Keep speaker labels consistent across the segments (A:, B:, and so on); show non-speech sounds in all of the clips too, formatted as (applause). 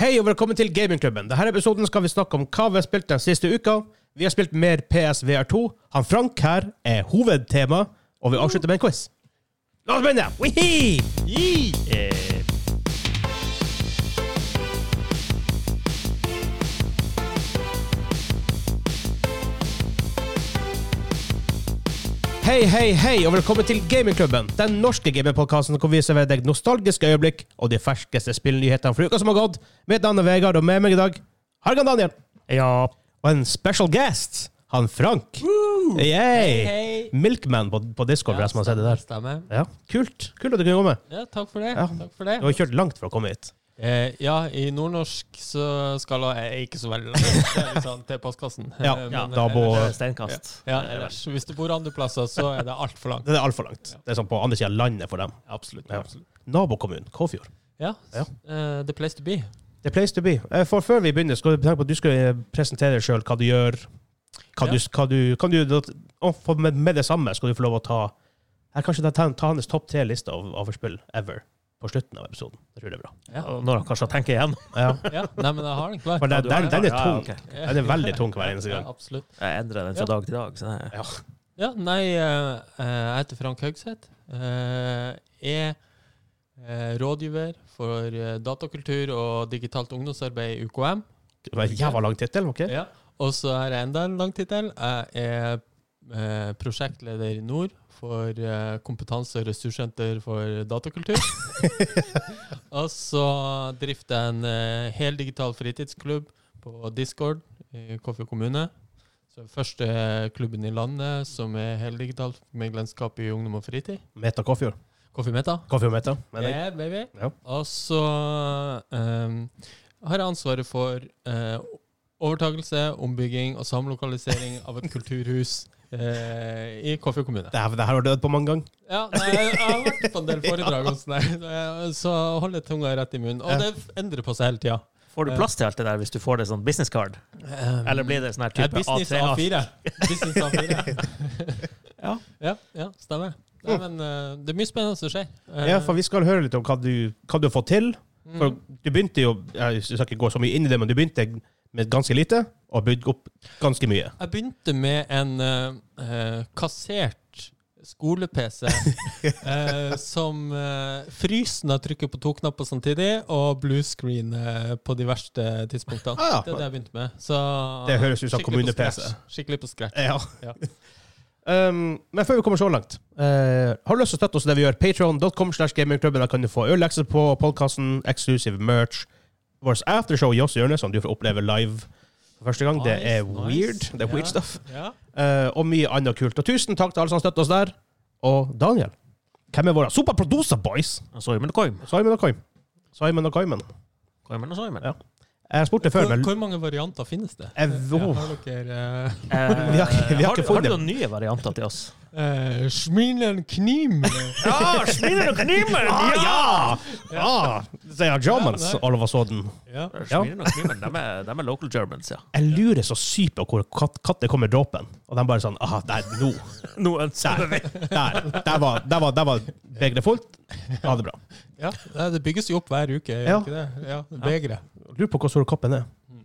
A: Hei og velkommen til Gamingklubben. Denne episoden skal vi snakke om hva vi har spilt den siste uka. Vi har spilt mer PSVR2. Han Frank her er hovedtema, og vi avslutter med en quiz. La oss begynne! Eh. Wihi! Yeah. Hei, hei, hei, og velkommen til Gamingklubben. Den norske gamingpodkasten hvor vi serverer deg nostalgiske øyeblikk og de ferskeste spillnyhetene fra uka som har gått. Mitt navn er Vegard, og med meg i dag Hargan Daniel.
B: Ja.
A: Og en special guest, han Frank. Yay.
B: Hei, hei.
A: Milkman på, på Discord, for
B: Ja,
A: jeg som har sett det der.
B: stemmer.
A: Ja, kult. Kult at du kunne komme.
B: Ja, takk for det.
A: Ja.
B: Takk for det.
A: Du har kjørt langt for å komme hit.
B: Eh, ja, i nordnorsk så skal jeg ikke så veldig langt. Det er litt sånn til postkassen.
A: (laughs) Ja,
B: Eh,
A: ja,
B: men,
A: nabo-
B: eh,
A: Og-
C: Steinkast.
B: Ja, ellers, hvis du bor andre plasser, så er det altfor langt.
A: Det er altfor langt. Det er sånn på andre siden av landet for dem.
B: Absolutt.
A: Ja.
B: absolutt.
A: Nabokommunen, Kåfjord.
B: Ja,
A: Ja.
B: eh, the place to be.
A: The place to be. Eh, For før vi begynner, skal du tenke på at du skal eh, presentere deg sjøl, hva du gjør. Hva
B: Ja.
A: du, hva du, kan du, og for med, med det samme skal du få lov å ta her Kanskje ta, ta hans topp tre-liste av, av spill ever på slutten av episoden. Jeg tror det er bra.
B: Ja.
C: Og Når han kanskje tenker igjen.
A: Ja.
B: ja. Nei, men jeg har den klar.
A: For den,
C: du har
A: den,
C: det.
A: den er
C: Ja,
A: tung.
C: ok.
A: Den er veldig tung hver eneste gang.
B: Ja, absolutt.
C: Jeg endrer den
B: Ja.
C: fra dag til dag. Så det er
B: Ja, nei, eh, eh, jeg heter Frank Haugseth. Eh, er eh, rådgiver for eh, datakultur og digitalt ungdomsarbeid i UKM.
A: Det var en jævla lang tittel. ok?
B: Ja. Og så har jeg enda en lang tittel. Jeg er eh, prosjektleder i Nord for eh, kompetanse- og ressurssenter for datakultur. og så drifter jeg en eh, heldigital fritidsklubb på Discord i Kåfjord kommune. Så første klubben i landet som er heldigital medlemskap i ungdom og fritid.
A: Meta Kåfjord.
B: Kåfjord Meta.
A: Kåfjord Meta. mener jeg.
B: Yeah, baby.
A: Ja.
B: Og så ehm, har jeg ansvaret for eh, overtakelse, ombygging og samlokalisering av et kulturhus eh, i Kåfjord kommune.
A: Det her, det her har dødd på mange ganger.
B: Ja, nei, jeg har vært på
A: (laughs)
B: en del foredrag og sånn, der, så jeg holder tunga rett i munnen. Og det endrer på seg hele tida.
C: Får du plass til alt det der hvis du får det sånn business card? Eh. Eller blir det sånn her
B: Jeg er
C: type
B: business
C: A3?
B: A4. Business A4.
A: (laughs)
C: Ja.
B: ja, ja, stemmer. Nei, men eh, det er mye spennende som skjer. Eh,
A: Oh. Ja, for vi skal høre litt om hva du, hva du har fått til. For
B: mm,
A: du begynte jo Jeg skal ikke gå så mye inn i det, men du begynte med ganske lite, og har bygd opp ganske mye.
B: Jeg begynte med en eh, eh, kassert
A: (laughs)
B: skole-PC eh, som uh, frysen har trykket på to knapper samtidig, og bluescreen eh, på de verste tidspunktene.
A: Ah, ja.
B: Det er det jeg begynte med. Så,
A: Det høres ut som
B: skikkelig på
A: kommune-PC.
B: scratch. Skikkelig på scratch.
A: Ja.
B: Ja.
A: (laughs) Um, men før vi kommer så langt, eh, har du lyst til å støtte oss i det vi gjør? Patron.com slash gamingklubben. Der kan du få ølekser på podkasten, eksklusiv merch. Vårt aftershow i Ås hjørne, som du får oppleve live for første gang. det er
B: Nice,
A: weird.
B: nice.
A: Det er
B: Ja.
A: weird stuff.
B: Ja.
A: Eh, og mye annet kult. Og tusen takk til alle som støtter oss der. Og Daniel, hvem er våre superproducer boys?
C: Og Soymen og Koim.
A: Simon og Kaim. Simon og Kaimen.
C: Koimen og Soymen.
A: Ja. Jeg spurte før,
B: Hvor,
A: men
B: hvor mange varianter finnes det?
A: Jeg-
B: Ja,
A: oh.
B: har dere eh,
C: (laughs) Eh, (laughs)
A: Vi har ikke- vi har
C: du-
A: ikke funnet-
C: Har du noen nye varianter til oss?
B: eh, Schmilen
A: (laughs)
B: Knim?
C: (laughs) Ja! Smiler og knimer!
A: Ja! Ah, Sier jeg Germans
B: Ja, nei.
A: all of a sudden.
B: ja.
C: Smiler og knimer, de er, de er local Germans, ja.
A: Jeg lurer så sykt på hvor kat katter kommer dråpen. Og de bare sånn ah, der, nå.
C: (laughs) Nå ønsker vi
A: Der. Der var, der var, der var begeret fullt. Ha det bra.
B: ja. Nei, Det bygges jo opp hver uke,
A: Ja.
B: gjør ikke det? Ja, Begeret.
A: Lurer på hvor stor koppen er.
B: Mm.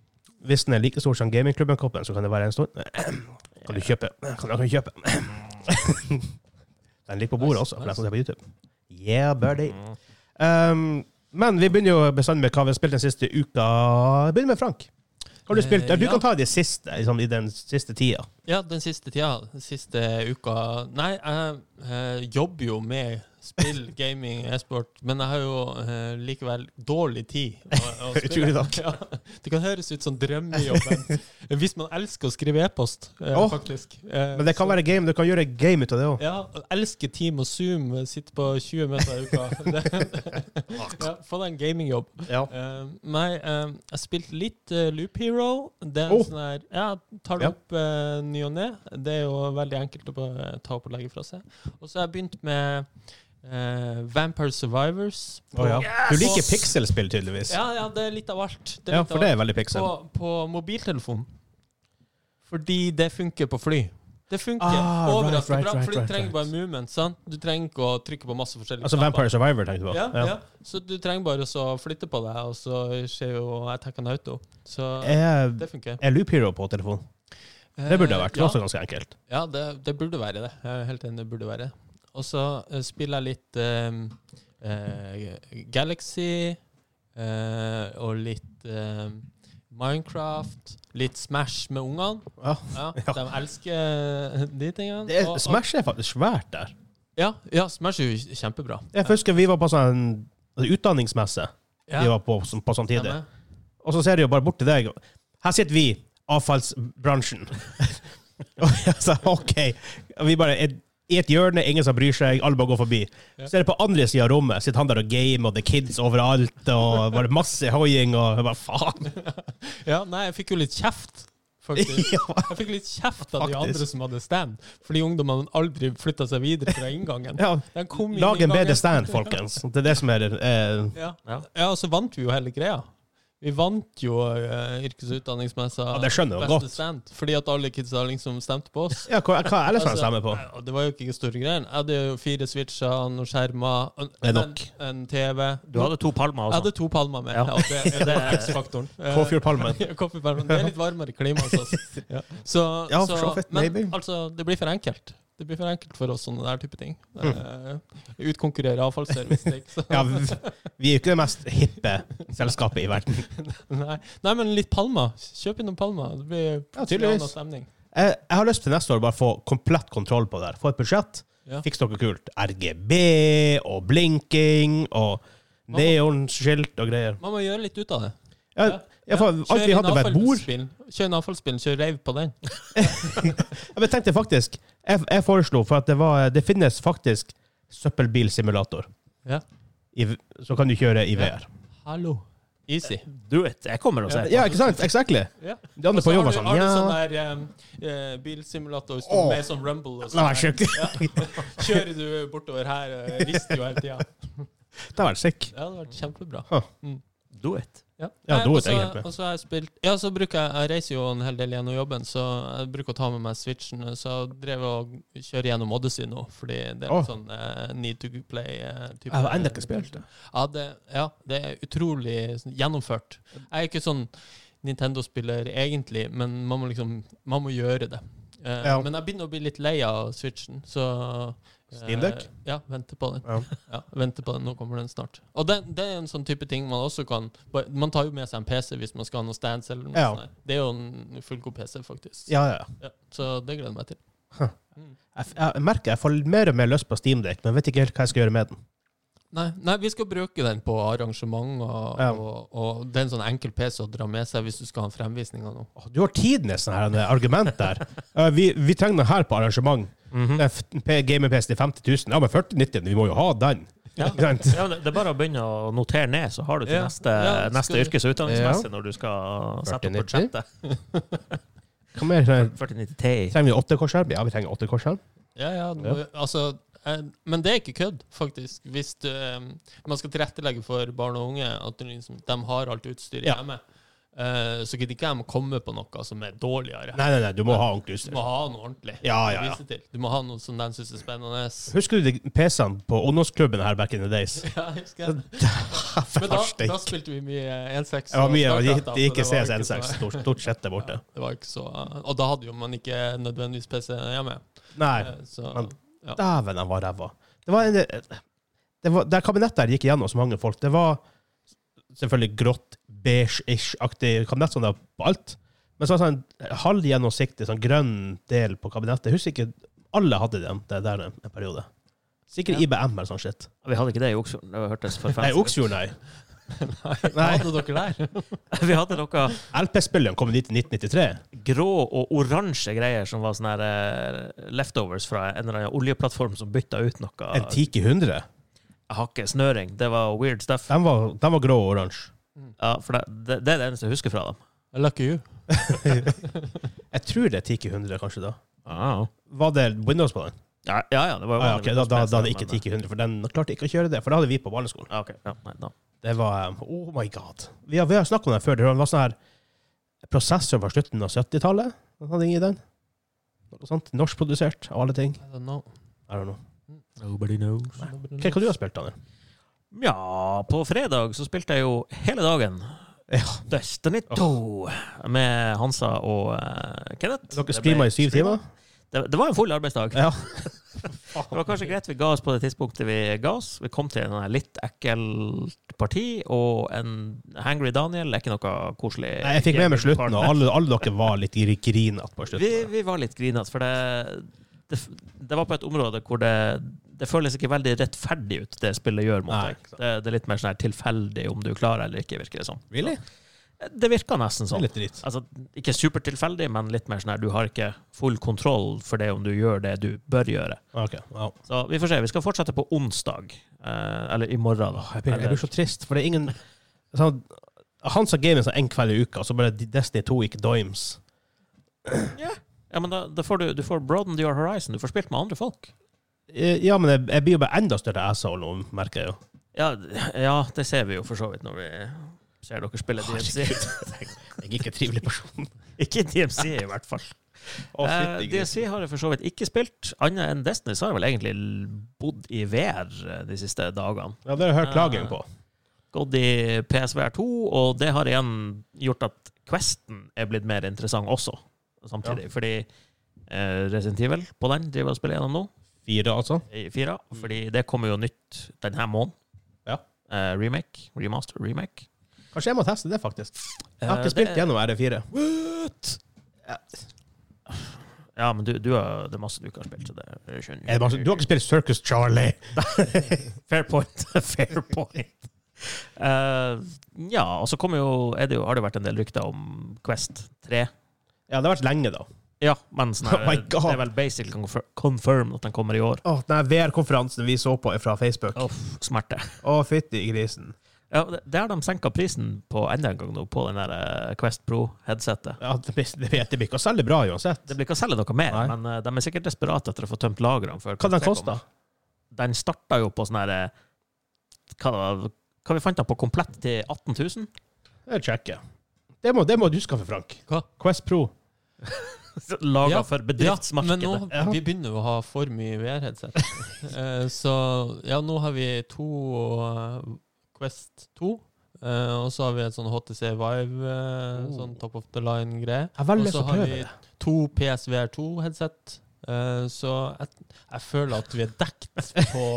A: Hvis den er like stor som gamingklubben-koppen, så kan det være en stor. (clears throat) Kan du kjøpe? Kan du kan du kjøpe? (clears throat) Den ligger på bordet også, for deg som ser på YouTube. Yeah, buddy.
B: Mm.
A: Um, men vi begynner jo bestandig med hva vi har spilt den siste uka. Begynner med Frank. Hva har du spilt?
B: Eh,
A: Du
B: ja. Eh,
A: kan ta det siste, liksom, i den siste tida.
B: Ja, den siste tida, den siste uka Nei, jeg eh, jobber jo med spill,
A: (laughs)
B: gaming, e-sport, men jeg har jo eh, likevel dårlig tid å, å spille.
A: (laughs) Utrolig takk.
B: (laughs) Ja, det kan høres ut som drømmejobben. Hvis man elsker å skrive e-post, eh,
A: Åh,
B: faktisk. Eh,
A: Men det kan
B: så-
A: være game. Du kan gjøre game ut av det òg.
B: ja, og elsker Team og Zoom, eh, sitter på 20 meter i uka.
A: (laughs)
B: (laughs) Det- ja, få deg en gamingjobb.
A: Ja.
B: Eh, nei, eh, jeg spilte litt eh, Loop Hero. Det er en
A: Oh.
B: sånn her Ja, tar det
A: Ja.
B: opp eh, ny og ne. Det er jo veldig enkelt å bare ta opp og legge fra seg. Og så har jeg begynt med eh, Vampire Survivors.
A: Å, ja. Du liker pikselspill, tydeligvis.
B: Ja, ja, det er litt av alt. Det er
A: Ja,
B: litt
A: for
B: av
A: det
B: alt.
A: er veldig piksel.
B: På, på mobiltelefon. Fordi det funker på fly. Det funker
A: Ah, right,
B: overraskende
A: right,
B: bra,
A: right,
B: for du
A: right,
B: trenger
A: right.
B: bare movement. sant? Du trenger ikke å trykke på masse forskjellige
A: Altså Vampire Survivor, tenkte du på?
B: Ja, ja. Så du trenger bare å så flytte på deg, og så skjer jo attack on auto. Så
A: Er,
B: det funker. Eh,
A: er Loop Hero på telefonen? Eh, Det burde det vært. Det er
B: Ja,
A: Også ganske enkelt.
B: ja det, det burde være det. Jeg er helt enig, det burde være det. Og så eh, spiller jeg litt eh, eh, Galaxy, eh, og litt eh, Minecraft, litt Smash med ungene.
A: Ja.
B: Ja,
A: (laughs) Ja.
B: De elsker eh, de tingene.
A: Det er,
B: Og- og-
A: Smash er faktisk svært der.
B: Ja, ja, Smash er jo kjempebra.
A: Jeg husker vi var på sånn altså, utdanningsmesse.
B: Ja,
A: Vi var på, som- på samtidig.
B: stemmer.
A: Og så ser de jo bare bort til deg. og Her sitter vi, avfallsbransjen. (laughs) og jeg sa OK. Og vi bare er i et hjørne, ingen som bryr seg, alle bare går forbi. Så er det på andre sida av rommet, sitter han der og gamer, og the kids overalt, og bare masse hoiing, og jeg bare faen. (laughs)
B: Ja, nei, jeg fikk jo litt kjeft, faktisk.
A: Ja.
B: Jeg fikk litt kjeft av
A: Faktisk.
B: de andre som hadde stand, fordi ungdommene aldri flytta seg videre fra inngangen.
A: Ja,
B: De kom inn
A: lag
B: i
A: en bedre
B: gangen.
A: stand, folkens. Det er det som er eh,
B: Ja.
C: Ja.
B: ja, og så vant vi jo hele greia. Vi vant jo uh, yrkes- og utdanningsmessa
A: Ja, det skjønner jeg jo
B: beste
A: godt.
B: stand, fordi at alle kidsa liksom stemte
A: (laughs)
B: på oss.
A: Ja, hva, hva ellers kan jeg
B: Altså,
A: stemme på?
B: nei, og Det var jo ikke store greier. Jeg hadde jo fire switcher, noen skjermer, en,
A: Det er nok.
B: en, en TV.
C: Du hadde to palmer
B: jeg
C: også.
B: hadde to palmer med.
C: Ja.
B: Ja, det,
C: (laughs)
B: det er X-faktoren. Eh,
A: Kåfjordpalmen.
B: Ja, Coffeepermen. Det er litt varmere klima hos oss. Ja, så,
A: Ja,
B: så,
A: for så vidt,
B: men
A: maybe.
B: altså, det blir for enkelt. Det blir for enkelt for oss, sånne der type ting. Eh, utkonkurrere avfallsservice.
A: (laughs)
B: det er ikke så-
A: Mm. Ja, vi, vi er jo ikke det mest hippe selskapet i verden.
B: Nei. Nei, men litt palmer. Kjøp inn noen palmer. Det blir
A: Ja,
B: plutselig
A: tydeligvis.
B: annen stemning.
A: Jeg, jeg har lyst til neste år bare få komplett kontroll på det her. Få et budsjett.
B: Ja.
A: Fiks noe kult. RGB og blinking og neonskilt og greier.
B: Man må gjøre litt ut av det.
A: Ja,
B: Ja.
A: ja, for alt vi
B: inn
A: hadde, var et bord.
B: avfallsbil. Kjør en avfallsbil, kjør rave på den.
A: Jeg tenkte faktisk Jeg, jeg foreslo, for at det, var, det finnes faktisk søppelbilsimulator.
B: Ja.
A: I, så kan du kjøre i
B: Ja.
A: VR.
B: Hallo. Easy.
C: Do it. Jeg kommer og ser.
A: Ja, ikke sant? Exactly.
B: Ja.
A: De andre
B: Og så
A: på
B: har
A: jobb var
B: du-
A: sånn
B: Har du
A: Ja,
B: sånn der eh, eh, bilsimulator som
A: Åh.
B: med sånn rumble og
A: det
B: sånn?
A: var sjukt.
B: (laughs) Kjører du bortover her og rister jo hele tida.
A: Det var sick.
B: Ja, det hadde vært kjempebra.
C: Do it.
B: Ja,
A: Ja,
B: Nei,
A: da er
B: og så-
A: jeg helt med.
B: Og så har jeg spilt Ja, så bruker jeg Jeg reiser jo en hel del gjennom jobben, så jeg bruker å ta med meg switchen. Så jeg drev og kjører gjennom Odyssey nå, fordi det er en
A: Åh.
B: sånn eh, need to eh, play-type.
A: Jeg har ennå ikke spilt det.
B: Ja, det, ja, det er utrolig sånn gjennomført. Jeg er ikke sånn Nintendo-spiller egentlig, men man må liksom Man må gjøre det. Eh,
A: Ja.
B: Men jeg begynner å bli litt lei av switchen, så eh,
A: Steam Deck?
B: Ja, venter på den.
A: Ja.
B: Ja, venter på den, nå kommer den snart. Og det, det er en sånn type ting man også kan bare- Man tar jo med seg en PC hvis man skal ha noe stands eller noe
A: Ja.
B: sånt. der. Det er jo en fullgod PC, faktisk.
A: Ja, ja.
B: Ja, så det gleder jeg meg til.
A: Jeg, f- jeg merker jeg får mer og mer lyst på Steamdeck, men vet ikke helt hva jeg skal gjøre med den.
B: Nei, nei, vi skal bruke den på arrangement, og,
A: Ja.
B: og, og det er en sånn enkel PC å dra med seg hvis du skal ha en fremvisning av noe.
A: Åh, Du har tidenes sånn her, eh, argument
B: (laughs)
A: der. Eh, vi, vi trenger noe her på arrangement.
B: Mhm.
A: Det er f- P- Gamer-PC til 50 000. Ja, men 4090, vi må jo ha den.
C: Ja.
A: (laughs) Ikke sant?
C: Ja, men det det er bare å begynne å notere ned, så har du til
B: Ja.
C: neste,
B: Ja,
C: neste
B: skal-
C: yrkes- og utdanningsmesse når du skal sette opp
A: 4090.
C: budsjettet.
A: Hva mer? trenger-
C: 4090 Ti.
A: Trenger vi 8-korsskjerm? Ja, vi trenger 8-korsskjerm.
B: Ja, ja, du må- altså eh, men det er ikke kødd, faktisk. Hvis du, eh, man skal tilrettelegge for barn og unge, at du liksom, de har alt utstyret
A: Ja.
B: hjemme, eh, så gidder ikke jeg å komme på noe som er dårligere.
A: Nei, nei, nei, du må ha ordentlig
B: Du
A: utstyr.
B: må ha noe ordentlig.
A: Ja, ja,
B: å
A: ja.
B: vise til. Du må ha noe som den syns er
A: (laughs)
B: spennende.
A: Husker du de PC-ene på ungdomsklubben her back in the days?
B: (laughs) Ja, jeg husker jeg. Men da,
A: Farstek.
B: da spilte vi mye eh, N6.
A: Det var mye,
B: og
A: og det
B: Starcraft,
A: det gikk i
B: så det var ikke
A: CS16,
B: så-
A: stort, stort sett der
B: (laughs)
A: borte.
B: Det var ikke så Og da hadde jo man ikke nødvendigvis PC hjemme.
A: Nei,
B: Eh, Så
A: Men- dæven, den var ræva. Det var en det, var, det kabinettet her gikk igjennom så mange folk. Det var selvfølgelig grått, beige-ish-aktig kabinett som det var på alt. Men så var det sånn halvgjennomsiktig, sånn grønn del på kabinettet. Jeg husker ikke Alle hadde den det der en en periode. Sikkert
B: Ja.
A: IBM eller sånn shit.
C: Vi hadde ikke det i Oksfjorden. Det hørtes for
A: Nei,
C: fancy ut.
A: Oksfjord, nei.
B: (laughs) Hva hadde dere der?
C: (laughs) Vi hadde noe
A: LP-spilleren kom dit i 1993.
C: grå og oransje greier som var sånne her, eh, leftovers fra en eller annen oljeplattform som bytta ut noe
A: En Tiki 100.
C: hakke, snøring. Det var weird stuff.
A: Den var, den var grå og oransje.
C: Ja, for det, det, det er det eneste jeg husker fra dem.
B: Lucky you.
A: Jeg tror det er Tiki 100, kanskje, da.
C: Ah.
A: Var det Windows på den?
C: Ja, ja, ja, det var jo
A: Ah, ja, ok, da, da, da hadde
C: men-
A: ikke Tiki 100, for den klarte ikke å kjøre det. For det hadde vi på barneskolen.
C: Ja, ok. Ja, nei, da.
A: Det var um, Oh my god. Vi har, vi har snakket om den før. Det var en sånn her prosessor fra slutten av 70-tallet. Den hadde ingen i den. noe sånt. Norskprodusert, av alle ting.
B: I don't know.
A: I don't know.
C: Nobody knows.
A: Hva hva du har spilt, Daniel?
C: Ja, på fredag så spilte jeg jo hele dagen. Destiny 2 med Hansa og eh, Kenneth.
A: Dere
C: Det ble-
A: streama i syv timer?
C: Det, det var en full arbeidsdag.
A: Ja.
C: (laughs) Det var kanskje greit vi ga oss på det tidspunktet vi ga oss. Vi kom til en sånn litt ekkelt parti, og en hangry Daniel er ikke noe koselig.
A: Nei, jeg fikk med meg slutten, og alle, alle dere var litt gri- grinete på
C: (laughs) Vi,
A: slutten.
C: vi var litt grinete, for det, det, det var på et område hvor det, det føles ikke veldig rettferdig ut, det spillet gjør mot
A: Nei,
C: deg. Det, det er litt mer sånn her tilfeldig om du klarer eller ikke, virker det som.
A: Really?
C: Det virker nesten
A: Det er
C: sånn.
A: litt dritt.
C: Altså, ikke supertilfeldig, men litt mer sånn her du har ikke full kontroll for det om du gjør det du bør gjøre.
A: Ah, Ok, wow.
C: Så vi får se. Vi skal fortsette på onsdag. Eh, eller i morgen, da.
A: Jeg blir, jeg blir så trist, for det er ingen sånn, Han sa gaming sånn en kveld i uka, og så bare Destiny 2 gikk dimes.
C: Ja, men da, da får du, du får broadened your horizon. Du får spilt med andre folk.
A: Eh, Ja, men jeg, jeg blir jo bare enda større asshole nå, merker jeg jo.
C: Ja, d- ja, det ser vi jo for så vidt når vi ser dere spille DMC.
A: Jeg er ikke en trivelig person.
C: (laughs) Ikke DMC, i hvert fall.
A: Å,
C: Eh,
A: fytti grisen.
C: DMC har jeg for så vidt ikke spilt, annet enn Destiny. Så har jeg vel egentlig l- bodd i VR eh, de siste dagene.
A: Ja, det har jeg hørt klaging på.
C: Gått i PSVR 2, og det har igjen gjort at Questen er blitt mer interessant også, samtidig. Fordi eh, Resident Evil på den driver og spiller gjennom nå,
A: Fire, altså.
C: i fire. Fordi det kommer jo nytt denne måneden.
A: Ja.
C: Eh, remake, remaster, remake.
A: Kanskje jeg må teste det, faktisk. Jeg har
C: Eh,
A: ikke
C: det
A: spilt
C: er-
A: gjennom E RE4.
C: Ja, men du, du har, det er masse du ikke har spilt, så det skjønner
A: Er det bare sånn, Du har ikke spilt Circus Charlie?
C: Fair point. (laughs) Fair point. Eh, ja, og så kommer jo, er det jo, har det vært en del rykter om Quest 3.
A: Ja, det har vært lenge, da.
C: Ja, men sånn her,
A: (laughs) Oh my
C: det
A: God.
C: er vel basically confer- confirmed at den kommer i år.
A: Åh, den VR-konferansen vi så på fra Facebook. Å,
C: Uff, smerte.
A: fytti grisen.
C: Ja, det- Der de senka prisen på enda en gang nå, på den der eh, Quest Pro-headsetet.
A: Ja, det blir, det blir- det blir ikke å selge bra uansett.
C: Det blir ikke å selge noe mer,
A: Nei.
C: men eh, de er sikkert desperate etter å få tømt lagrene. før
A: Hva den
C: Quest 3
A: kosta?
C: kommer. Den starta jo på sånn her eh, hva, hva vi fant den på komplett til 18 000?
A: Det sjekker jeg. Det må, det må du skaffe, Frank.
B: Hva?
A: Quest Pro.
C: Laga
B: Ja,
C: for
B: Ja, men
C: bedriftsmarkedet.
B: nå
A: Ja.
B: vi begynner vi å ha for mye
C: (laughs)
B: VR-headset. Eh, så ja, nå har vi to eh, Quest 2. eh, og så har vi et sånn HTC Vive, eh,
A: Oh.
B: sånn top of the line-greie.
A: Jeg har veldig
B: Og
A: lyst
B: så
A: til å
B: har
A: prøve
B: vi
A: det.
B: to PSVR 2-headset. så jeg, jeg føler at vi er
A: (laughs)
B: dekt på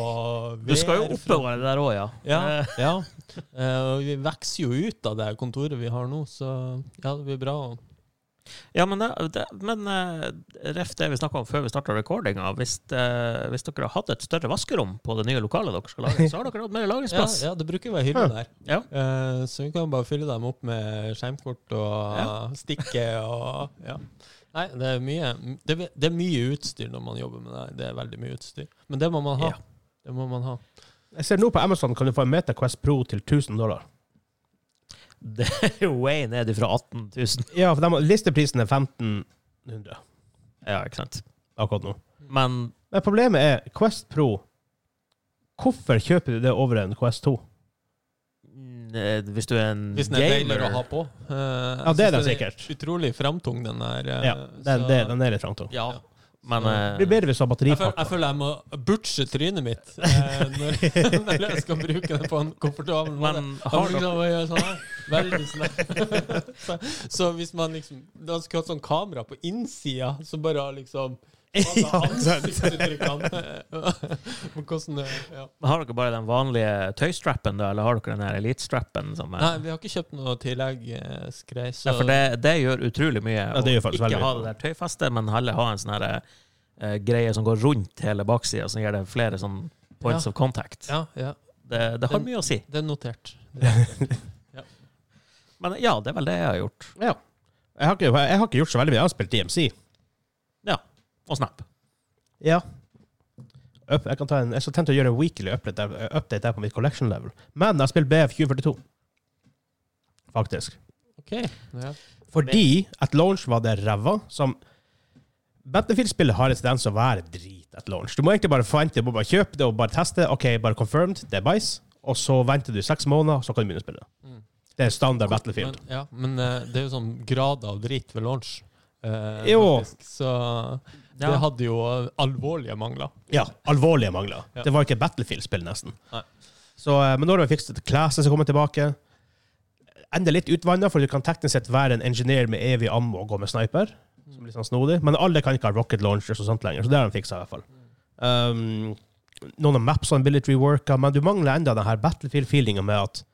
B: VR.
C: Du skal jo oppover det der òg, ja.
B: Ja,
C: Eh,
B: ja. Eh, og vi vokser jo ut av det her kontoret vi har nå, så ja, det blir bra.
C: (laughs) ja men, det, det, men eh, ref det vi snakka om før vi starta recordinga, hvis, eh, hvis dere har hatt et større vaskerom på det nye lokalet dere skal lage, så har dere hatt mer
B: Ja,
C: lagringsplass.
B: ja, det bruker å være hyggelig der.
C: Ja.
B: Eh, så vi kan bare fylle dem opp med skjermkort og
C: Ja.
B: stikke og ja. Nei, det er, mye, det, er- det er mye utstyr når man jobber med det. her. Det er veldig mye utstyr. Men det må man ha.
C: Ja.
B: Det må man ha.
A: Jeg ser nå på Amazon kan du få en Meta Quest Pro til 1000 dollar.
C: Det er (laughs) jo way ned ifra 18 000.
A: Ja, for de, har- listeprisen er 1500
C: Ja, ikke sant.
A: akkurat nå.
C: Men
A: Men problemet er Quest Pro. Hvorfor kjøper du det over en Quest 2?
C: mm, eh, hvis du er en
B: Hvis den er deiligere å ha
C: gamer
B: på. Eh,
A: Ja,
B: jeg
A: det er
B: synes
A: den sikkert.
B: Utrolig framtung, den der. eh,
A: Ja, den,
B: så-
A: det, den er litt trang. Det
B: ja.
C: men, eh,
A: blir bedre hvis du har
B: Jeg, føler,
A: batteripakke.
B: jeg føler jeg må butche trynet mitt eh, når, (laughs) når jeg skal bruke det på en komfortabel måte.
C: men
B: Han
C: har
B: liksom
C: dere
B: bare gjør sånn her. Veldig snett. (laughs) så, så hvis man liksom Da skulle hatt sånn kamera på innsida som bare har liksom
A: Ja, sant.
B: (laughs) Ansiktsuttrykkene. Men hvordan det ja.
C: har dere bare den vanlige tøystrappen, da, eller har dere den her elitestrappen? som er-
B: Nei, vi har ikke kjøpt noe tilleggsgreier, så
C: Ja, for det, det gjør utrolig mye.
A: Ja, det gjør faktisk
C: å
A: veldig
C: ikke ha
A: mye.
C: det der tøyfestet, men heller ha en sånn her, eh, greie som går rundt hele baksida, som gir det flere sånn points
B: Ja.
C: of contact.
B: ja, ja,
C: Det, det har
B: Den-
C: mye å si.
B: det er notert.
C: Men ja, det er vel det jeg har gjort.
A: Ja. Jeg har, ikke, jeg har ikke gjort så veldig mye. Jeg har spilt DMC.
C: Og Snap.
A: Ja. Up, jeg, kan ta en, jeg skal tenke å gjøre en weekly update der, update der på mitt collection level. Men jeg har spilt BF 2042. Faktisk.
B: OK. Ja.
A: Fordi at launch var det ræva som Battlefield-spillet har en tendens å være drit at launch. Du må egentlig bare forvente, du må bare kjøpe det og bare teste. OK, bare confirmed, det er bæsj. Og så venter du seks måneder, så kan du begynne å spille.
B: Mm.
A: Det er standard Battlefield.
B: Men, ja, men eh, det er jo sånn grad av drit ved launch. eh,
A: Jo.
B: faktisk. Så
C: Ja.
B: det hadde jo alvorlige mangler.
A: Ja, alvorlige mangler.
B: Ja.
A: Det var ikke Battlefield-spill, nesten.
B: Nei.
A: Så, eh, men nå har vi fikset Classes som kommer tilbake. Enda litt utvanna, for du kan teknisk sett være en engineer med evig ammo og gå med sniper. Som er litt sånn snodig. Men alle kan ikke ha rocket launchers og sånt lenger, så det har de fiksa i hvert fall. Um, noen av mapsene blir litt reworka, men du mangler enda den her Battlefield-feelinga med at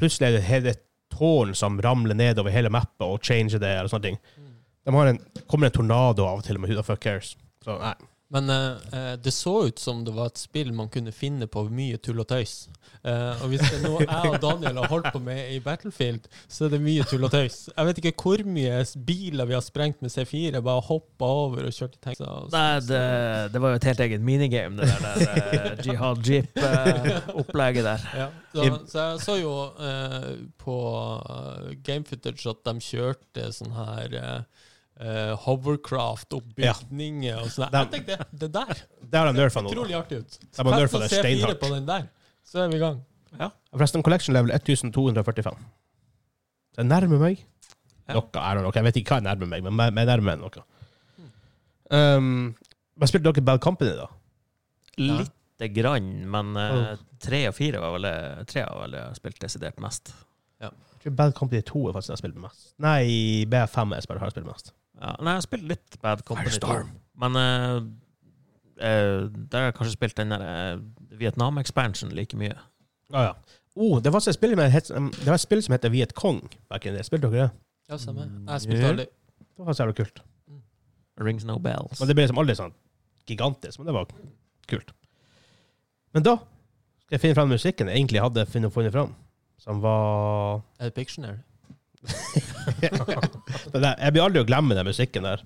A: plutselig er det hele tårn som ramler nedover hele mappa og changer det, eller sånne ting.
B: Mm.
A: De har en, kommer en tornado av og til med Who the fuck cares. Så nei.
B: Men eh, eh, det så ut som det var et spill man kunne finne på mye tull og tøys. Eh, og hvis det er
A: (laughs)
B: noe jeg og Daniel har holdt på med i Battlefield, så er det mye tull og tøys. Jeg vet ikke hvor mye s- biler vi har sprengt med C4, bare hoppa over og kjørt i tanks. og-
C: Nei, det, det var jo et helt eget minigame, det der, der eh, Jihad Jeep-opplegget der.
B: Ja, så, så jeg så jo eh, på eh, game footage at de kjørte sånn her eh, eh, hovercraft opp
A: Ja.
B: bygninger og sånn. Jeg
A: De-
B: tenkte det der
A: Det har de nerfa nå.
B: utrolig artig ut.
A: De har nerfa
B: Fett å
A: det
B: se fire
A: steinhardt.
B: på den der, så er vi i gang.
A: Forresten, collection level 1245. Så jeg nærmer meg.
C: Ja.
A: Noe, I don't know. Jeg vet ikke hva jeg nærmer meg, men jeg nærmer meg noe. Um, men spilte dere Bad Company, da?
B: Ja.
C: Lite grann, men
B: Oh.
C: eh, tre og fire var vel det- Tre har vel jeg spilt desidert mest.
A: Jeg tror Bad Company 2 er faktisk den jeg har spilt mest. Nei, B5 er jeg har spilt mest.
C: Ja, nei, jeg har spilt litt Bad Company 2,
A: Firestorm.
C: men eh, eh, der har jeg kanskje spilt den der eh, Vietnam-expansion like mye.
A: Ah, ja. Oh, det var et spill, med, het- um, det var et spill som heter Viet Kong. Back in the day. Spilte dere det?
B: Ja, stemmer.
C: Mm,
B: Jeg spilte
C: ja.
B: aldri.
A: Det var faktisk jævlig kult.
C: Rings No Bells.
A: Men det ble liksom aldri sånn gigantisk, men det var kult. Men da skal jeg finne fram musikken jeg egentlig hadde funnet- funnet fram, som var
B: Er det Pictionary?
A: Det der- jeg blir aldri å glemme den musikken der.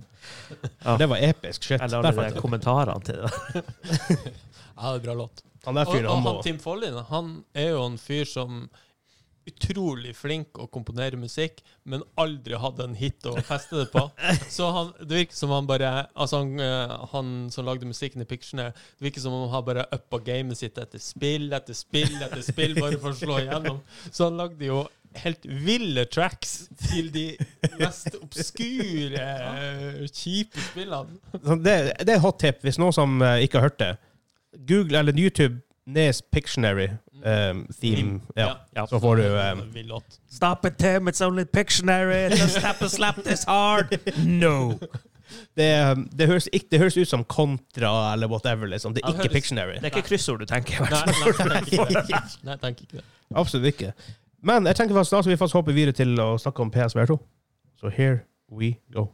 C: Ja.
A: Det var episk shit.
C: Jeg la
A: Der
C: ned
A: fant jeg det.
C: kommentarene til det. (laughs)
B: Ja, det er bra låt.
A: Han der
B: Og,
A: fyren,
B: og
A: han
B: han
A: må
B: Tim Follin, han er jo en fyr som utrolig flink å komponere musikk, men aldri hadde en hit å feste det på.
A: (laughs)
B: Så han, det virker som han bare Altså, han, eh, han som lagde musikken i Pictionary, det virker som om han har bare uppa gamet sitt etter spill etter spill etter spill, bare for å slå igjennom. Så han lagde jo helt ville tracks til de mest obskure, eh, kjipe spillene.
A: Sånn, det, det er hot tip hvis noen som eh, ikke har hørt det. Google eller YouTube Nes Pictionary eh, theme. Ja.
C: Ja.
A: Så får du eh,
B: En vill låt.
C: Stop it, Tim. It's only Pictionary. Just tap and slap this hard. No.
A: det, det, høres ikke, det høres ut som Kontra eller whatever. Liksom. Det
B: Ja,
A: er
B: det
A: ikke
B: høres-
A: Pictionary.
C: Det er ikke kryssord du tenker. i hvert
B: Nei,
C: fall.
B: nei, tenk ikke det. Nei, tenk ikke det.
A: Absolutt ikke. Men jeg tenker faktisk da skal vi faktisk hoppe videre til å snakke om PSVR2. Så here we go.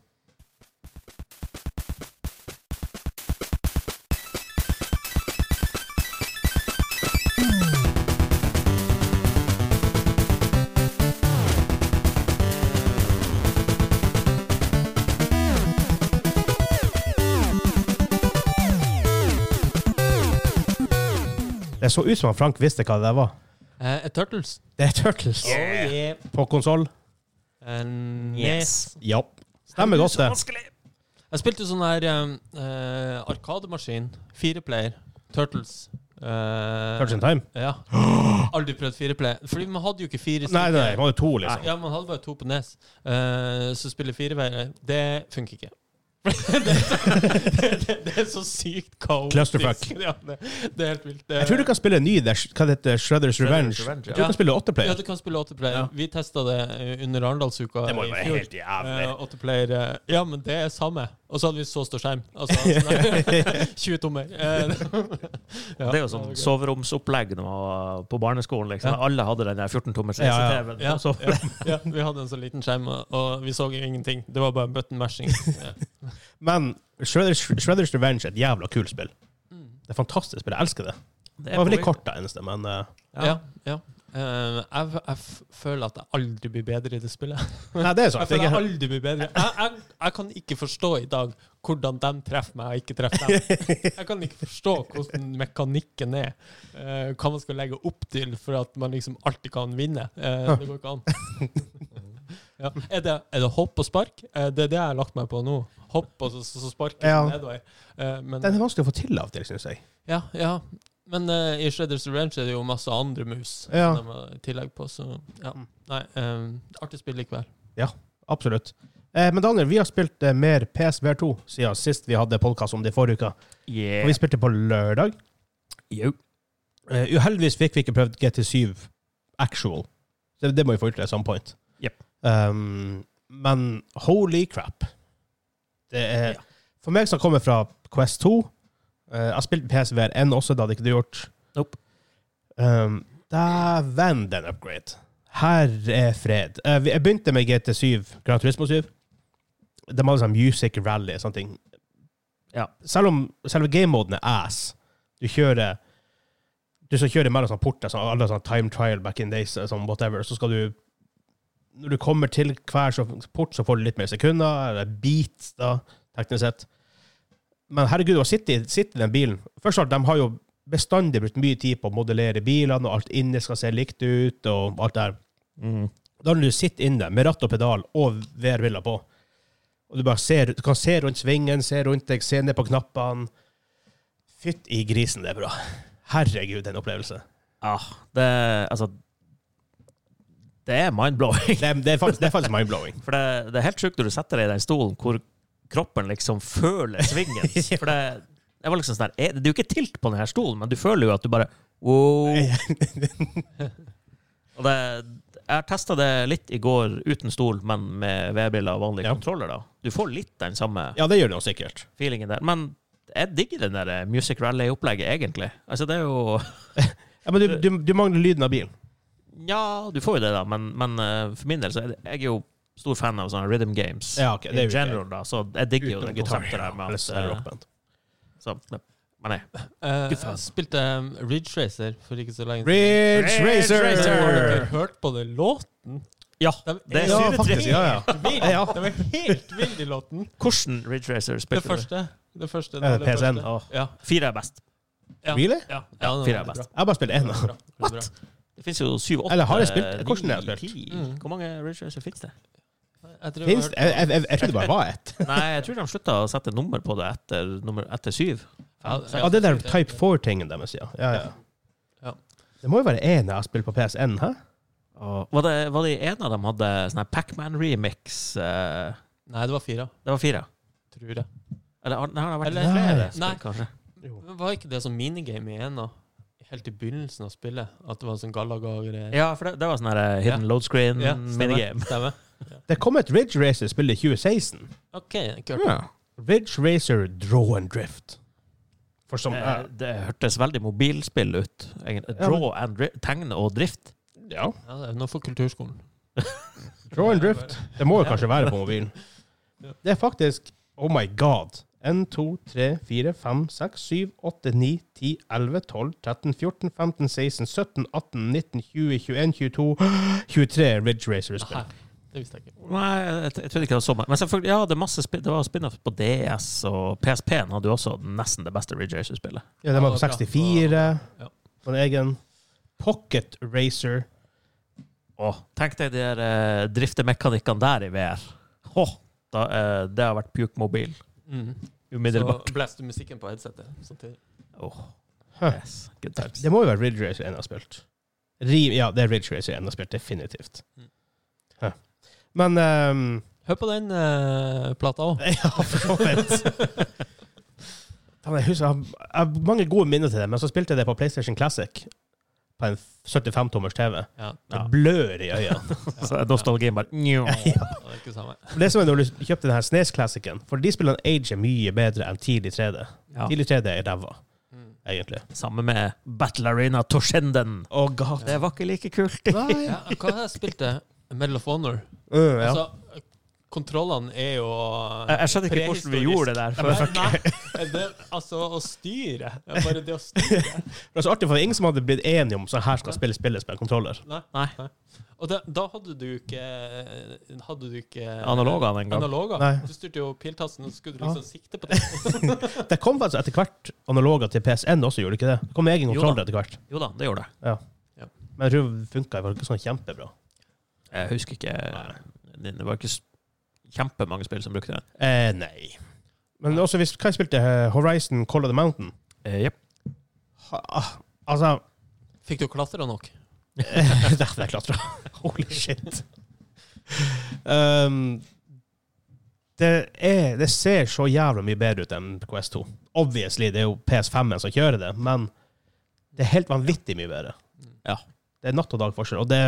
A: Det så ut som han Frank visste hva det der var.
B: Eh, Turtles.
A: Det er Turtles.
C: Yeah.
A: På konsoll?
B: En
C: (laughs) Yes.
A: Ja. Stemmer godt,
C: Så
A: det.
C: vanskelig.
B: Jeg spilte jo sånn her um, eh, arkademaskin. Fireplayer. Turtles. Eh,
A: Turtles in Time?
B: Ja. Aldri prøvd fireplayer. Fordi man hadde jo ikke fire
A: Nei, nei, man hadde to, liksom.
B: Ja, man hadde bare to på nes. Eh, så spille fireplayer, det funker ikke. (laughs) det, er så, det, det, det er så sykt kaotisk.
A: Clusterfuck.
B: (laughs) Ja, det, det er helt vilt.
A: Jeg tror du kan spille en ny der, hva det heter Shredders Revenge.
C: Shredder's Revenge,
A: Jeg tror
B: ja.
A: du kan spille
B: Ja,
A: åtteplayer.
B: du kan spille åtteplayer.
A: Ja.
B: Vi testa det eh, under Arendalsuka eh,
A: Det må jo
B: i
A: være
B: fjor.
A: helt jævlig.
B: Eh, åtteplayer, eh, ja, men det er samme. Og så hadde vi så stor skjerm.
A: (laughs)
B: Altså, sånn, (laughs) 20 tommer. Eh, (laughs) ja.
C: Det er jo sånn soveromsopplegg nå eh, på barneskolen. liksom.
B: Ja.
C: Alle hadde den der 14-tommers
A: Ja, ja.
C: TV-en.
B: Ja,
C: og så-
B: ja, ja, vi hadde en så liten skjerm, og- og vi så jo ingenting. Det var bare button
A: (laughs)
B: mashing. Ja.
A: Men Shredders, Shredders Revenge er et jævla kult spill. Det er fantastisk spill. Jeg elsker det.
C: Det
A: Det
C: på
A: var veldig
C: vei.
A: kort, det eneste, men eh,
C: Ja.
B: Ja, ja. Eh, jeg, jeg f- føler at jeg aldri blir bedre i det spillet.
A: Nei, det er
B: Jeg
A: sant.
B: føler
A: Ikke-
B: jeg aldri blir bedre. Jeg, jeg, jeg kan ikke forstå i dag hvordan de treffer meg og ikke treffer dem. Jeg kan ikke forstå hvordan mekanikken er. eh, hva man skal legge opp til for at man liksom alltid kan vinne. Eh, det går ikke an. (laughs) Ja. Er, det, er det hopp og spark? Eh, det er det jeg har lagt meg på nå. Hopp og så, så, så sparker
A: Ja.
B: man nedover. Eh, men,
A: Den er vanskelig å få til av og til, syns jeg.
B: ja, ja. men eh, i Shredders Revenge er det jo masse andre mus
A: Ja.
B: som de har tillegg på, så ja. Nei, eh, artig spill likevel.
A: Absolutt. Eh, men Daniel, vi har spilt eh, mer PSVR2 siden sist vi hadde podkast om det forrige uka. Og
C: Yeah.
A: vi spilte på lørdag.
C: Jo.
A: Eh, uheldigvis fikk vi ikke prøvd GT7 actual. Så det må vi få gjort at some point.
C: Jep.
A: Um, men holy crap. Det er
C: Ja.
A: For meg som kommer fra Quest 2 eh, Jeg spilte PSVR1 også, det hadde ikke du gjort.
C: Nope.
A: Um, Dæven, den upgrade. Herre fred. Eh, vi- jeg begynte med GT7, Gran Turismo 7. De hadde sånn music rally og sånne ting.
C: Ja.
A: Selv om selve game-moden er ass. Du kjører Du skal kjøre mellom sånne porter, sånn, alle sånne time trial back in days, sånn whatever, så skal du Når du kommer til hver så- port, så får du litt mer sekunder, eller beats, da, teknisk sett. Men herregud, å sitte, i- sitte i den bilen Først og fremst, de har jo bestandig brukt mye tid på å modellere bilene, og alt inne skal se likt ut, og alt det her.
C: Mm.
A: Da når du sitter inne med ratt og pedal og VR-briller på, og du bare ser, du kan se rundt svingen, se rundt deg, se ned på knappene Fytt i grisen, det er bra. Herregud, den opplevelse.
C: Ah, det Altså Det er mind-blowing. (laughs)
A: Det er, det er faktisk, det er faktisk mind-blowing.
C: For det, det er helt sjukt når du setter deg i den stolen hvor kroppen liksom føler
A: (laughs)
C: svingen. For det, det var liksom sånn der, er- Det er jo ikke tilt på denne stolen, men du føler jo at du bare wow. (laughs) Og det, jeg har testa det litt i går uten stol, men med VR-briller og vanlig
A: Ja.
C: kontroller. da. Du får litt den samme
A: Ja, det gjør det jo sikkert.
C: feelingen der. Men jeg digger den der eh, Music Rally-opplegget, egentlig. Altså, det er jo
A: Ja, men du, du, du mangler lyden av bilen.
C: Ja, du får jo det, da, men, men eh, for min del så er det, jeg er jo stor fan av sånne rhythm games.
A: Ja, ok, det
C: I
A: er jo ikke-
C: general, da, så jeg digger jo det
A: Utenom gitar,
C: konseptet der med
A: eller
C: at
A: så er det
C: eh,
A: rockband.
C: så, ja. Men nei.
B: Eh,
C: Fy faen.
B: jeg spilte um, Ridge Racer for ikke så lenge
A: Ridge
C: Ridge
A: Racer!
B: Har dere
C: Racer!
B: hørt på den låten?
C: Ja,
B: De
C: det er
A: Ja,
C: sure
A: faktisk. Ja, ja.
B: helt vild.
A: Ja.
B: De er helt vild i låten.
C: Hvordan Ridge Racer
B: Det
C: spilte du?
B: første. Det første.
A: Eh,
B: Det aller
A: PSN.
B: første.
C: Åh,
B: Ja.
C: Fire er best.
B: ja.
A: Really?
B: Ja,
C: Ja,
B: ja,
C: fire er
B: det
C: best.
A: Jeg har bare spilt én.
B: Bra, bra, bra, bra.
C: Det fins jo syv, åtte eh,
A: Eller har jeg spilt? Hvordan har jeg
C: ni,
A: spilt?
C: ti.
B: Mm.
C: Hvor mange Ridge Racer fins det?
B: Jeg tror jeg
A: Finns,
B: har hørt-
A: jeg, jeg, jeg, jeg trodde det bare var ett.
C: (laughs) Nei, jeg tror de slutta å sette nummer på det etter, nummer, etter syv.
B: Ja,
C: Fem,
B: ja.
A: Ja, det der Type 4-tingen deres, ja. Ja, ja.
B: Ja.
A: Det må jo være én jeg har spilt på PSN, hæ?
C: Og Var det, var det en av dem hadde sånn her Pacman-remix? eh,
B: Nei, det var fire.
C: det var fire.
B: Tror jeg.
C: Eller har, har det vært
B: Eller-
C: flere
A: Nei.
C: spill,
B: Nei.
C: kanskje?
B: Men var ikke det sånn minigame igjen da? Helt i begynnelsen av spillet? At det var sånn Galaga-greier?
C: Ja, for det, det var sånn her eh, hidden load screen minigame.
B: Stemmer.
A: Det kom et Ridge Racer-spill i 2016.
B: OK, kult.
A: Ridge Racer Draw and Drift. For som
C: Eh,
A: jeg-
C: det hørtes veldig mobilspill ut. egentlig.
A: Ja, men-
C: Draw and dri tegne og drift.
A: Ja.
B: Ja, det er noe for kulturskolen.
A: Draw and Drift. Det må jo kanskje være på mobilen.
B: Ja.
A: Det er faktisk Oh my god. 1, 2, 3, 4, 5, 6, 7, 8, 9, 10, 11, 12, 13, 14, 15, 16, 17, 18, 19, 20, 21, 22, 23 Ridge Racer-spill.
B: Hæ, det visste jeg ikke.
C: Nei, jeg, jeg trodde ikke det var så mange. Men selvfølgelig, ja, det, er masse spin det var spin-off på DS, og PSP-en hadde jo også nesten det beste Ridge Racer-spillet.
A: Ja, den var på
B: Ja, bra.
A: 64.
B: Ja.
A: På en egen Pocket Racer.
C: Åh, Tenk deg de der eh, driftemekanikkene der i VR. Åh, da, eh, det har vært puke mobil.
B: Mm.
C: Umiddelbart.
B: Så blæste du musikken på headsetet sånn samtidig.
C: Åh,
A: Huh.
C: yes, good times.
A: Det må jo være Ridge Racer 1 jeg har spilt. Rim, ja, det er Ridge Racer 1 jeg har spilt, definitivt.
B: Mm.
A: Huh. Men ehm,
B: Hør på den eh, plata òg.
A: Ja, for så vidt. Faen, Jeg husker, jeg har- jeg har mange gode minner til det, men så spilte jeg det på PlayStation Classic på en 75-tommers TV.
B: Ja.
A: Det
C: Ja.
A: blør i øynene.
C: (laughs) Så nostalgien bare njo.
B: Det er ikke det samme.
A: For Det er som når du kjøpte denne SNES-klassikken, for de spillene ager mye bedre enn tidlig 3D.
C: Ja.
A: Tidlig 3D er ræva,
B: Mm.
A: egentlig.
C: Samme med Battle Arena Torshenden.
A: Å, god.
C: Det var ikke like kult.
A: Nei.
B: Ja, hva har jeg spilt det? Medal of Honor.
A: Mm, ja.
B: Altså, kontrollene er jo
C: Jeg, jeg skjønner ikke hvordan vi gjorde det der.
B: Nei, nei. Det, altså, å styre ja, Bare det å styre
A: Det er så artig, for det er ingen som hadde blitt enige om så her skal spille spilles med en kontroller.
B: Nei.
C: Nei.
B: Og da- da hadde du ikke Hadde du ikke
C: Analogene en gang.
B: Analoger.
A: Nei.
B: Du styrte jo piltasten, og så skulle du liksom sikte på det.
A: Det kom faktisk etter hvert analoger til PSN også, gjorde det ikke det? Det kom egen
C: Jo
A: kontroller
C: da.
A: etter hvert.
C: Jo da, det gjorde jeg.
A: Men jeg tror det funka det var ikke sånn kjempebra.
C: Jeg husker ikke Det var ikke s- kjempemange spill som brukte det.
A: Eh, nei. Men også hvis Hva jeg spilte eh, Horizon Call of the Mountain?
C: Eh,
A: Ha, ah, altså eh,
B: Fikk du klatra nok?
A: (laughs) Der der klatra. Holy shit. Um, det, er, det ser så jævla mye bedre ut enn Quest 2. Obviously, det er jo PS5-en som kjører det, men det er helt vanvittig mye bedre.
C: Ja.
A: Det er natt og dag forskjell, og det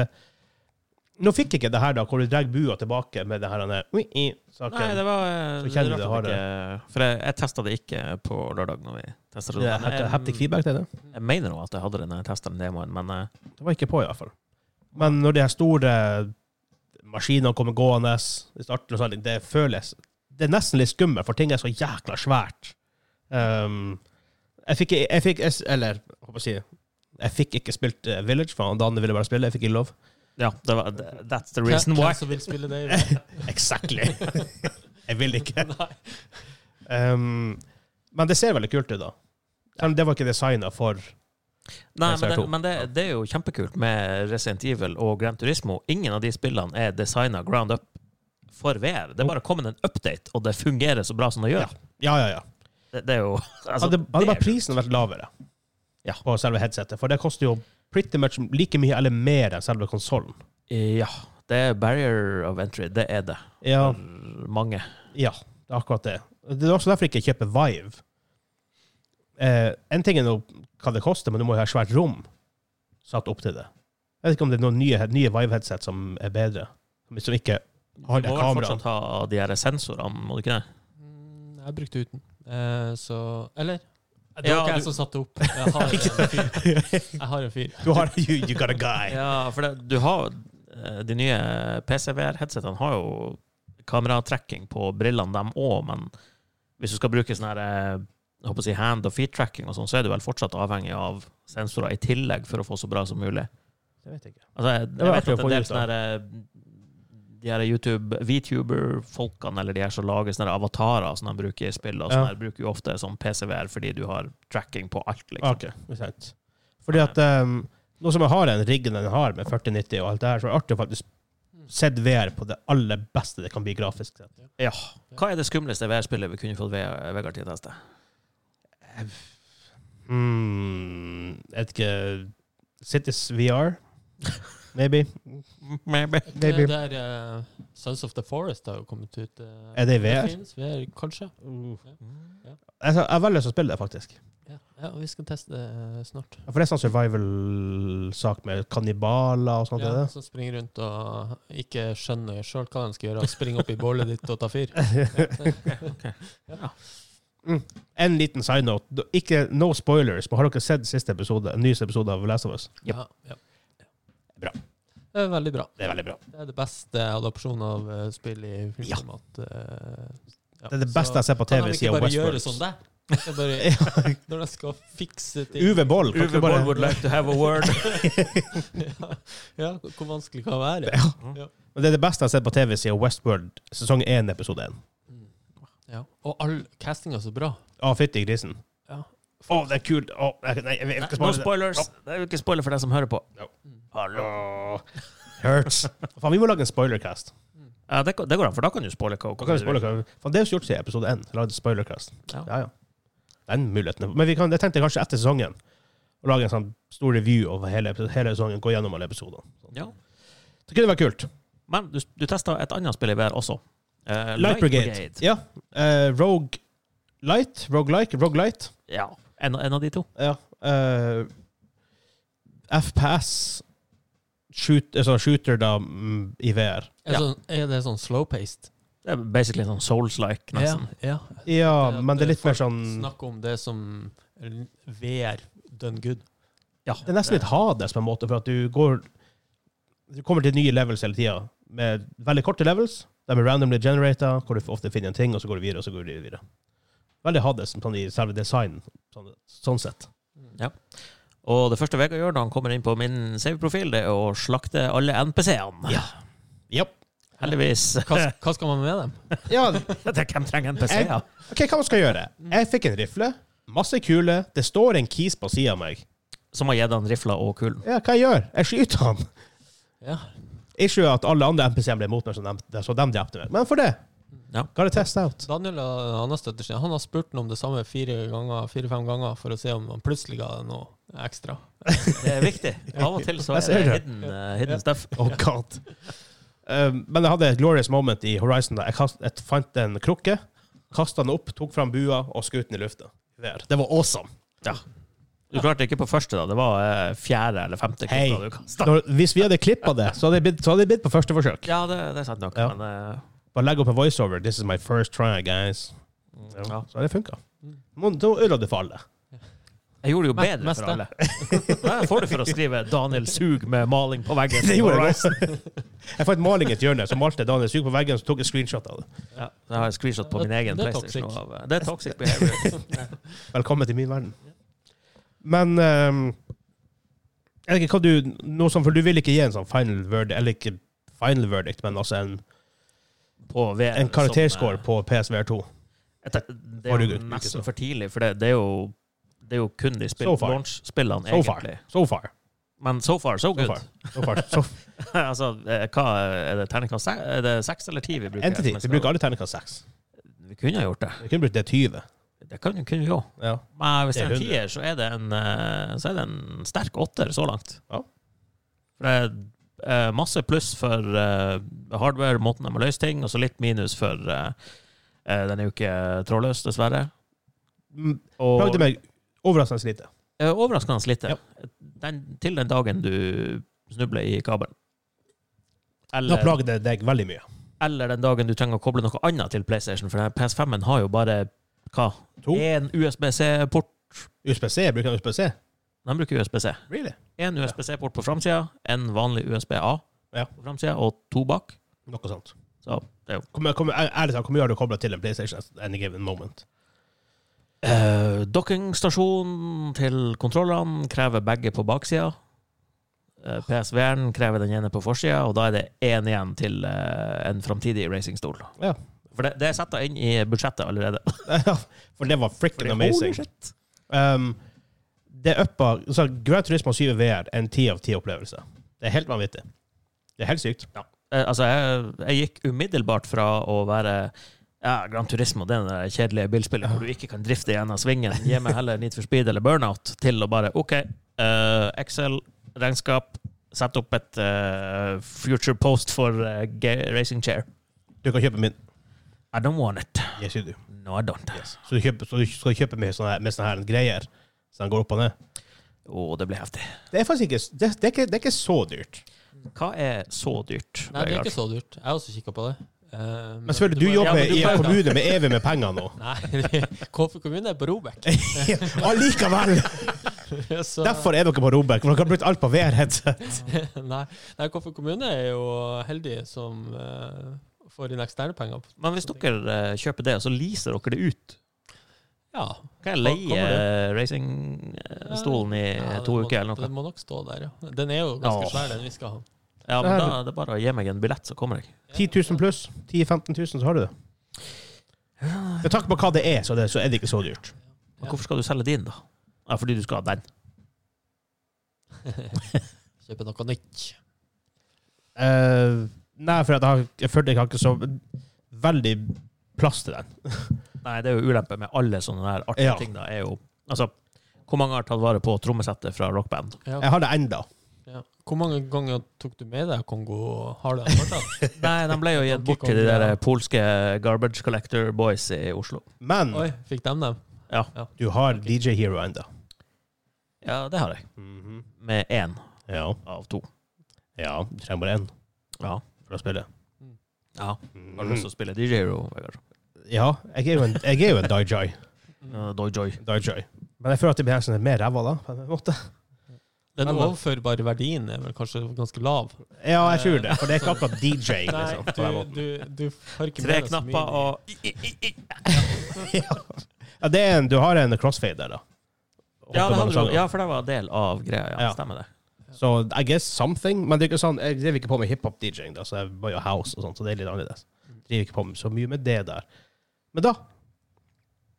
A: Nå fikk jeg ikke det her, da, hvor du drar bua tilbake med det her denne ui-i-saken.
C: Nei, det var eh,
A: Så kjenner
C: det
A: du
C: er
A: har
C: rart at jeg ikke- For jeg, jeg testa det ikke på lørdag. når vi testet
A: Det er
C: Men
A: haptic-
C: jeg-
A: haptic feedback, det er det.
C: Jeg mener jo at jeg hadde det når jeg testa den demoen, men eh,
A: Det var ikke på, i hvert fall. Men når de her store maskinene kommer gående i starten, og sånn, det føles Det er nesten litt skummelt, for ting er så jækla svært. Um, jeg fikk jeg fikk, jeg, Eller, hva skal jeg si Jeg fikk ikke spilt eh, Village, for han Danne ville bare spille. Jeg fikk ikke lov.
C: ja, det var, that's the reason
B: Hvem
C: why.
B: som vil spille det? i
C: (laughs)
B: verden?
A: Exactly. (laughs) jeg vil ikke.
B: Nei.
A: Um, men det ser veldig kult ut, da. Selv om Det var ikke designa for
C: Nei, men, det,
A: SR2.
C: men det, det er jo kjempekult med Resident Evil og Gran Turismo. Ingen av de spillene er designa ground up for VR. Det er bare kommet en update, og det fungerer så bra som det gjør.
A: Ja, ja, ja.
C: Det, det er jo (laughs) altså,
A: hadde, hadde
C: det
A: bare
C: er-
A: prisen vært lavere
C: Ja.
A: på selve headsetet, for det koster jo pretty much like mye eller mer enn selve konsollen.
C: Ja. Det er barrier of entry. Det er det.
A: Ja,
C: For mange.
A: ja, det er akkurat det. Det er også derfor jeg ikke kjøper Vive. Eh, en ting er nå hva det koster, men du må jo ha et svært rom satt opp til det. Jeg vet ikke om det er noen nye, nye Vive-headset som er bedre, som ikke (laughs) har
C: Du
A: det
C: må vel
A: kameraet.
C: fortsatt ha de her sensorene, må du ikke det?
B: Mm, Jeg brukte uten. Eh, så Eller? Det
C: Ja,
B: var ikke
C: du-
B: jeg som satte opp. Jeg har
C: (laughs)
B: en fyr. Jeg har en fyr.
A: Du har you, you got a guy.
C: Ja, for det, du har eh, De nye PCVR-headsetene har jo kameratrekking på brillene, dem òg, men hvis du skal bruke sånn her eh, jeg håper å si hand- og feet-tracking, og sånn, så er du vel fortsatt avhengig av sensorer i tillegg for å få så bra som mulig.
A: Det vet jeg ikke.
C: Altså, jeg,
A: Det var
C: jeg vet
A: artig å
C: at
A: få
C: en del
A: ut
C: sånne
A: av.
C: her, eh, de her YouTube, VTuber-folkene, eller de her som lager sånne her avatarer som de bruker i spill, og
A: Ja.
C: sånne her, bruker jo ofte sånn PCVR fordi du har tracking på alt, liksom.
A: Ok, det er sant. Fordi at um, nå som jeg har den riggen den har, med 4090 og alt det her, så er det artig å faktisk se VR på det aller beste det kan bli grafisk sett.
C: Ja. Hva er det skumleste VR-spillet vi kunne fått Ve- Vegard til å teste?
A: Mm, jeg vet ikke Cities VR? Maybe? (laughs)
C: Maybe.
A: Maybe.
B: Det der eh, Sons of the Forest har jo kommet ut. eh,
A: Er det i VR?
B: finnes VR, kanskje.
C: Mm.
A: Jeg, Altså, jeg har veldig lyst til å spille det, faktisk.
B: Ja. ja, og vi skal teste det eh, snart.
A: For det er sånn survival-sak med kannibaler og sånt.
B: Ja,
A: er det?
B: som springer rundt og ikke skjønner sjøl hva de skal gjøre. og Springer opp i bålet ditt og
A: (laughs)
B: tar fyr.
A: En liten side note. Du- Ikke, no spoilers, men har dere sett siste episode, nyeste episode av Last of Us?
C: Yep.
B: Ja, ja.
A: Bra.
B: Det er veldig bra.
A: Det er veldig bra.
B: Det er det beste adopsjonen av eh, spill i filmformat. eh, ja.
A: Det er det beste
B: Så
A: jeg ser på TV
B: Kan de ikke
A: siden
B: bare gjøre sånn
A: Westworld.
B: der? (laughs) De skal
A: (laughs)
B: bare, når de skal fikse ting
A: Uwe Boll. kan
C: Uwe
A: ikke bare-
C: Boll would like to have a word.
A: (laughs)
B: ja, (laughs) ja, hvor vanskelig kan det være?
A: Men det er det beste jeg har sett på TV siden Westworld sesong 1, episode 1.
B: Mm. Ja. Og all castinga så bra.
A: Å, fytti grisen.
B: Ja.
A: Å, det er kult. Å, jeg- nei, jeg vil
C: Nei,
A: ikke
C: No
A: spoile det.
C: spoilers. Det er jo ikke spoiler for deg som hører på. Hallo.
A: Åh, Hurts. Faen, vi må lage en spoilercast.
C: Ja, det, det går an, for da kan du spoile hva
A: Hva kan vi spoile? Faen, det er jo gjort siden episode 1. Lagde spoilercast.
C: Ja.
A: Ja, ja. Den muligheten. Men vi kan, jeg tenkte kanskje etter sesongen å lage en sånn stor review over hele, episo- hele sesongen. Gå gjennom alle episodene.
C: Ja.
A: Det kunne vært kult.
C: Men du, du testa et annet spill i VR også. Eh,
A: Light Brigade. Ja. Eh, Rogue Light. Rogue Like. Rogue Light.
C: Ja. En, en av de to.
A: Ja. eh, FPS shoot, altså shooter da mm, i VR.
B: Er,
C: Ja.
B: sånn, er det sånn slow-paced?
C: Det er basically sånn Souls-like, nesten.
B: Ja.
A: Ja,
B: Det at
A: men det er litt mer
B: folk
A: sånn
B: Snakk om det som VR done good.
C: Ja.
A: Det er nesten litt Hades på en måte, for at du går Du kommer til nye levels hele tida, med veldig korte levels. De er randomly generated, hvor du ofte finner en ting, og så går du videre, og så går du videre. Veldig Hades sånn i selve design, sånn, sånn sett.
C: Ja. Og det første Vegard gjør når han kommer inn på min save-profil, det er å slakte alle NPC-ene.
A: Ja. Japp.
C: Heldigvis.
B: Hva, hva skal man med dem?
A: Ja,
C: Det er Hvem trenger NPC-er?
A: OK, hva man skal gjøre? Jeg fikk en rifle. Masse kuler. Det står en kis på sida av meg.
C: Som har gitt han rifla og kulen.
A: Ja, hva jeg gjør? Jeg skyter han.
B: Ja.
A: Ikke at alle andre NPC-er ble mot meg, så de, så de drepte meg. Men for det.
C: Ja.
A: Gotta test out.
B: Daniel og Anna Støttersen han har spurt ham om det samme fire-fem ganger, fire, fem ganger for å se om han plutselig ga det noe ekstra.
C: Det er viktig. Av og til
A: Jeg
C: så er
A: ser
C: det
A: det.
C: hidden, eh, hidden stuff.
A: Oh god. Eh, men jeg hadde et glorious moment i Horizon. da Jeg, kast, jeg fant en krukke, kasta den opp, tok fram bua og skjøt den i lufta. Der. Det var awesome.
C: Du klarte ikke på første, da. Det var eh, fjerde eller femte
A: Hei.
C: kutta du kasta.
A: Når, hvis vi hadde klippa det, så hadde det blitt- så hadde det blitt på første forsøk.
C: Ja, det, det er sant nok,
A: Ja.
C: men eh,
A: Bare legg opp en voiceover. 'This is my first try, guys'.
C: ja.
A: Så det funka.
B: Mm.
A: Nå nå ødela det for alle.
C: Jeg gjorde det jo
B: Me-
C: bedre
B: meste.
C: for alle. (laughs) Jeg får det for å skrive 'Daniel Sug' med maling på veggen.
A: (laughs) (laughs) Det gjorde jeg også. Jeg fant maling i et hjørne, så malte Daniel sug på veggen, så tok jeg screenshot av det.
C: Ja, jeg har en screenshot på
B: Det-
C: min egen
B: det er
C: PlayStation.
B: toxic.
C: Av, eh, det er toxic behavior.
A: Velkommen til min verden. Men ehm, Jeg vet ikke hva du noe sånn, For du vil ikke gi en sånn final verdict, eller ikke final verdict, men altså en,
C: På VR,
A: en karakterscore
C: som, eh,
A: på PSVR2.
C: jeg tenker- Det
A: Har
C: er
A: du
C: jo
A: ikke så?
C: nesten for tidlig, for det, det, er jo, det er jo kun de spill,
A: So far.
C: launch-spillene,
A: So far.
C: egentlig.
A: So far.
C: Men so far,
A: So
C: so good.
A: far. So far. So,
C: (laughs) altså, eh, hva er det terningkast se- Er det seks eller ti vi bruker?
A: Entity.
C: som er
A: Vi bruker alle terningkast seks.
C: Vi kunne ha gjort det.
A: Vi kunne brukt det 20.
C: Det kan, kunne vi òg.
A: Ja.
C: Men hvis det er en
A: Det er
C: tier, så er det en, eh, så er det en sterk åtter så langt.
A: Ja.
C: For det er eh, masse pluss for eh, hardware, måten de har løst ting, og så litt minus for eh, eh, Den er jo ikke trådløs, dessverre.
A: Mm,
C: Og
A: Plagde meg overraskende lite.
C: eh, overraskende lite.
A: Ja.
C: Den, til den dagen du snubler i kabelen.
A: Da
C: Eller,
A: plagde det deg veldig mye.
C: eller den dagen du trenger å koble noe annet til PlayStation, for den her PS5-en har jo bare hva?
A: To.
C: Én USBC-port.
A: USPC? Bruker han USPC?
C: De bruker USBC.
A: Really?
C: En USB-C-port på framsida, en vanlig USB-A
A: Ja.
C: på framsida, og to bak.
A: Noe sånt.
C: Så det er jo
A: Hvor mye- hvor mye- Ærlig talt, hvor mye har du kobla til en PlayStation at any given moment? (laughs)
C: Eh, Dockingstasjonen til kontrollene krever begge på baksida. Eh, PSV-en krever den ene på forsida, og da er det én igjen til eh, en framtidig racingstol.
A: Ja.
C: For det, det er satt inn i budsjettet allerede.
A: Ja, For det var frikken amazing.
C: shit.
A: Um, det uppa så Gran Turismo 7 VR en 10 av 10 opplevelse. Det er helt vanvittig. Det er helt sykt.
C: Eh, altså, jeg, jeg gikk umiddelbart fra å være ja, Gran Turismo, det er det kjedelige bilspillet hvor du ikke kan drifte gjennom svingen, gi meg heller Need for Speed eller Burnout, til å bare OK, eh, Excel, regnskap, sett opp et eh, future post for eh, ga- racing chair.
A: Du kan kjøpe min.
C: I don't want it.
A: Yes, you do.
C: No, I don't.
A: Så du, kjøper, så du skal kjøpe med sånne, her- med sånne her greier, så den går opp og ned.
C: Å, det blir heftig.
A: Det er faktisk ikke Det, det, er, ikke, det er ikke så dyrt.
C: Hva er så dyrt?
B: Nei, det er
C: Vegard?
B: ikke så dyrt. Jeg har også kikka på det. Eh,
A: Men selvfølgelig,
B: må-
A: du
B: Ja,
A: jobber
B: men du
A: i
B: kan-
A: en kommune med evig med penger
B: (laughs)
A: nå.
B: Nei, Kåfe kommune er på
A: (laughs)
B: Robek.
A: Allikevel!
B: Så-
A: Derfor er dere på Robek, for dere har brukt alt på VR-headset.
B: Nei, nei Kåfe kommune er jo heldig som eh, får inn eksterne penger. på-
C: Men hvis dere eh, kjøper det, og så leaser dere det ut,
B: Ja.
C: kan jeg
B: Hva- hva
C: leie
B: var
C: racingstolen i
B: ja,
C: to
B: den må-
C: uker eller noe?
B: Den må nok stå der, ja. Den er jo ganske
C: Åh.
B: svær, den vi skal ha.
C: Ja,
A: Det
C: men
A: er
C: da er det bare å gi meg en billett, så kommer jeg.
A: 10 000 pluss. 10 000-15 000, så har du det. Med tanke på hva det er, så, det, så er det ikke så dyrt.
C: Men hvorfor skal du selge din, da? Ja, fordi du skal ha den.
B: Kjøpe noe nytt.
A: Eh, nei, for at jeg, har, jeg følte jeg har ikke så veldig plass til den.
C: Nei, det er jo ulempe med alle sånne der artige
A: Ja.
C: ting, da. Er jo, altså, hvor mange har tatt vare på trommesettet fra rockband?
B: Ja.
A: Jeg har det enda.
B: Ja. Hvor mange ganger tok du med deg Kongo og har du
C: (laughs)
B: den fortsatt?
C: Nei, de (laughs) ble jo gitt bort til de der polske garbage collector boys i Oslo.
A: Men
B: Oi, fikk de dem?
A: du har DJ Hero enda.
C: Ja, det har jeg. Med én
A: Ja.
C: av to.
A: ja. Du trenger bare én
C: Ja.
A: for å spille.
C: ja. Mhm. Har du lyst til å spille DJ Hero, Vegard?
A: Mm. Ja, jeg er jo en, jeg er jo en Dai-Jai.
C: Uh, Dojoy.
A: Dai-Jai. Men jeg føler at det blir nesten mer ræva da, på en måte.
B: Den
A: Men-
B: overførbare verdien er vel kanskje ganske lav?
A: Ja, jeg tror det, for det er ikke akkurat DJ-ing, liksom. på den måten. (laughs)
B: du, du har ikke
C: Tre
B: med deg så mye.
C: knapper og i, i, i, i.
A: Ja, det er en, du har en crossfade der, da. Hoppe
C: Ja, det
A: mellom
C: hadde du.
A: sangene.
C: ja, for det var del av greia. Ja,
A: Ja.
C: stemmer det.
A: Så I guess something, men det er ikke sånn, jeg driver ikke på med hiphop-DJing, da, så jeg var jo house og sånt, så det er litt annerledes. Driver ikke på med så mye med det der. Men da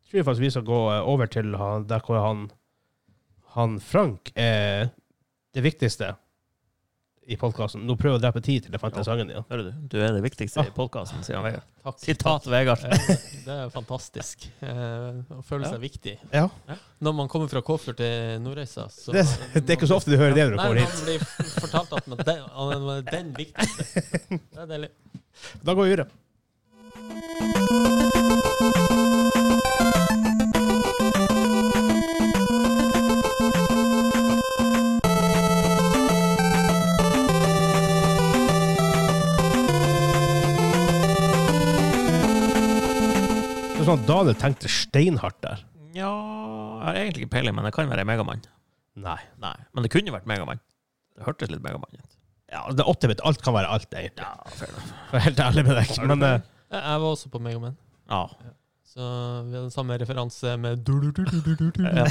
A: tror jeg faktisk vi skal gå eh, over til han, der hvor han, han Frank er det viktigste i podkasten. Nå prøver jeg å drepe tid til jeg fant
C: Ja.
A: den sangen igjen.
C: Hører du? Du er det viktigste i podkasten, sier han.
B: Takk.
C: Sitat Vegard.
B: (laughs) Eh, Det er fantastisk. Eh, Å føle seg viktig.
A: Ja.
B: Når man kommer fra Kåfjord til Nordreisa så
A: Det, det er ikke så ofte du hører det når du
B: Nei,
A: kommer hit.
B: Man blir f- fortalt at man den, at man er den viktigste.
A: (laughs)
B: Det er deilig.
A: Da går vi videre. Det er sånn at Daniel tenkte steinhardt der.
C: Ja, jeg har egentlig ikke peiling, men det kan være Megamann.
A: Nei.
C: Nei, men det kunne vært Megamann. Det hørtes litt Megamann ut.
A: Ja, det er 80 bit. Alt kan være alt, egentlig.
C: Ja, fair enough.
A: For å være helt ærlig med deg. Men eh,
B: Jeg jeg var også på Megaman.
C: Ja.
B: Så vi har den samme referanse med du-du-du-du-du-du-du.
C: Ja.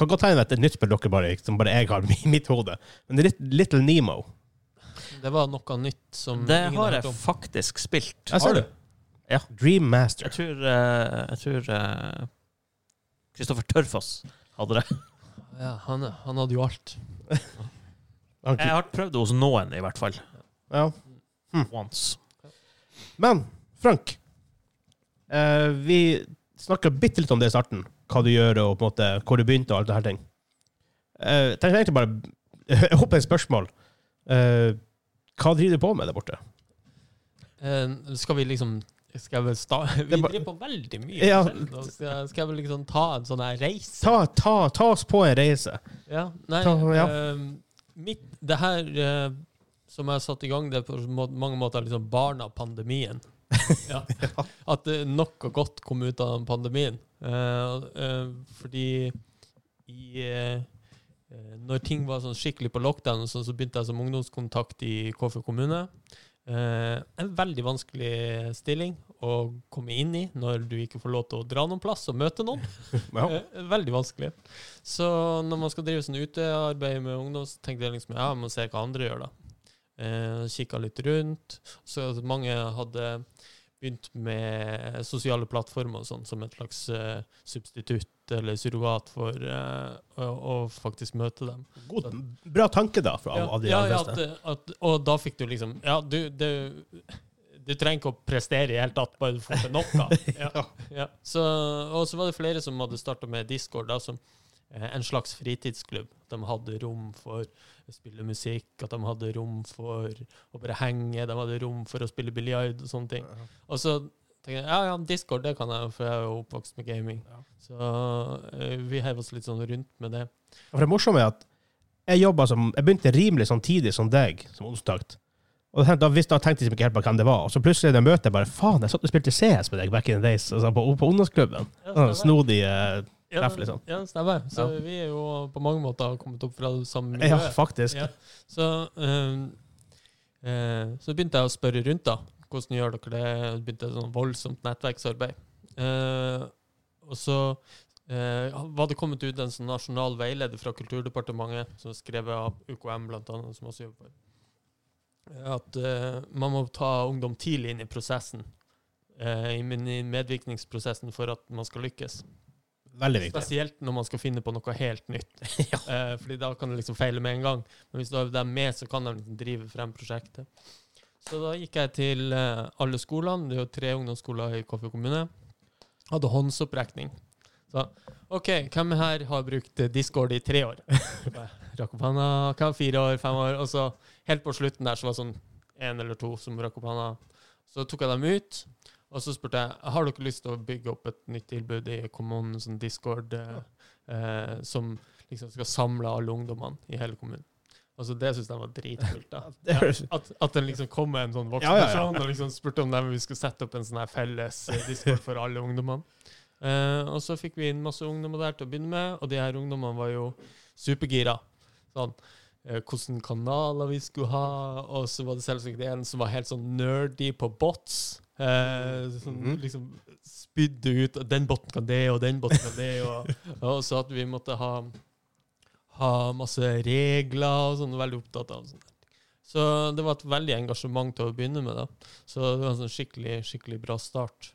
A: kan godt tegne et nytt spill dere bare som bare jeg har i mitt hode. Men det er litt- Little Nemo.
B: Det var noe nytt som
C: Det
B: ingen
C: har
B: har hørt
C: jeg
B: om.
C: faktisk spilt.
A: Jeg ser
B: Har du?
A: det. Dream Master.
C: Jeg tror, eh, jeg tror eh, Kristoffer Tørfoss hadde det.
B: Ja, han, han hadde jo alt.
A: Han-
C: Jeg har prøvd det hos noen, i hvert fall.
A: Ja.
C: Once.
A: Men Frank, eh, vi snakka bitte litt om det i starten. Hva du gjør, og på en måte hvor du begynte, og alt det her ting. Eh, jeg tenkte egentlig bare (laughs) Jeg håper et spørsmål. Eh, hva driver du på med der borte?
B: Eh, skal vi liksom skal jeg vel sta Vi
A: er ba-
B: driver på veldig mye.
A: Ja.
B: forskjellig, da. Skal jeg- skal jeg vel liksom ta en sånn her reise?
A: Ta, ta, ta oss på en reise.
B: Ja, nei,
A: Ta- ja.
B: eh, mitt, det her eh, som jeg har satt i gang, det er på må- mange måter liksom barna av pandemien. ja. At eh, noe godt kom ut av den pandemien. Eh, eh, fordi i eh, eh, når ting var sånn skikkelig på lockdown, og sånn, så begynte jeg som ungdomskontakt i Kåfjord kommune. Eh, en veldig vanskelig stilling å komme inn i når du ikke får lov til å dra noen plass og møte noen.
A: Ja.
B: Eh, Veldig vanskelig. Så når man skal drive sånn utearbeid med ungdom, så tenkte jeg liksom ja, jeg må se hva andre gjør, da. Eh, Kikka litt rundt. Så at mange hadde begynt med sosiale plattformer og sånn som et slags eh, substitutt eller surrogat for eh, å, å faktisk møte dem.
A: God, bra tanke, da, fra
B: Ja,
A: av de
B: ja,
A: aller
B: ja,
A: fleste.
B: at, at, og da fikk du liksom Ja, du, du, du trenger ikke å prestere i det hele tatt, bare du får til noe.
A: (laughs)
B: Ja, ja. Så, og så var det flere som hadde starta med Discord, da, som eh, en slags fritidsklubb. De hadde rom for å spille musikk, at de hadde rom for å bare henge, de hadde rom for å spille biljard og sånne ting. Og så tenker jeg ja, ja, Discord det kan jeg, for jeg er jo oppvokst med gaming. Så eh, vi heiv oss litt sånn rundt med det.
A: For det morsomme er at jeg jobbet som, jeg begynte rimelig samtidig som deg, som onsdagt. Og da, visste- da tenkte jeg liksom ikke helt på hvem det var. Og så plutselig det møtet jeg bare, faen, jeg satt og spilte CS med deg back in the days, altså på, på ungdomsklubben. Sånn Snodig, eh,
B: Ja,
A: treff, liksom.
B: Ja, stemmer. Så
A: Ja.
B: vi er jo på mange måter kommet opp fra det samme
A: ja,
B: miljøet.
A: faktisk.
B: Ja. Så, ehm, eh, så begynte jeg å spørre rundt, da. Hvordan gjør dere det? Det Begynte et sånn voldsomt nettverksarbeid. Eh, og så eh, var det kommet ut en sånn nasjonal veileder fra Kulturdepartementet, som er skrevet av UKM, blant annet, som også jobber for at eh, man må ta ungdom tidlig inn i prosessen. eh, I men- i medvirkningsprosessen for at man skal lykkes.
A: Veldig viktig.
B: Spesielt når man skal finne på noe helt nytt.
A: (laughs) Ja.
B: Eh, fordi da kan det liksom feile med en gang. Men hvis du har dem med, så kan de liksom drive frem prosjektet. Så da gikk jeg til eh, alle skolene. Det er jo tre ungdomsskoler i Kåfjord kommune. Hadde håndsopprekning. Så OK, hvem her har brukt eh, Discord i tre
A: (laughs)
B: år? Så bare, Rakk opp hånda. Hvem fire år? Fem år? Og så helt på slutten der så var det sånn én eller to som rakk opp hånda. Så tok jeg dem ut. Og så spurte jeg har dere lyst til å bygge opp et nytt tilbud i kommunen, sånn Discord, eh, eh, som liksom skal samle alle ungdommene i hele kommunen. Altså Det syns de var dritkult.
A: (laughs)
B: da.
A: Det
B: Ja,
A: høres-
B: at, at det liksom kom med en sånn voksen
A: Ja, ja, ja.
B: person og liksom spurte om dem vi skulle sette opp en sånn her felles eh, Discord for alle ungdommene. Eh, og så fikk vi inn masse ungdommer der til å begynne med, og de her ungdommene var jo supergira. Sånn, eh, hvordan kanaler vi skulle ha, og så var det selvsagt en som var helt sånn nerdy på bots. Eh, som
A: Mhm.
B: liksom spydde ut og 'Den botten kan det, og den botten kan det', og, og så at vi måtte ha, ha masse regler og sånn. Veldig opptatt av sånn. Så det var et veldig engasjement til å begynne med. da. Så det var en sånn skikkelig, skikkelig bra start.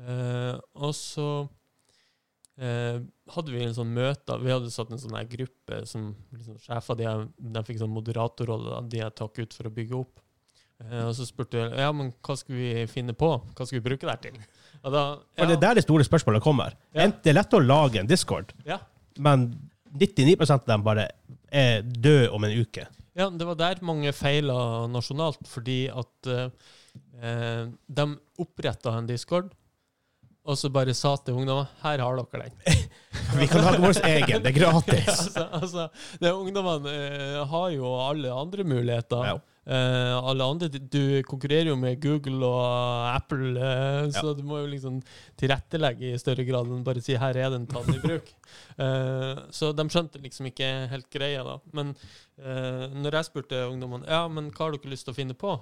B: Eh, og så eh, hadde vi en sånn møte Vi hadde satt en sånn her gruppe som liksom, sjefer de, jeg- de fikk sånn moderatorrolle, da, de jeg tok ut for å bygge opp. Eh, og så spurte jeg ja, men hva skal vi finne på? Hva skal vi bruke det her til? Og da,
A: For det er der de store spørsmålene kommer.
B: Ja.
A: Enten det er lett å lage en discord,
B: ja,
A: men 99 av dem bare er døde om en uke.
B: Ja, det var der mange feila nasjonalt, fordi at eh, eh, de oppretta en discord, og så bare sa til ungdommer her har dere den.
A: Vi kan lage vår egen. Det er gratis.
B: (laughs) altså, altså, det er Ungdommene eh, har jo alle andre muligheter.
A: Ja.
B: Eh, alle andre, Du konkurrerer jo med Google og Apple, eh, så du må jo liksom tilrettelegge i større grad enn bare si 'her er den, ta den i bruk'. (laughs) Eh, så de skjønte liksom ikke helt greia, da. Men eh, når jeg spurte ungdommene ja, men hva har dere lyst til å finne på,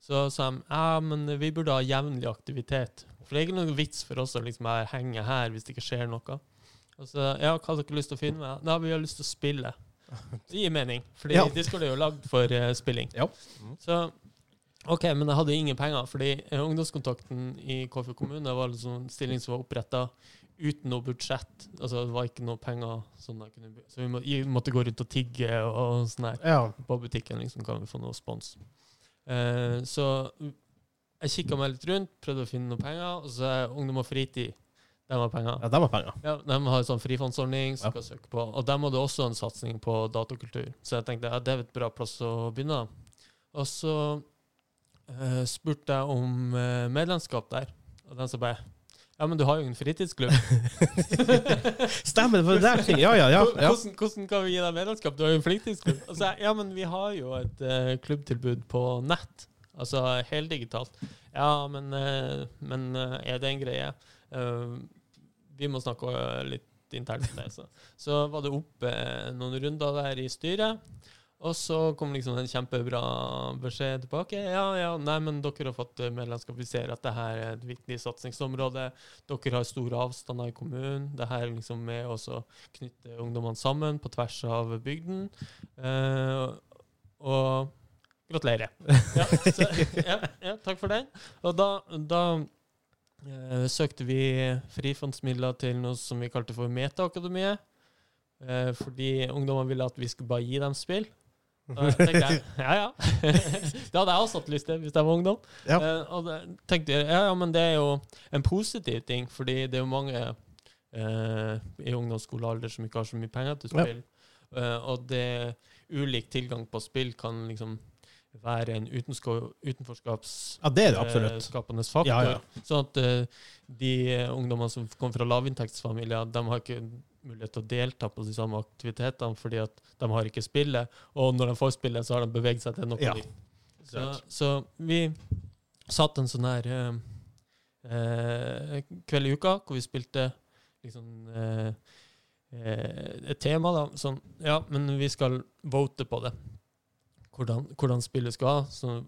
B: så sa de ja, men vi burde ha jevnlig aktivitet. For det er ikke noen vits for oss å liksom bare henge her hvis det ikke skjer noe. Og så, ja, hva har dere lyst til å finne med? Nei, vi har lyst til
A: (laughs)
B: å spille. Det gir mening, fordi
A: Ja.
B: Discord er jo lagd for eh, spilling.
A: Ja.
B: Så, ok, men jeg hadde ingen penger, fordi eh, ungdomskontakten i Kåfjord kommune var liksom en stilling som var oppretta uten noe budsjett. Altså, det var ikke noe penger, sånn jeg kunne, bu- så vi må, jeg måtte gå rundt og tigge og, og sånn her
A: Ja.
B: på butikken liksom, kan vi få noe spons. Eh, så jeg kikka meg litt rundt, prøvde å finne noen penger, og så er Ungdom og Fritid de har penger.
A: ja, de har penger.
B: Ja, de har en sånn frifondsordning som
A: Ja.
B: kan søke på, og de hadde også en satsing på datakultur. Så jeg tenkte ja, det er et bra plass å begynne. Og så eh, spurte jeg om eh, medlemskap der, og den sa bare ja, men du har jo en fritidsklubb.
A: (laughs) Stemmer, for det der ting. Ja, ja, ja. ja.
B: Hvordan, hvordan kan vi gi deg medlemskap? Du har jo en fritidsklubb. Altså, ja, men vi har jo et eh, klubbtilbud på nett. Altså heldigitalt. Ja, men, eh, men eh, er det en greie? Eh, vi må snakke eh, litt internt om det. Så. så var det oppe eh, noen runder der i styret. Og så kom liksom en kjempebra beskjed tilbake. Ja, ja, nei, men dere har fått eh, medlemskap. Vi ser at det her er et viktig satsingsområde. Dere har store avstander i kommunen. Det her er liksom med oss å knytte ungdommene sammen på tvers av bygden. Eh, og gratulerer. Ja, så, ja, ja, takk for den. Og da, da eh, søkte vi frifondsmidler til noe som vi kalte for Metaakademiet. Eh, fordi ungdommene ville at vi skulle bare gi dem spill. Og jeg tenkte jeg, ja, (laughs) ja. det hadde jeg også hatt lyst til hvis jeg var ungdom.
A: Ja.
B: Eh, og da tenkte jeg, ja, ja, men det er jo en positiv ting, fordi det er jo mange eh, i ungdomsskolealder som ikke har så mye penger til
A: Ja.
B: spill. Eh, og det ulik tilgang på spill kan liksom være en utensko- utenforskaps
A: ja, det er det
B: eh,
A: absolutt.
B: skapende faktor.
A: Ja, ja.
B: Sånn at eh, de ungdommene som kommer fra lavinntektsfamilier, de har ikke mulighet til å delta på de samme aktivitetene fordi at de har ikke spillet, og når de får spillet, så har de beveget seg til noe
A: Ja.
B: nytt. Så, så vi satt en sånn her eh, eh, kveld i uka hvor vi spilte liksom eh, eh, et tema, da. Sånn Ja, men vi skal vote på det. Hvordan, hvordan spillet skal ha. Så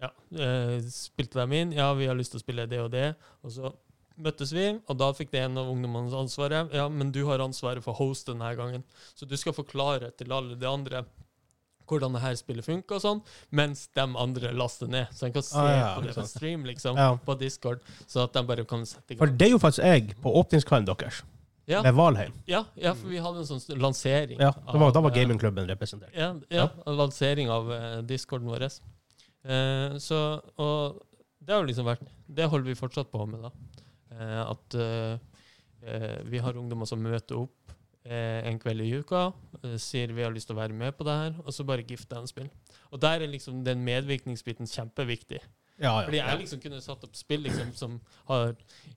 B: ja, eh, spilte dem inn. Ja, vi har lyst til å spille det og det. Og så møttes vi, og da fikk det en av ungdommene ansvaret. Ja, men du har ansvaret for host denne gangen, så du skal forklare til alle de andre hvordan det her spillet funker og sånn, mens de andre laster ned. Så en kan se
A: Ah, ja,
B: på det
A: ikke
B: på
A: sant.
B: stream, liksom,
A: Ja.
B: på Discord, så at de bare kan sette i
A: For
B: gang.
A: det er jo faktisk jeg på åpningskvelden deres,
B: Ja.
A: med Valheim.
B: Ja, ja, for vi hadde en sånn st- lansering.
A: Ja, det var, da var
B: av, eh,
A: gamingklubben representert.
B: Ja, ja, lansering av eh, discorden vår. Eh, så, og det har jo liksom vært Det holder vi fortsatt på med, da. Eh, at eh, eh, vi har ungdommer som møter opp eh, en kveld i uka, eh, sier vi har lyst til å være med på det her, og så bare gifter de spill. Og der er liksom den medvirkningsbiten kjempeviktig.
A: Ja,
B: Fordi
A: ja.
B: jeg liksom kunne satt opp spill liksom, som har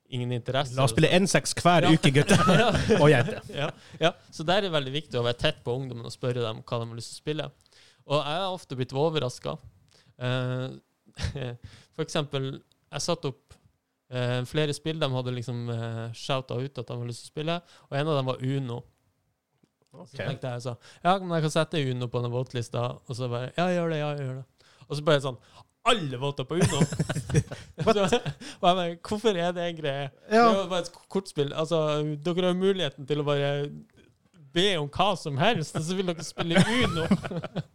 B: ingen interesse.
A: La oss spille 1-6 hver
B: (laughs) Ja.
A: uke, gutter og jenter.
B: ja, ja, så der er det veldig viktig å være tett på ungdommen og spørre dem hva de har lyst til å spille. Og jeg har ofte blitt overraska. (laughs) for eksempel, jeg satte opp eh, flere spill de hadde liksom uh, shouta ut at de hadde lyst til å spille, og en av dem var Uno. Så
A: Ok.
B: tenkte jeg sånn Ja, men jeg kan sette Uno på den våtlista, og så bare Ja, gjør det, ja, gjør det. Og så bare sånn Alle voter
A: (laughs)
B: på Uno! (laughs) så, og jeg bare, Hvorfor er det en greie?
A: (laughs) Ja.
B: Det var bare et kortspill. Altså, dere har jo muligheten til å bare be om hva som
A: (laughs)
B: (laughs) helst, og så vil dere spille Uno.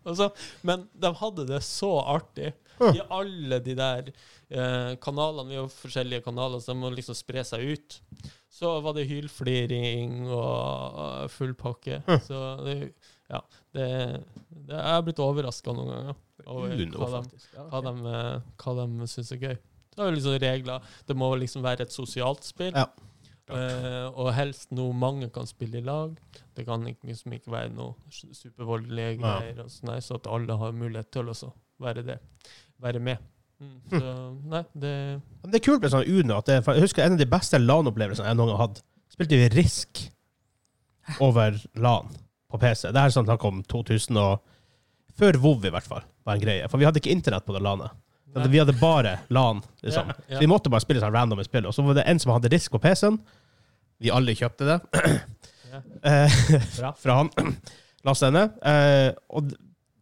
B: og så, men de hadde det så artig.
A: Huh.
B: I alle de der eh, kanalene. Vi har jo forskjellige kanaler, så de må liksom spre seg ut. Så var det hylfliring og eh, full pakke.
A: Huh.
B: Så det, ja, det, det Jeg er blitt overraska noen ganger over
A: Du nå,
B: hva de,
A: faktisk. Ja,
B: hva
A: ok.
B: de, eh, hva de syns er gøy. Så er det liksom regler. Det må liksom være et sosialt spill.
A: Ja.
B: Eh, og helst noe mange kan spille i lag. Det kan ikke- liksom ikke være noe s- supervoldelige
A: Ja.
B: greier, og sånn her, så at alle har mulighet til også å være det. Være med. Mm, så
A: Hm.
B: nei, det
A: Men Det er kult med sånn Uno. At det, for jeg husker en av de beste LAN-opplevelsene jeg noen gang har hatt. Spilte vi Risk over LAN på PC. Det her er sånn snakk om 2000 og Før WoW, i hvert fall, var en greie. For vi hadde ikke internett på det LAN-et. Men
B: nei.
A: Vi hadde bare LAN, liksom.
B: Ja,
A: Så
B: ja.
A: vi måtte bare spille sånn random spill. Og så var det en som hadde Risk på PC-en. Vi alle kjøpte det.
B: Ja.
A: Eh,
B: Bra.
A: fra han. (clears throat) Lasse henne. Eh, og d-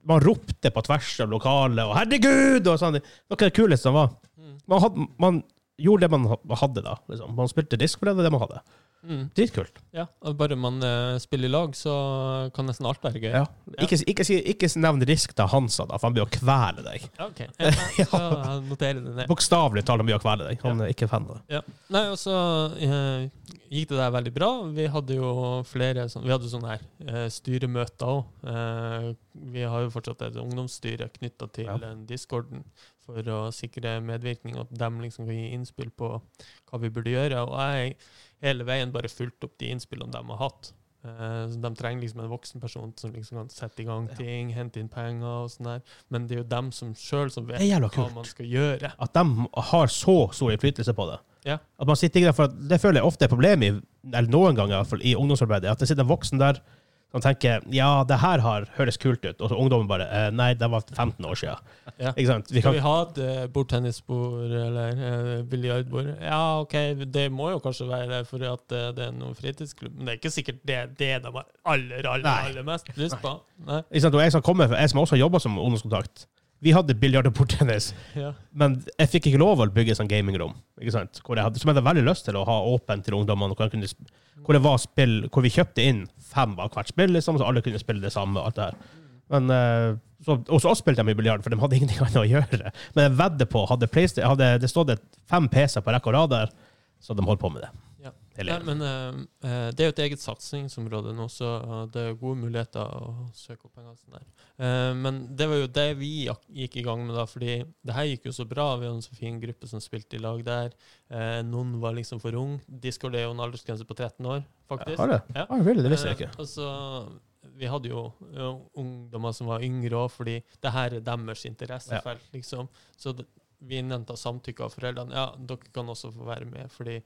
A: man ropte på tvers av lokalet, og 'herregud!' og sånn. Noe av det kuleste som var.
B: Mm,
A: Man, hadde, man gjorde det man ha- hadde, da. Liksom. Man spilte disk for det, det var det man hadde.
B: mm,
A: Dritkult.
B: ja. og Bare man eh, spiller i lag, så kan nesten alt være gøy.
A: Ja. Ikke, ikke, si- ikke nevn risk til Hansa, da, for han blir å kvele (laughs) deg.
B: Ok, jeg, jeg skal notere det ned.
A: Bokstavelig talt, han blir å kvele deg. Han er ikke fan av det.
B: Nei, og så eh, gikk det der veldig bra. Vi hadde jo flere sånn- vi hadde sånne her eh, styremøter òg. Eh, vi har jo fortsatt et ungdomsstyre knytta til
A: Ja.
B: eh, discorden for å sikre medvirkning, at de liksom kan gi innspill på hva vi burde gjøre. Og jeg hele veien bare fulgte opp de innspillene de har hatt. Eh, så de trenger liksom en voksen person som liksom kan sette i gang
A: Ja.
B: ting, hente inn penger og sånn her. Men det er jo dem som sjøl som
A: Det er
B: vet
A: jævla
B: hva
A: kult.
B: man skal gjøre.
A: At de har så stor innflytelse på det.
B: Ja.
A: At man sitter ikke der, for at Det føler jeg ofte er problemet, i- eller noen ganger i hvert fall, i ungdomsarbeidet. At det sitter en voksen der som tenker ja, det her har, høres kult ut, og så ungdommen bare eh, nei, det var 15 år siden.
B: Ja.
A: Ikke sant? Vi kan,
B: Skal vi ha et eh, bordtennisbord eller eh, biljardbord? Ja, OK, det må jo kanskje være det, for at eh, det er noen fritidsklubb. Men det er ikke sikkert det er det de har aller, aller,
A: Nei.
B: aller mest lyst på. Nei.
A: ikke sant? Og jeg som, kommer, fra- jeg som også har jobba som ungdomskontakt, vi hadde biljard og bordtennis,
B: Ja.
A: men jeg fikk ikke lov å bygge sånn gamingrom, ikke sant? Hvor jeg hadde, som jeg hadde veldig lyst til å ha åpent til ungdommene, hvor, jeg kunne, sp- hvor det var spill, hvor vi kjøpte inn fem av hvert spill, liksom, så alle kunne spille det samme og alt det her. Men, eh, så, og så spilte de i biljard, for de hadde (laughs) ingenting annet å gjøre. Men jeg vedder på, hadde, Playsta- hadde det stått et- fem PC-er på rekke og rad der, så hadde de holdt på med det.
B: Ja.
A: Hele
B: Nei,
A: gjengen.
B: men eh, eh, det er jo et eget satsingsområde nå, så eh, det er gode muligheter å søke opp penger. og sånn der. Eh, men det var jo det vi jak- gikk i gang med, da, fordi det her gikk jo så bra. Vi hadde en så fin gruppe som spilte i lag der. Eh, noen var liksom for ung. Discord er jo en aldersgrense på 13 år, faktisk.
A: Har du?
B: Ja.
A: Ah, really? Det visste jeg ikke.
B: Eh, altså, vi hadde jo ja, ungdommer som var yngre òg, fordi det her er deres interessefelt. liksom. Så d- vi innhenta samtykke av foreldrene. Ja, dere kan også få være med, fordi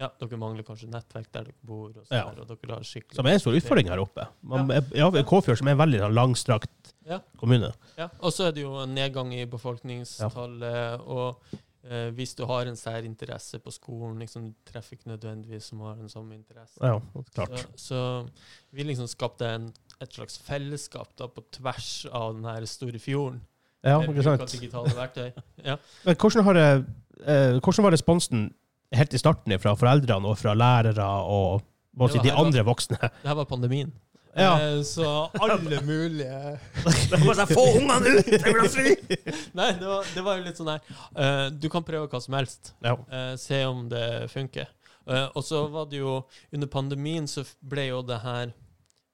B: ja, dere mangler kanskje nettverk der dere bor. og, sånn
A: Ja.
B: der, og dere har skikkelig...
A: Som er en stor utfordring her oppe. Man, ja. ja, Kåfjord, som er en veldig sånn langstrakt
B: Ja.
A: kommune.
B: Ja, og så er det jo en nedgang i befolkningstallet, og eh, hvis du har en særinteresse på skolen, liksom, du treffer ikke nødvendigvis som har den samme interesse.
A: Ja, klart.
B: Så, så vi liksom skapte en, et slags fellesskap da, på tvers av den her store fjorden.
A: Ja,
B: med
A: ikke
B: bruk av
A: sant.
B: Digitale verktøy. Ja.
A: Men hvordan, har, det- eh, hvordan var responsen helt i starten fra foreldrene og fra lærere og hva skal jeg si,
B: Det
A: de
B: var-
A: andre voksne?
B: Det her var pandemien.
A: Ja.
B: Eh, så alle mulige
C: (laughs) Det må jeg få ungene ut! Jeg vil ha fri!
B: (laughs) Nei, det var, det var jo litt sånn her eh, Du kan prøve hva som helst.
A: Ja.
B: Eh, se om det funker. Eh, og så var det jo Under pandemien så f- ble jo det her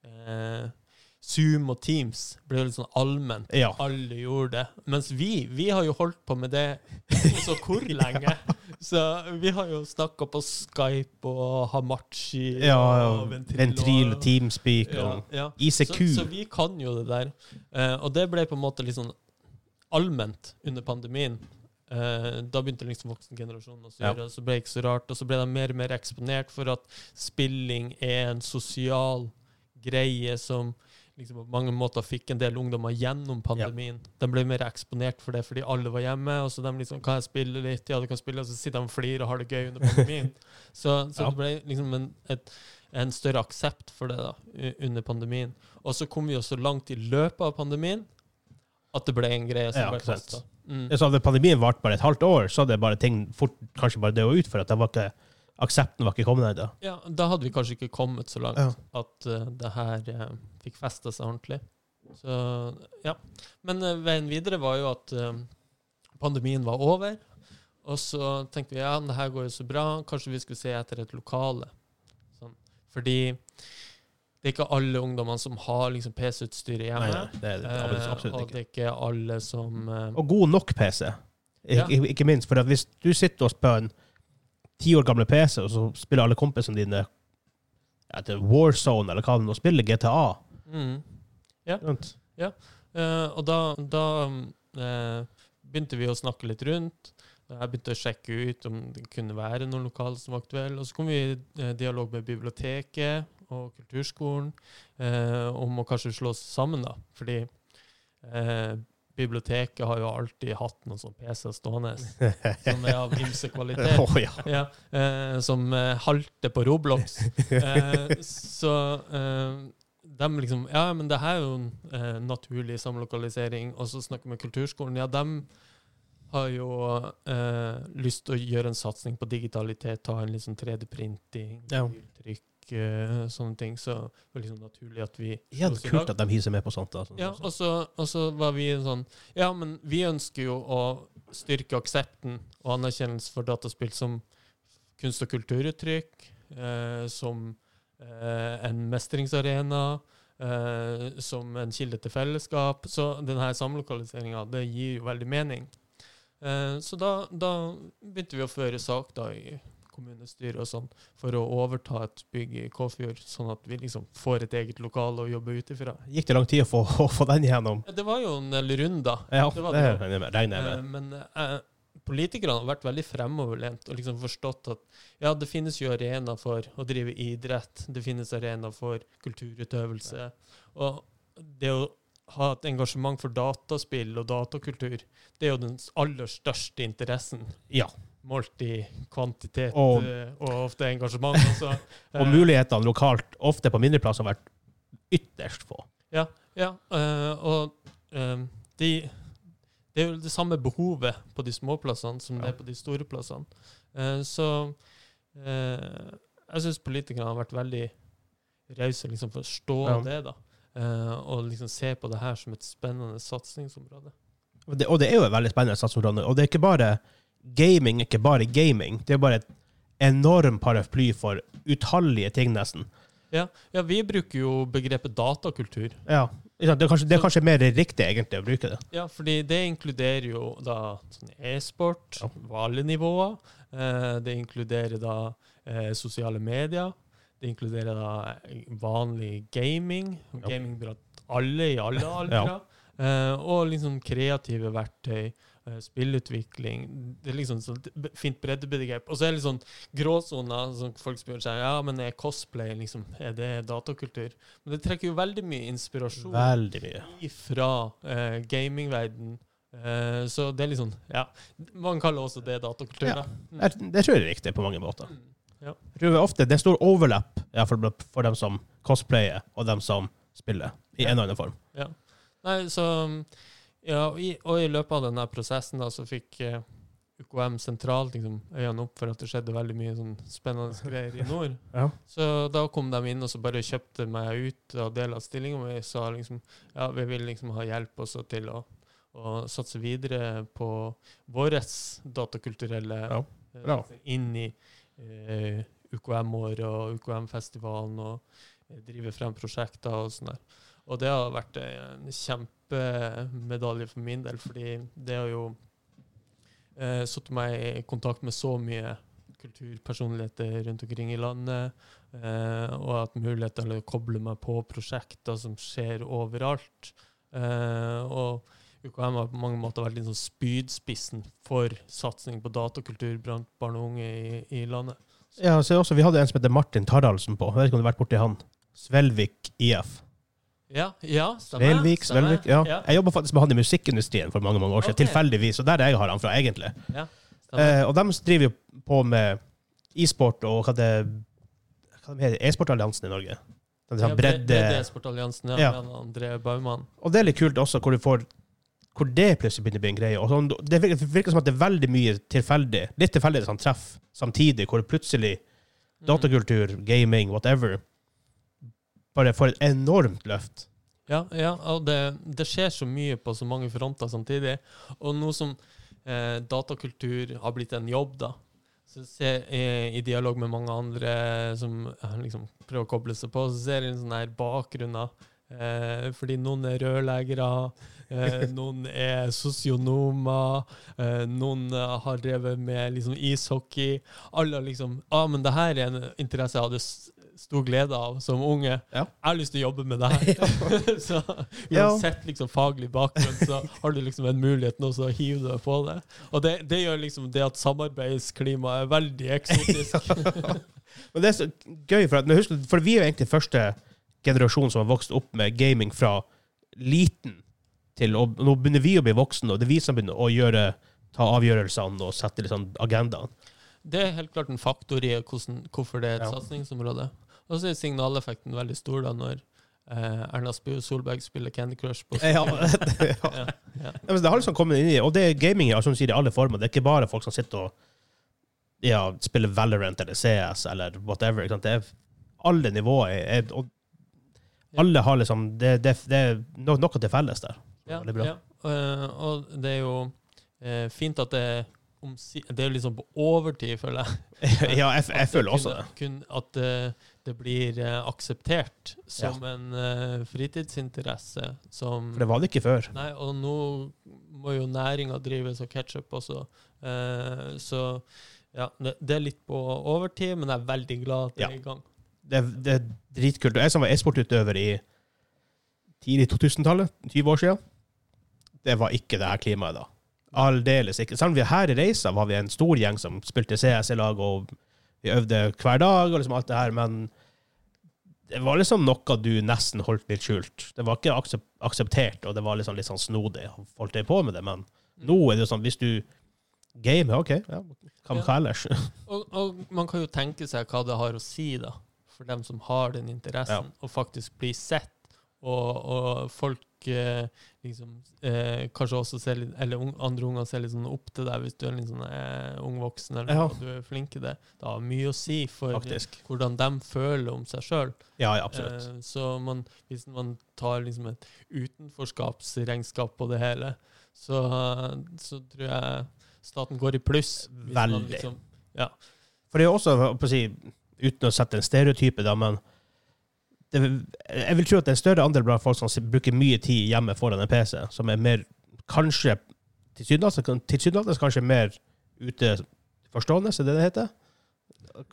B: eh, Zoom og Teams ble jo litt sånn allment.
A: ja.
B: Alle gjorde det. Mens vi, vi har jo holdt på med det
A: (laughs)
B: så hvor lenge? Så vi har jo snakka på Skype og Hamachi
A: ja, ja.
B: og
A: Ventril, Teamspeak
B: Ja,
A: og E
B: ja.
A: ICQ.
B: Så, så vi kan jo det der. Eh, og det ble på en måte litt sånn allment under pandemien. Eh, da begynte liksom voksengenerasjonen å
A: Ja.
B: gjøre det, så ble det ikke så rart. Og så ble de mer og mer eksponert for at spilling er en sosial greie som liksom på mange måter fikk en del ungdommer gjennom pandemien. De ble mer eksponert for det fordi alle var hjemme. Og så de liksom Kan jeg spille litt? Ja, du kan spille. Og så sitter de og flirer og har
A: (laughs)
B: det gøy under pandemien. så så
A: Ja.
B: det ble liksom en, et, en større aksept for det da, u- under pandemien. Og så kom vi jo så langt i løpet av pandemien at det ble en greie som
A: Ja,
B: ble
A: ikke sant.
B: kastet. Mm.
A: Ja, så hadde pandemien vart bare et halvt år, så hadde bare ting fort kanskje bare dødd ut, for at det var ikke, aksepten var ikke kommet ennå.
B: Ja, da hadde vi kanskje ikke kommet så langt
A: Ja.
B: at eh, det her eh, fikk festa seg ordentlig. Så ja. Men eh, veien videre var jo at eh, pandemien var over. Og så tenkte vi ja, det her går jo så bra, kanskje vi skulle se etter et lokale. Sånn. Fordi det er ikke alle ungdommene som har liksom PC-utstyr hjemme.
A: Nei, nei, det er det absolutt-
B: eh,
A: absolutt
B: og
A: ikke.
B: det er ikke alle som eh,
A: Og god nok PC, Ik
B: Ja.
A: ik- ikke minst. For at hvis du sitter og spiller en ti år gamle PC, og så spiller alle kompisene dine etter Warzone eller hva det nå spiller GTA
B: mm.
A: sant?
B: Eh, og da, da mm, eh, begynte vi å snakke litt rundt. Jeg begynte å sjekke ut om det kunne være noen lokaler som var aktuelle. Og så kom vi i eh, dialog med biblioteket og kulturskolen eh, om å kanskje slå oss sammen, da. Fordi eh, biblioteket har jo alltid hatt noen sånne PC-er stående
A: (laughs)
B: som er av ymse kvalitet
A: Å ja.
B: ja, eh, som eh, halter på
A: (laughs)
B: Roblox. Eh, så eh, de liksom Ja, men det her er jo en eh, naturlig samlokalisering. Og så snakker vi med kulturskolen. Ja, de har jo eh, lyst til å gjøre en satsing på digitalitet, ta en liksom 3D-printing,
A: Ja.
B: uttrykk, eh, sånne ting. Så det var liksom naturlig at vi
A: Igjen
B: slås i lag.
A: kult at de hiser med på sånt. Altså.
B: Ja, og så, og så var vi en sånn Ja, men vi ønsker jo å styrke aksepten og anerkjennelse for dataspill som kunst- og kulturuttrykk, eh, som eh, en mestringsarena, eh, som en kilde til fellesskap. Så denne samlokaliseringa, det gir jo veldig mening. Eh, så da, da begynte vi å føre sak da i kommunestyret og sånn, for å overta et bygg i Kåfjord, sånn at vi liksom får et eget lokale å jobbe ut ifra.
A: Gikk det lang tid å få, å få den igjennom?
B: Ja, Det var jo en del runder.
A: Ja,
B: Det
A: det
B: var det.
A: regner jeg med. regner jeg
B: Eh,
A: med.
B: Men eh, politikerne har vært veldig fremoverlent og liksom forstått at ja, det finnes jo arena for å drive idrett, det finnes arena for kulturutøvelse. Og det å ha et engasjement for dataspill og datakultur, det er jo den aller største interessen.
A: Ja.
B: Målt i kvantitet
A: Og-
B: eh, og ofte engasjement. Også.
A: (laughs) Og
B: Eh,
A: mulighetene lokalt, ofte på mindre plasser, har vært ytterst få.
B: Ja, eh, og eh, de, det er jo det samme behovet på de små plassene som det
A: Ja.
B: er på de store plassene. Eh, så eh, jeg syns politikerne har vært veldig rause og liksom forstå
A: Ja.
B: det, da. Eh, og liksom se på det her som et spennende satsingsområde.
A: Og det, og det er jo et veldig spennende satsområde. Og det er ikke bare gaming, ikke bare gaming. Det er bare et enorm paraply for utallige ting, nesten.
B: Ja, vi bruker jo begrepet datakultur.
A: Ja. ikke sant? Det er kanskje, det er kanskje mer riktig, egentlig, å bruke det.
B: Ja, fordi det inkluderer jo da sånn e-sport
A: Ja.
B: på alle nivåer. Eh, det inkluderer da eh, sosiale medier. Det inkluderer da eh, vanlig gaming.
A: Ja.
B: Gaming blant alle
A: (laughs)
B: i alle aldre. eh, og liksom kreative verktøy. eh, Spillutvikling Det er liksom sånn b- fint breddebegrep. Og så er det litt sånn gråsoner som folk spør seg Ja, men er cosplay liksom, er det datakultur? Men det trekker jo veldig mye inspirasjon
A: Veldig mye.
B: fra eh, gamingverden. Eh, så det er liksom Ja, man kaller også det datakultur,
A: Ja.
B: da.
A: Jeg, det tror jeg er riktig på mange måter.
B: Mm.
A: Jeg tror ofte det er stor overlapp ja, for, for dem som cosplayer, og dem som spiller, i en eller annen form.
B: Ja. Nei, så Ja, og i, og i løpet av denne prosessen, da, så fikk eh, UKM sentralt liksom, øynene opp for at det skjedde veldig mye sånn spennende greier i nord.
A: Ja.
B: Så da kom de inn og så bare kjøpte meg ut av deler av stillinga mi og sa liksom ja, vi vil liksom ha hjelp også til å, å satse videre på vår datakulturelle
A: Ja,
B: eh,
A: bra.
B: inn i eh, UKM-året og UKM-festivalen og eh, drive frem prosjekter og sånn der. Og det har vært eh, en kjempemedalje for min del, fordi det har jo eh, satt meg i kontakt med så mye kulturpersonligheter rundt omkring i landet, eh, og hatt mulighet til å koble meg på prosjekter som skjer overalt. Eh, og UKM har på mange måter vært liksom spydspissen for satsing på datakultur blant barn og unge i, i landet.
A: Ja, så også, Vi hadde en som heter Martin Taraldsen på. Jeg vet ikke om du har vært borti han. Svelvik IF.
B: Ja, ja, stemmer.
A: Svelvik,
B: stemmer.
A: Svelvik, ja.
B: ja
A: Jeg jobba faktisk med han i musikkindustrien for mange mange år siden,
B: Ok.
A: tilfeldigvis. Og der er jeg har han fra, egentlig.
B: stemmer.
A: Eh, og de driver jo på med e-sport og hva det hva det heter E-sportalliansen i Norge. Det er
B: Ja,
A: sånn bredde.
B: Bredde Sportalliansen, ja.
A: Ja.
B: med André Baumann.
A: Og det er litt kult også, hvor du får hvor det plutselig begynner å bli en greie. Og sånn, det virker, virker som at det er veldig mye tilfeldig. Litt tilfeldig sånn treff samtidig, hvor plutselig
B: Mm.
A: datakultur, gaming, whatever, bare får et enormt løft.
B: Ja, ja og det, det skjer så mye på så mange fronter samtidig. Og noe som eh, datakultur har blitt en jobb, da. Så ser jeg i dialog med mange andre som eh, liksom prøver å koble seg på, så ser jeg en sånn her bakgrunn da. Eh, fordi noen er rørleggere,
A: (laughs)
B: eh, noen er sosionomer, eh, noen eh, har drevet med liksom ishockey. Alle har liksom Ja, ah, men det her er en interesse jeg hadde s- stor glede av som unge.
A: Ja.
B: Jeg har lyst til å jobbe
A: (laughs)
B: med det her. (laughs) så
A: Ja.
B: uansett liksom faglig bakgrunn, så har du liksom en mulighet nå, så hiver du deg på det. Og det, det gjør liksom det at samarbeidsklimaet er veldig
A: (laughs)
B: eksotisk.
A: Men det er så gøy, for, at, men husk, for vi er jo egentlig første generasjon som har vokst opp med gaming fra liten til å, Nå begynner vi å bli voksne, og det er vi som begynner å gjøre, ta avgjørelsene og sette liksom, agendaen.
B: Det er helt klart en faktor i hvordan, hvorfor det er et
A: Ja.
B: satsingsområde. Og så er signaleffekten veldig stor da når eh, Erna Sp- Solberg spiller Candy Crush
A: (laughs)
B: på
A: Ja,
B: Ja, ja.
A: men det har liksom kommet inn i Og det er gaming altså, som sier, i alle former. Det er ikke bare folk som sitter og ja, spiller Valorant eller CS eller whatever. Ikke sant? Det er alle nivåer. Er, og alle har liksom Det, det, det er no- noe til felles der. (laughs)
B: Ja,
A: Veldig bra.
B: ja. Eh, og det er jo eh, fint at det er omsi Det er jo liksom på overtid, føler jeg.
A: ja, jeg, jeg føler også det.
B: Kun- Kun at eh, det blir eh, akseptert som en eh, fritidsinteresse. Som
A: For det var det ikke før.
B: Nei, og nå må jo næringa drives og ketsjup også. Eh, så ja, det, det er litt på overtid, men jeg er veldig glad at det
A: Ja.
B: er i gang.
A: Det, det er dritkult. Og Jeg som var e-sportutøver i tidlig 2000-tallet, 20 år siden, det var ikke det her klimaet da. Aldeles ikke. Selv om vi her i Reisa var vi en stor gjeng som spilte CS i lag, og vi øvde hver dag og liksom alt det her, men det var liksom noe du nesten holdt litt skjult. Det var ikke aksep akseptert, og det var liksom litt sånn snodig. Folk drev på med det, men nå er det jo sånn, hvis du gamer, OK, ja, kan hva ellers?
B: Og, og man kan jo tenke seg hva det har å si, da, for dem som har den interessen, og faktisk blir sett. Og, og folk eh, liksom eh, kanskje også ser litt Eller un, andre unger ser litt sånn opp til deg hvis du er en litt sånn eh, ung voksen, eller
A: Ja.
B: noe, og du er flink i det. Det har mye å si
A: (laughs)
B: for
A: Faktisk.
B: hvordan de føler om seg sjøl.
A: Ja, ja, absolutt.
B: Eh, Så man, hvis man tar liksom et utenforskapsregnskap på det hele, så, så tror jeg staten går i pluss. hvis man
A: Veldig.
B: liksom-
A: For det er jo også, hva skal jeg si, uten å sette en stereotype, da, men det, jeg vil tro at det er en større andel blant folk som sit- bruker mye tid hjemme foran en PC, som er mer kanskje tilsynelatende tilsynelatende kanskje mer ute forstående, er det det heter?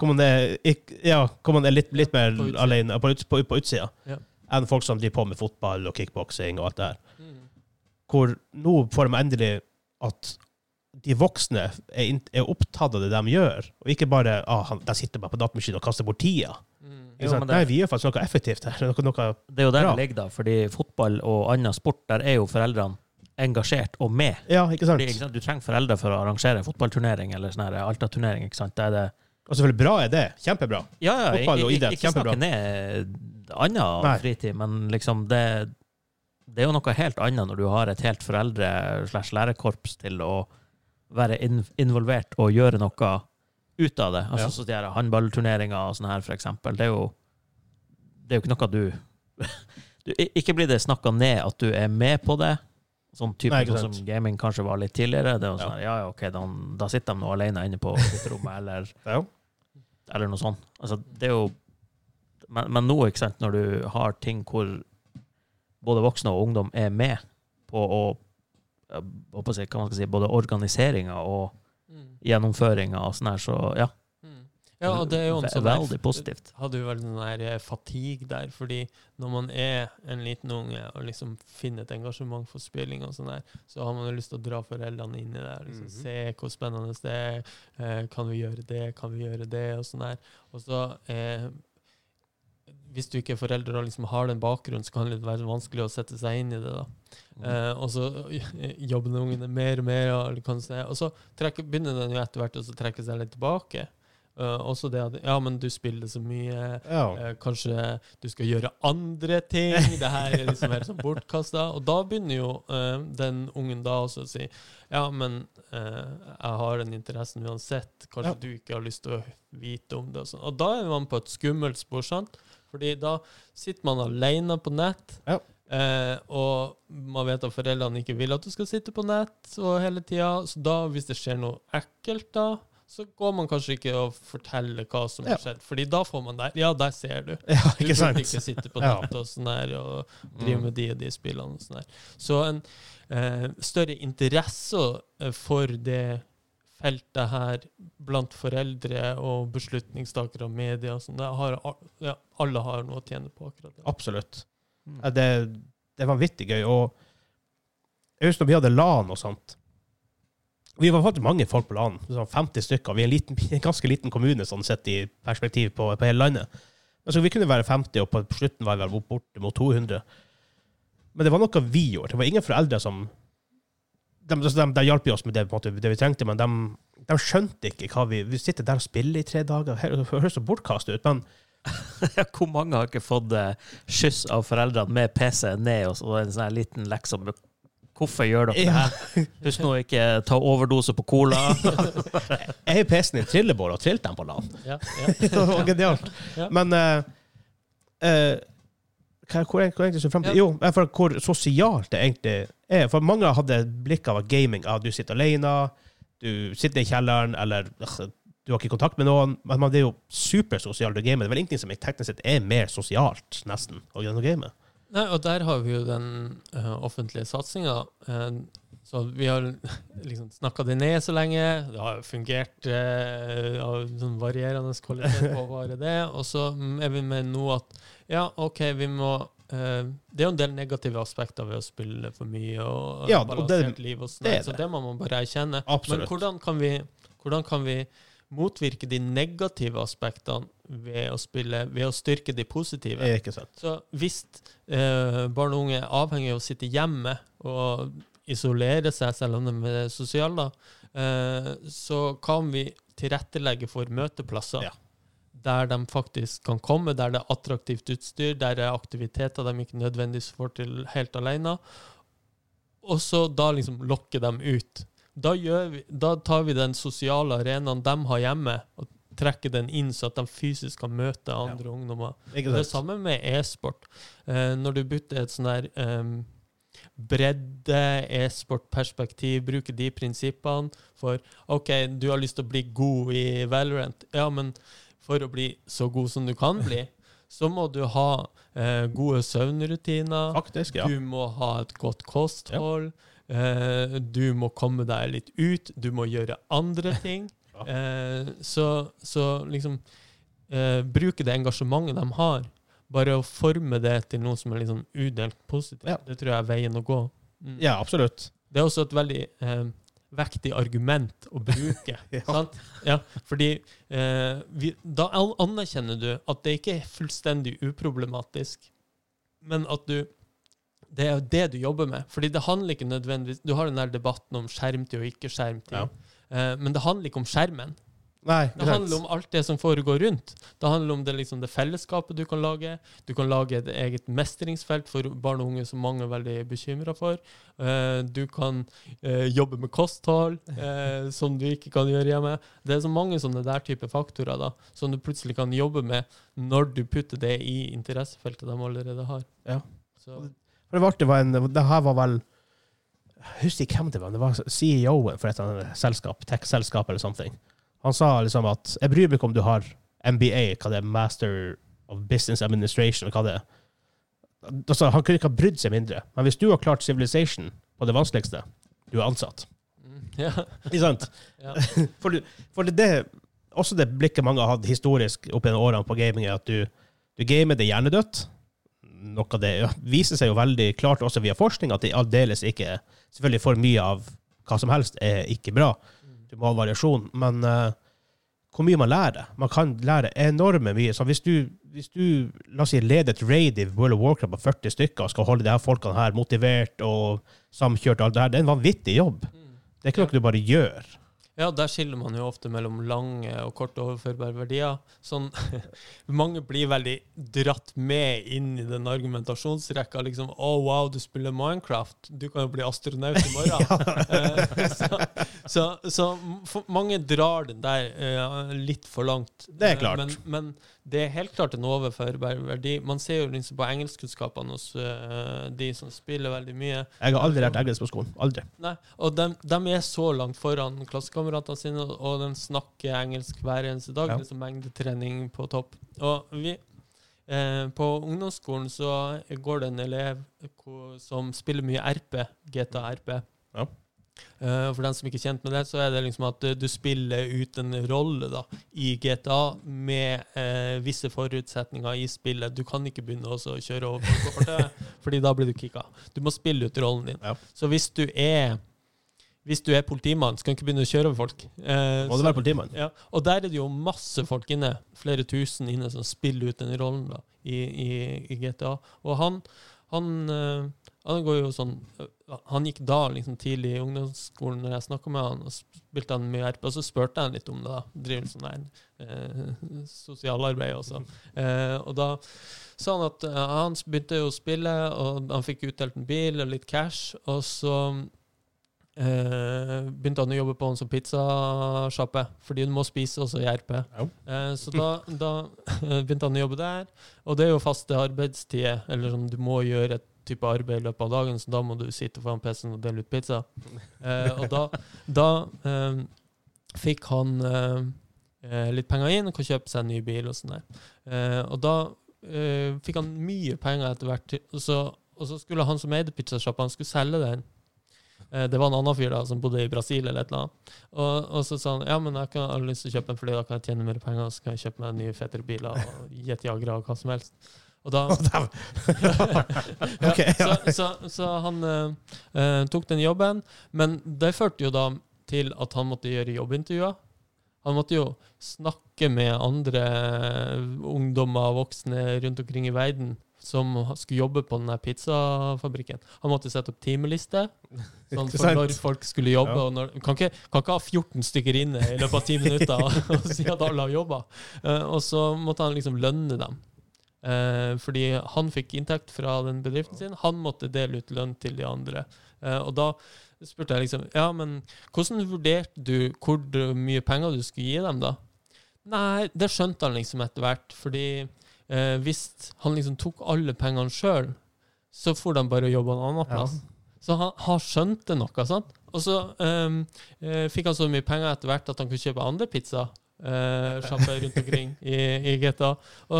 A: Hvor man er, ikk- ja, hvor man er litt, litt mer
B: På utsida.
A: alene på, uts- på, på utsida
B: Ja.
A: enn folk som driver på med fotball og kickboksing og alt det her
B: Mm.
A: hvor nå får de endelig at de voksne er, inn- er opptatt av det de gjør, og ikke bare ah, han, de sitter bare på datamaskinen og kaster bort tida.
B: Mm.
C: Jo,
A: Ikke sant?
C: men det-
A: Nei, vi gjør faktisk noe effektivt her. (laughs) Noe, noe,
C: Det er jo der
A: Bra.
C: det ligger, da. Fordi fotball og annen sport, der er jo foreldrene engasjert og med.
A: ja, ikke sant?
C: Fordi, ikke sant? Du trenger foreldre for å arrangere fotballturnering eller sånn her Alta-turnering. ikke sant? Det er det
A: Og selvfølgelig bra er det. Kjempebra.
C: Ja, ja, jeg,
A: Fotball og
C: jeg,
A: idrett,
C: ikke snakke
A: kjempebra.
C: ned annen
A: Nei.
C: fritid, men liksom det Det er jo noe helt annet når du har et helt foreldre-slash-lærerkorps til å være in involvert og gjøre noe ut av det.
B: Ja.
C: Altså så de her håndballturneringer og sånn her, for eksempel. Det er jo, det er jo ikke noe du, (laughs) du i- Ikke blir det snakka ned at du er med på det. Sånn type
A: Nei, ikke
C: sånn
A: sant.
C: som gaming kanskje var litt tidligere. Det er
A: Ja.
C: jo sånn her, ja, ja, ok, da, da sitter de nå alene inne på rommet, eller
A: Ja.
C: eller noe sånt. Altså, det er jo men, men nå, ikke sant, når du har ting hvor både voksne og ungdom er med på å eh, hva skal jeg si, hva man skal si, både organiseringa og
B: Mm.
C: gjennomføringa og sånn her, så ja.
B: Mm. Ja, og det er jo en
C: ve-
B: sånn
C: veldig positivt.
B: hadde jo veldig sånn her eh, fatigue der, fordi når man er en liten unge og liksom finner et engasjement for spilling og sånn der, så har man jo lyst til å dra foreldrene inn i det. her, Liksom,
A: Mhm.
B: Se hvor spennende det er. Eh, kan vi gjøre det? Kan vi gjøre det? Og sånn der. Og så eh, hvis du ikke er forelder og liksom har den bakgrunnen, så kan det være vanskelig å sette seg inn i det. da.
C: Mhm.
B: Eh, og så (laughs) eh, jobber den ungen mer og mer, og, kan se, og så trekker, begynner den jo etter hvert å så trekke seg litt tilbake. Eh, også det at Ja, men du spiller så mye.
A: ja.
B: Eh, kanskje du skal gjøre andre ting. Det her er liksom helt sånn bortkasta. Og da begynner jo eh, den ungen da også å si Ja, men eh, jeg har den interessen uansett. Kanskje
A: Ja.
B: du ikke har lyst til å vite om det. Og, sånn. og da er man på et skummelt spor, sant? Fordi da sitter man alene på nett.
A: Ja.
B: Eh, og man vet at foreldrene ikke vil at du skal sitte på nett og hele tida, så da, hvis det skjer noe ekkelt, da, så går man kanskje ikke og forteller hva som
A: Ja.
B: har skjedd, Fordi da får man der. Ja, der ser du.
A: Ja,
B: Du
A: ikke
B: burde
A: sant?
B: ikke sitte på
A: Ja.
B: nett og sånn her og
C: Mm.
B: drive med de og de spillene og sånn her. Så en eh, større interesse eh, for det feltet her blant foreldre og beslutningstakere og media og sånn, det har al- ja, alle har noe å tjene på akkurat det.
A: Absolutt. Ja, det, det er vanvittig gøy. Og jeg husker da vi hadde LAN og sånt. Vi var faktisk mange folk på LAN, sånn 50 stykker. Vi er en, liten, (laughs) en ganske liten kommune sånn sett i perspektiv på, på hele landet. Men så vi kunne være 50, og på slutten var vi vel borte mot 200. Men det var noe vi gjorde. Det var ingen foreldre som De, altså, de, de hjalp jo oss med det, på en måte, det vi trengte, men de, de skjønte ikke hva vi Vi sitter der og spiller i tre dager. Her- Det høres så bortkastet ut, men
C: (laughs) Hvor mange har ikke fått eh, skyss av foreldrene med PC ned og så en sånn her liten lekse om hvorfor gjør dere det
A: Ja.
C: her? Husk nå å ikke ta overdose på
B: (laughs)
C: cola.
A: jeg har PC-en i trillebår og trilte dem på LAN.
B: Ja, (laughs) ja.
A: Det var genialt.
B: Ja.
A: Men eh, eh, hva- hvor er hvor er egentlig så frem til?
B: Ja.
A: Jo, eh, for hvor sosialt det egentlig er. For mange hadde blikk av at gaming ah, du sitter alene, du sitter i kjelleren, eller øh, du har ikke kontakt med noen. Men man det er jo supersosialt å game. Det er vel ingenting som teknisk sett er mer sosialt, nesten, å game.
B: Nei, og der har vi jo den eh, offentlige satsinga. så vi har (laughs) liksom snakka det ned så lenge. Det har jo fungert eh, av sånn varierende kvalitet på bare det. Og så mm, er vi med nå at ja, OK, vi må eh, Det er jo en del negative aspekter ved å spille for mye og
A: Ja,
B: ja,
A: og det-
B: balansert liv og sånn,
A: det er
B: så
A: det.
B: det må man bare erkjenne.
A: Absolutt.
B: Men hvordan kan vi, hvordan kan vi motvirke de negative aspektene ved å spille, ved å styrke de positive?
A: Eh, Ikke sant?
B: Så hvis eh, barn og unge er avhengig av å sitte hjemme og isolere seg, selv om de er sosiale, da, eh, så kan vi tilrettelegge for møteplasser
A: Ja.
B: der de faktisk kan komme, der det er attraktivt utstyr, der det er aktiviteter de ikke nødvendigvis får til helt alene. Og så da liksom lokke dem ut. Da, gjør vi, da tar vi den sosiale arenaen de har hjemme, og trekker den inn, så at de fysisk kan møte andre ungdommer.
A: Ikke
B: Det er
A: sant?
B: samme med e-sport. Eh, når du bytter et sånn der em, bredde e-sport-perspektiv, bruker de prinsippene for OK, du har lyst til å bli god i Valorant. Ja, men for å bli så god som du kan bli,
A: (laughs)
B: så må du ha eh, gode søvnrutiner.
A: Faktisk, ja.
B: Du må ha et godt kosthold. eh, du må komme deg litt ut. Du må gjøre andre
A: (laughs)
B: ting.
A: Ja.
B: Eh, så, så liksom eh, Bruke det engasjementet de har. Bare å forme det til noe som er liksom udelt positivt.
A: Ja.
B: Det tror jeg er veien å gå. Mm.
A: Ja, absolutt.
B: Det er også et veldig eh, vektig argument å bruke.
A: (laughs) Ja.
B: sant? Ja, fordi eh, vi, da an- anerkjenner du at det ikke er fullstendig uproblematisk, men at du det er jo det du jobber med. Fordi det handler ikke nødvendigvis Du har den der debatten om skjermtid og ikke skjermtid.
A: Ja.
B: Eh, men det handler ikke om skjermen.
A: Nei,
B: Det handler om alt det som foregår rundt. Det handler om det, liksom, det fellesskapet du kan lage. Du kan lage et eget mestringsfelt for barn og unge som mange er veldig bekymra for. Eh, du kan eh, jobbe med kosthold, eh, som du ikke kan gjøre hjemme. Det er så mange sånne der type faktorer da, som du plutselig kan jobbe med når du putter det i interessefeltet de allerede har.
A: Ja.
B: Så,
A: For det var artig, var en, det her var vel Jeg husker ikke hvem det var, men det var CEO-en for et eller annet selskap, tech-selskap eller something. Han sa liksom at jeg bryr meg ikke om du har MBA, hva det er, Master of Business Administration, hva det er. Altså, han kunne ikke ha brydd seg mindre. Men hvis du har klart Civilization på det vanskeligste, du er ansatt.
B: mm, ja,
A: Ikke sant? (laughs)
B: ja.
A: For, du, for det, det også det blikket mange har hatt historisk opp gjennom årene på gaming, er at du, du gamer det hjernedødt. Noe av det viser seg jo veldig klart også via forskning at det aldeles ikke er Selvfølgelig for mye av hva som helst er ikke bra. Du må ha variasjon. Men eh, hvor mye man lærer Man kan lære enorme mye. Så hvis du, hvis du la oss si, leder et raid i World of Warcraft på 40 stykker og skal holde de her folkene her motivert og samkjørt, og alt det her, det er en vanvittig jobb.
B: Mm.
A: Det er ikke noe du bare gjør.
B: Ja, der skiller man jo ofte mellom lange og korte overførbare verdier. Sånn, (laughs) mange blir veldig dratt med inn i den argumentasjonsrekka. Liksom 'Å, wow, du spiller Minecraft. Du kan jo bli astronaut i
A: (laughs)
B: morgen.' Eh, så så, så for mange drar den der eh, litt for langt.
A: Det er klart.
B: Eh, Men, men det er helt klart en overførbar verdi. Man ser jo liksom på engelskkunnskapene hos eh, de som spiller veldig mye.
A: Jeg har aldri lært engelsk på skolen. Aldri.
B: Nei, og de, er så langt foran klassekameratene sine, og- og de snakker engelsk hver eneste dag.
A: Ja.
B: Liksom mengdetrening på topp. Og vi, eh, på ungdomsskolen så går det en elev ko- som spiller mye RP, GTA-RP.
A: Ja.
B: Eh, for den som ikke er kjent med det, så er det liksom at eh, du spiller ut en rolle da, i GTA med eh, visse forutsetninger i spillet. Du kan ikke begynne også å kjøre over folk på fortauet, (laughs) fordi da blir du kicka. Du må spille ut rollen din.
A: Ja.
B: Så hvis du er hvis du er politimann, skal du ikke begynne å kjøre over folk. Eh,
A: Må
B: så-
A: du være (laughs) politimann?
B: ja, og der er det jo masse folk inne, flere tusen inne, som spiller ut den rollen da, i, i, i GTA. Og han, han, eh, han går jo sånn eh, Han gikk da liksom tidlig i ungdomsskolen når jeg snakka med han, og spilte han mye RP, og så spurte jeg han litt om det. da, Driver sånn der eh, sosialarbeid også. Eh, og da sa han at eh, han begynte jo å spille, og han fikk utdelt en bil og litt cash, og så Eh, begynte han å jobbe på en sånn pizzasjappe, fordi du må spise også i RP.
A: Ja.
B: Eh, så da, da (laughs) begynte han å jobbe der, og det er jo faste arbeidstider, eller sånn, du må gjøre et type arbeid i løpet av dagen, så da må du sitte foran PC-en og dele ut pizza. Eh, og da, da eh, fikk han eh, eh, litt penger inn og kan kjøpe seg en ny bil og sånn der. Eh, og da eh, fikk han mye penger etter hvert, til- og så, og så skulle han som eide pizzasjappa, han skulle selge den. Eh, Det var en annen fyr da, som bodde i Brasil, eller et eller annet. Og, og så sa han ja, men jeg kan, jeg har lyst til å kjøpe en, fordi da kan jeg tjene mer penger, og så kan jeg kjøpe meg nye, fetere biler og jetjagere og hva som helst. Og
A: (laughs)
B: da, (laughs) ja,
A: Ok, ja.
B: så, så, så han eh, eh, tok den jobben, men det førte jo da til at han måtte gjøre jobbintervjuer. Han måtte jo snakke med andre eh, ungdommer og voksne rundt omkring i verden som skulle jobbe på denne pizzafabrikken. Han måtte sette opp timeliste sånn for
A: Interessant.
B: når folk skulle jobbe.
A: Ja.
B: Og når, kan, ikke, kan ikke ha 14 stykker inne i løpet av ti minutter og, (laughs) og si at alle har jobba. Eh, og så måtte han liksom lønne dem. Eh, fordi han fikk inntekt fra den bedriften sin. Han måtte dele ut lønn til de andre. Eh, og da spurte jeg liksom Ja, men hvordan vurderte du hvor mye penger du skulle gi dem, da? Nei, det skjønte han liksom etter hvert. Fordi eh, hvis han liksom tok alle pengene sjøl, så får de bare jobbe en annen
A: Ja.
B: plass. Så han, han skjønte noe, sant? Og så ehm, eh, fikk han så mye penger etter hvert at han kunne kjøpe andre pizza. Uh, Sjapper rundt omkring i, i GTA, og,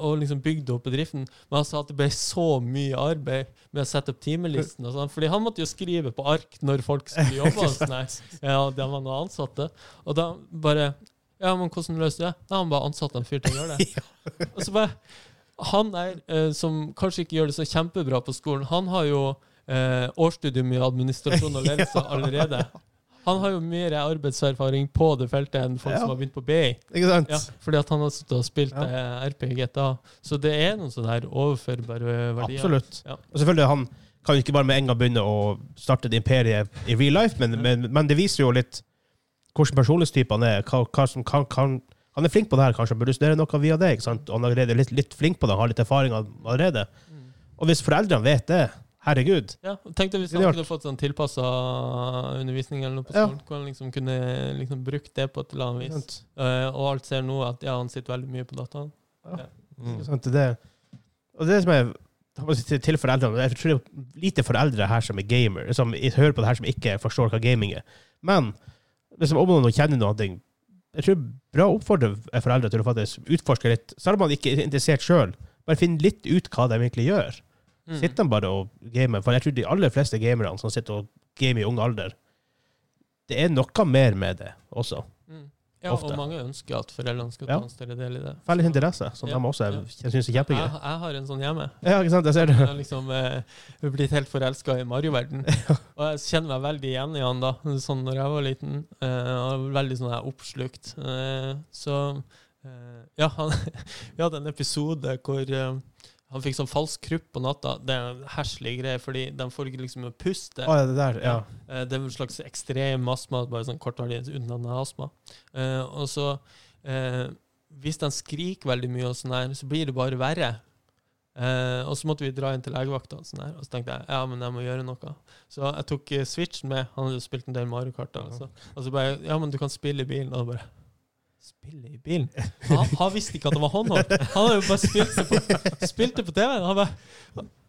B: og liksom bygde opp bedriften. Men han sa at det ble så mye arbeid med å sette opp timelisten. og sånn, fordi han måtte jo skrive på ark når folk skulle
A: (laughs)
B: jobbe. og sånn her. Ja, det var noen ansatte. Og da bare Ja, men hvordan løste du det? Nei, han bare ansatte en fyr til å
A: (laughs)
B: gjøre det. Og så bare han der eh, som kanskje ikke gjør det så kjempebra på skolen, han har jo eh, årsstudium i administrasjon og
A: (laughs)
B: ledelse allerede. Han har jo mer arbeidserfaring på det feltet enn folk
A: Ja.
B: som har begynt på BI.
A: Ikke sant?
B: Ja, fordi at han har sittet og spilt
A: Ja.
B: eh, RP i GTA. Så det er noen sånne her overførbare verdier.
A: Absolutt.
B: Ja.
A: Og selvfølgelig, han kan jo ikke bare med en gang begynne å starte et imperie i real life, men, men, men det viser jo litt hvordan personlighetstype han er. Hva, hva som kan, kan, han er flink på det her, kanskje han burde studere noe via det. ikke sant? Og han er allerede litt, litt flink på det, han har litt erfaring all- allerede.
B: Mm.
A: Og hvis foreldrene vet det, herregud
B: Ja, og Tenk deg hvis han
A: Genialt.
B: kunne fått sånn tilpassa undervisning eller noe på
A: Ja.
B: skolen, hvor han liksom kunne liksom brukt det på et eller annet vis.
A: sant?
B: Eh, og alt ser nå at ja, han sitter veldig mye på dataen. Mm.
C: Mm.
A: Ikke sant? Det, og det som er jeg må si til- til foreldrene, Jeg tror det er lite foreldre her som er gamer, som i- hører på det her som ikke forstår hva gaming er. Men hvis om noen kjenner noe Jeg tror bra å oppfordre foreldre til å faktisk utforske litt, selv om man ikke er interessert sjøl. Bare finn litt ut hva de egentlig gjør.
B: Mm.
A: Sitter de bare og gamer? For jeg tror de aller fleste gamerne som sitter og gamer i ung alder, det er noe mer med det også.
B: Mm. Ja,
A: ofte.
B: og mange ønsker at foreldrene skal ta
A: Ja.
B: en større del i det.
A: Felles interesse, som
B: Ja,
A: de også er-
B: ja.
A: synes er
B: Jeg,
A: kjempegøy.
B: jeg har en sånn hjemme.
A: (laughs) Ja, ikke sant? Jeg ser
B: (laughs) Jeg
A: det.
B: har liksom eh, blitt helt forelska i (laughs) Mario-verden. Og jeg kjenner meg veldig igjen i han da, sånn når jeg var liten. Eh, og veldig sånn her oppslukt. (laughs) Eh, så eh, ja, han, vi hadde en episode hvor eh, Han fikk sånn falsk krupp på natta. Det er en herselig greie, fordi de får ikke liksom puste.
A: Å, ja, det der, ja.
B: Eh, Det er en slags ekstrem astma, bare sånn kortvarig unnlandet astma. Eh, og så, eh, hvis de skriker veldig mye, og sånn her, så blir det bare verre. Eh, og så måtte vi dra inn til legevakta, og sånn her, og så tenkte jeg ja, men jeg må gjøre noe. Så jeg tok eh, Switchen med, han hadde jo spilt en del Mario Kart, da, så, og så bare ja, men du kan spille i bilen. Og jeg bare Spille i bilen? Han, han visste ikke at det var håndhold. Han hadde jo bare spilt det på, spilt det på TV. Han bare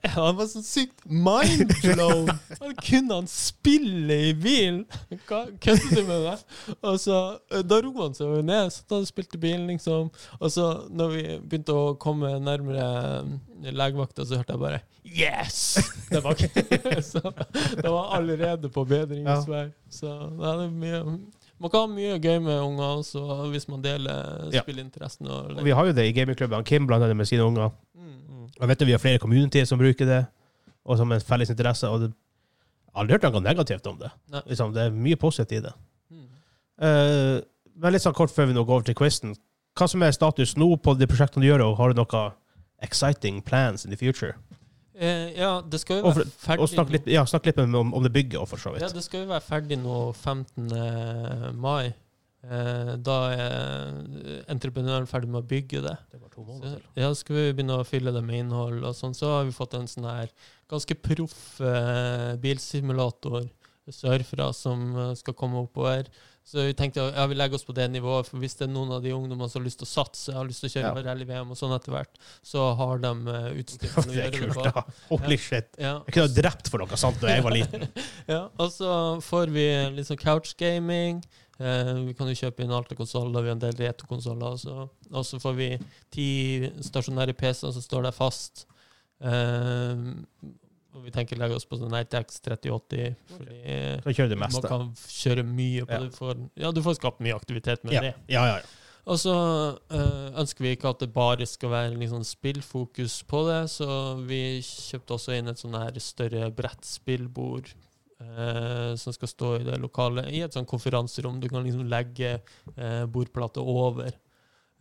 B: ja, Han var så sykt mindblown! Han kunne han spille i bilen! Hva kødder du med meg? Og så, eh, da ro han seg jo ned, satt han og spilte bilen, liksom. Og så, når vi begynte å komme nærmere eh, legevakta, så hørte jeg bare Yes! Der bak. (laughs) så det var allerede på bedringens vei. Så det er mye Man kan ha mye gøy med unger også, hvis man deler
A: Ja.
B: spillinteressen. Og,
A: Og Vi har jo det i gamingklubben. Kim blant annet med sine unger.
B: Mm.
A: Og Jeg vet jo vi har flere community som bruker det, og som en felles interesse. Og det, jeg har aldri hørt noe negativt om det.
B: Nei.
A: Liksom, det er mye positivt i det.
B: Mm.
A: Eh, men litt sånn kort før vi nå går over til quizen. Hva som er status nå på de prosjektene du gjør, og har du noe exciting plans in the future?
B: Eh, ja, det skal
A: Og
B: jo
A: for-
B: være ferdig
A: Og snakk
B: nå.
A: litt, ja, snakk litt om, om om det bygget, og for så vidt.
B: Ja, det skal jo være ferdig nå 15. mai. Eh, Da er entreprenøren ferdig med å bygge det.
A: Det var to
B: Så,
A: måneder til.
B: ja, så skal vi begynne å fylle det med innhold og sånn. Så har vi fått en sånn her ganske proff eh, bilsimulator sørfra som eh, skal komme oppover. Så vi tenkte ja, vi legger oss på det nivået, for hvis det er noen av de ungdommene som har lyst til å satse, har lyst til å kjøre
A: Ja.
B: rally-VM og sånn etter hvert, så har de eh, utstyr til å
A: (laughs) Det
B: gjøre
A: er
B: det
A: kult,
B: på.
A: da. Holy shit.
B: Ja.
A: Jeg kunne ha drept for noe sånt da jeg var liten.
B: (laughs) Ja, og så får vi litt sånn couchgaming. Eh, vi kan jo kjøpe inn alt av konsoller. Vi har en del retrokonsoller. også. Og så får vi ti stasjonære PC-er som står der fast. Eh, og vi tenker å legge oss på sånn RTX 3080, fordi
A: Så kjører du det
B: man
A: meste.
B: kan kjøre mye på
A: Ja.
B: det. Du får, ja, du får skapt mye aktivitet med
A: Ja,
B: det.
A: ja, ja. ja.
B: Og så eh, ønsker vi ikke at det bare skal være liksom spillfokus på det, så vi kjøpte også inn et sånn her større brettspillbord eh, som skal stå i det lokale, i et sånn konferanserom. Du kan liksom legge eh, bordplata over.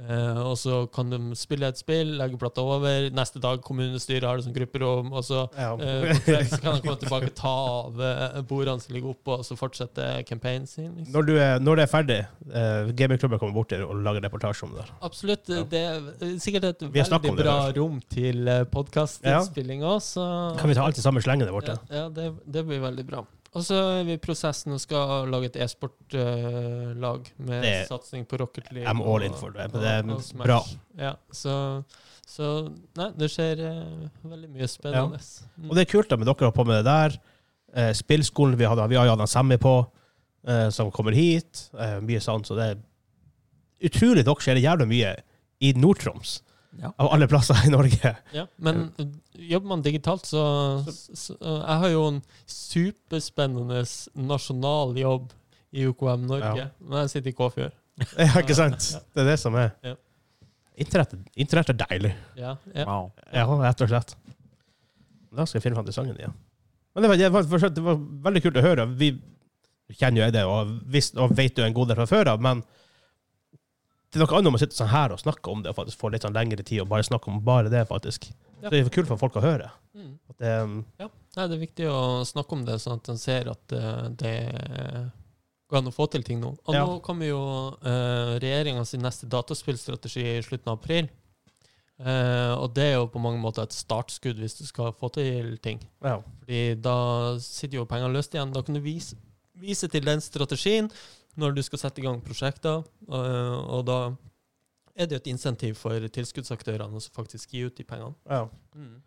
B: Eh, og så kan de spille et spill, legge plata over. Neste dag kommunestyret har det som grupperom, og så eh, på kveld så kan de komme tilbake, ta av eh, bordene som ligger oppå, og så fortsette campaignen sin. Liksom.
A: Når, du er, når det er ferdig, uh, gamingklubben kommer bort til og lager reportasje om det. her.
B: Absolutt.
A: Ja.
B: Det er eh, sikkert et
A: Vi har snakket om
B: veldig
A: det
B: bra rom til podkastinnspilling òg, så
A: Kan vi ta alt i samme slengen der borte?
B: ja, ja, det, det blir veldig bra. Og så er vi i prosessen og skal lage et e-sportlag med
A: Det-
B: satsing på Rocket League.
A: I'm all in
B: og-
A: for det, men
B: og-
A: det er
B: og Smash.
A: bra.
B: Ja, så, så Nei, det skjer eh, veldig mye spennende. Mm.
A: Og det er kult da, med dere har på med det der. Eh, spillskolen vi hadde, vi har jo hatt han Sammy på, eh, som kommer hit. Eh, mye sånn, så det er utrolig dere skjer det jævlig mye i Nord-Troms.
C: Ja.
A: Av alle plasser i Norge. (laughs)
B: Ja, men eh, jobber man digitalt, så, så eh, Jeg har jo en superspennende nasjonal jobb i UKM Norge,
A: Ja.
B: men jeg sitter i Kåfjord.
A: Ja, ikke sant? Det er det som er.
B: Ja.
A: Internett, internett er deilig.
B: Ja, ja.
C: Wow.
A: Ja, rett og slett. Da skal jeg finne fram til sangen igjen. Men det var, det, var, for så vidt- det var veldig kult å høre. Vi kjenner jo jeg det, og, visst, og vet jo en god del fra før av, men det er noe annet om å sitte sånn her og snakke om det, og faktisk få litt sånn lengre tid og bare snakke om bare det, faktisk.
B: Ja.
A: Så det er kult for folk å høre.
B: Mm.
A: At det, um,
B: Nei, det er viktig å snakke om det, sånn at en ser at eh, det går an å få til ting nå. Og
A: Ja.
B: nå kommer jo uh, regjeringa sin neste dataspillstrategi i slutten av april. Eh, og det er jo på mange måter et startskudd hvis du skal få til ting.
A: ja.
B: Fordi da sitter jo pengene løst igjen. Da kan du vise, vise til den strategien når du skal sette i gang prosjekter, øh, og da er det jo et insentiv for tilskuddsaktørene å faktisk gi ut de pengene.
A: ja.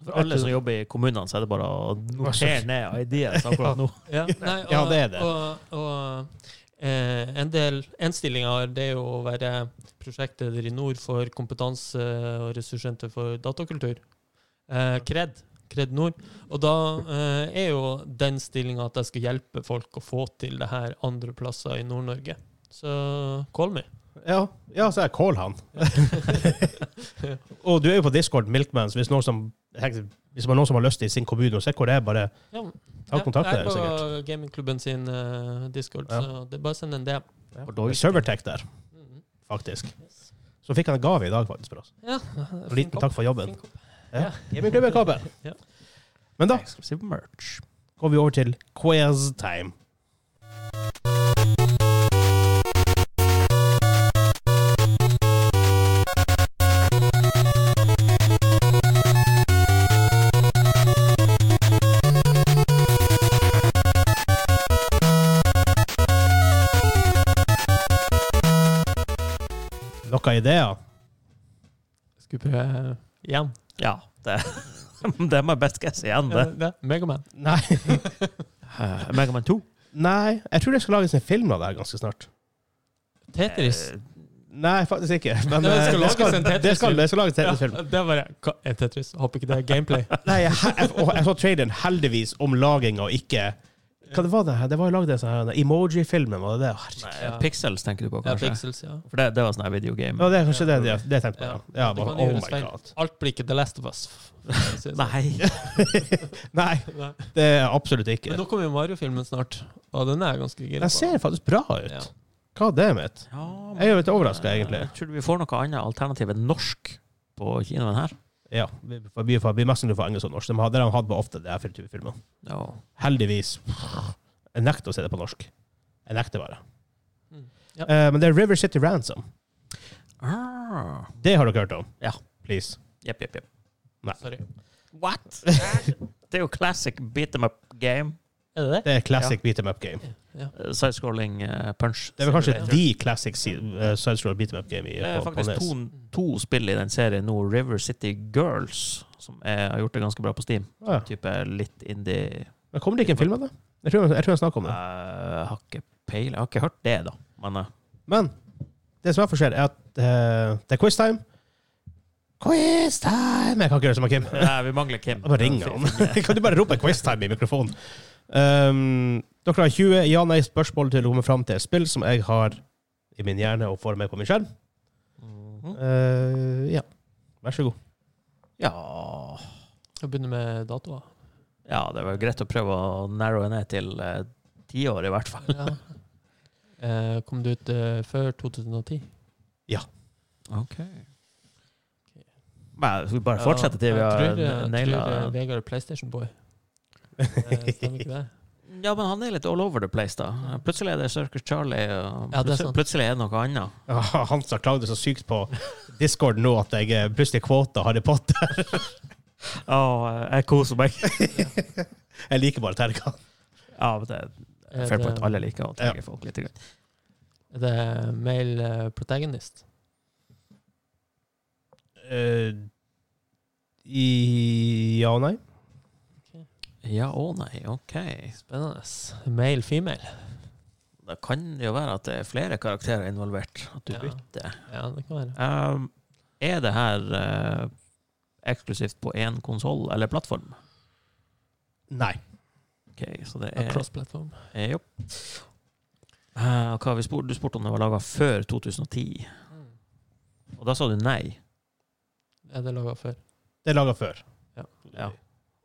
C: For alle som jobber i kommunene, så er det bare å notere ned ideer akkurat nå.
B: Ja, nei, og,
A: Ja, det er det.
B: Og, og eh, en del innstillinger det er jo å være prosjektleder i nord for kompetanse og ressurssenter for datakultur. Eh, KRED. KRED Nord. Og da eh, er jo den stillinga at jeg skal hjelpe folk å få til det her andre plasser i Nord-Norge. Så call me.
A: Ja, ja, så jeg call han. (laughs) og du er jo på Discord, Milkman, så hvis noen som hvis man har noen som har lyst i sin kommune og ser hvor det er, bare
B: Ja,
A: ta kontakt med
B: jeg
A: deg, sikkert.
B: er på gamingklubben sin eh, Discord,
A: Ja.
B: så det er bare å sende en DM.
A: Det er Servertech der,
B: Mhm.
A: faktisk.
B: Yes.
A: Så fikk han en gave i dag, faktisk, for oss.
B: Ja,
A: En liten takk for jobben.
B: Fin kopp.
A: Ja. Gamingklubben-kåpe.
B: Ja.
A: Men da
C: Eksklusiv merch.
A: går vi over til quiz time. Noen ideer?
B: Skal vi prøve igjen?
C: Ja, det, (laughs) det er my best guess igjen, det.
B: det. Megaman.
A: Nei.
C: Uh, Megaman 2.
A: Nei, jeg tror det skal lages en film av det her ganske snart.
B: Tetris.
C: Eh,
A: Nei, faktisk ikke. (laughs) Men
B: Nei, det
A: eh,
B: skal
A: det
B: lages
A: skal, det skal,
B: en Tetris-film.
A: det skal lages en
B: Ja, (laughs)
A: Tetris-film.
B: det var jeg. Hva er Tetris? Håper ikke det er gameplay.
A: Nei, jeg, jeg, og jeg så traileren heldigvis om laging og ikke Hva det var det her? Det var jo lagd en sånn her emoji-filmen, var det det? Herregud.
C: nei,
B: Ja.
C: Pixels tenker du på,
B: Ja,
C: kanskje?
B: pixels, ja.
C: For det, det var sånn her videogame.
A: Ja, det er kanskje det det, det jeg tenkte på. Ja, ja
B: Det
A: bare,
B: kan
A: oh
B: gjøres
A: my
B: feil.
A: god. (laughs)
B: Alt blir ikke The Last of Us. sånn.
C: Nei.
A: Nei,
B: Nei.
A: det er absolutt ikke.
B: Men nå kommer jo Mario-filmen snart, og den er jeg ganske gira
A: Den ser faktisk bra ut.
B: Ja.
A: Hva er det mitt?
C: Ja, men-
A: Jeg er jo litt overrasket, egentlig.
C: Eh, Tror du vi får noe annet alternativ enn norsk på kinoen her?
A: Ja, vi får- vi får- vi er mest sannsynlig for engelsk og norsk. De har, det har de hatt på ofte, det her type filmer.
C: Ja.
A: Heldigvis. Jeg nekter å se det på norsk. Jeg nekter bare.
B: Mm. Ja.
A: Eh, men det er River City Ransom.
C: Ah.
A: Det har dere hørt om?
C: Ja.
A: Please. (laughs)
C: Jepp, jepp, jepp.
B: Sorry.
C: What? det er jo classic beat them up game.
B: Er det det?
A: Det er classic beat em up game.
B: Ja.
C: Eh, Sidescrolling eh, punch.
A: Det er vel kanskje
B: Ja.
A: the classic si- eh, sidescroll beat em up game i,
C: Det er
A: på, på
C: faktisk
A: NES.
C: to, to spill i den serien nå, River City Girls, som er, har gjort det ganske bra på Steam.
A: Ja.
C: Type litt indie
A: Men Kommer det ikke en film av det? Jeg tror jeg, tror jeg snakker om
C: Eh,
A: det.
C: Jeg har ikke peil. Jeg har ikke hørt det, da. Men eh,
A: Men det som er forskjell, er at eh, det er quiztime. Quiztime! Jeg kan ikke gjøre som Kim. Jeg
C: nei, vi mangler Kim.
A: bare ringer han. kan du bare rope quiztime i mikrofonen? Um, dere har 20 ja-nei-spørsmål til å komme fram til et spill som jeg har i min hjerne og får med på min skjerm.
C: Mhm.
A: Eh, ja. Vær så god.
C: Ja
B: Jeg begynner med datoer.
C: Ja, det var greit å prøve å narrowe ned til eh, tiår, i hvert fall.
B: Ja. Eh, kom det ut eh, før 2010?
C: Nei, vi bare fortsetter til vi
B: Jeg tror, eh, tror,
C: har
B: eh,
C: naila
B: Vegard er PlayStation-boy. Eh, Stemmer ikke det?
C: Ja, men han er litt all over the place, da. Plutselig er det Circus Charlie, og
B: Ja, det er
C: plutselig,
B: sant.
C: plutselig er det noe annet.
A: Ah, Hans har klagd så sykt på Discord nå at jeg eh, plutselig kvota Harry Potter.
C: jeg koser meg.
A: (laughs) Jeg liker bare Terga.
C: Ja, men det er
B: Er
C: fair point.
B: det-
C: Alle liker å tagge folk litt. grann.
B: Er det male eh, protagonist?
A: Eh, i Ja og nei.
C: Ja og nei, OK.
B: Spennende. Male female?
C: Da kan det jo være at det er flere karakterer involvert. At du
B: Ja.
C: bytter.
B: Ja, det kan være.
C: Um, er det her eh, eksklusivt på én konsoll eller plattform?
A: Nei.
C: OK, så det
B: Ja,
C: er
B: Cross-platform.
C: Eh, Jo. Eh, og hva har vi spurt? Du spurte om det var laga før 2010, og da sa du nei.
B: Er det laga før?
A: Det er laga (laughs) før.
B: Ja.
C: Ja.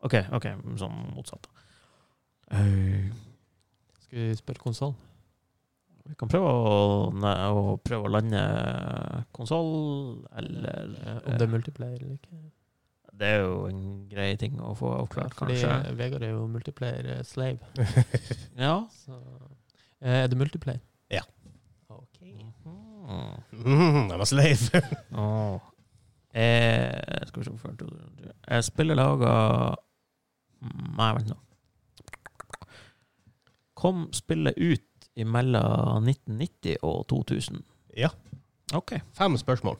C: OK, ok, sånn motsatt. Eh,
B: Skal vi spørre konsoll?
C: vi kan prøve å, nei, å, prøve å lande konsoll, eller
B: Eh,
C: eh,
B: Om det er multiplayer eller ikke?
C: Det er jo en grei ting å få avklart,
B: Fordi
C: kanskje.
B: eh, Vegard er jo multiplayer-slave.
C: Ja.
B: Så Eh, Er det multiplayer?
A: Ja.
B: Ok.
C: Mhm.
A: Mm, jeg var slave.
C: Åh. Eh, skal vi se før du- Jeg spiller laga Nei, vent nå. Kom spillet ut mellom 1990 og 2000?
A: Ja.
C: OK.
A: Fem spørsmål.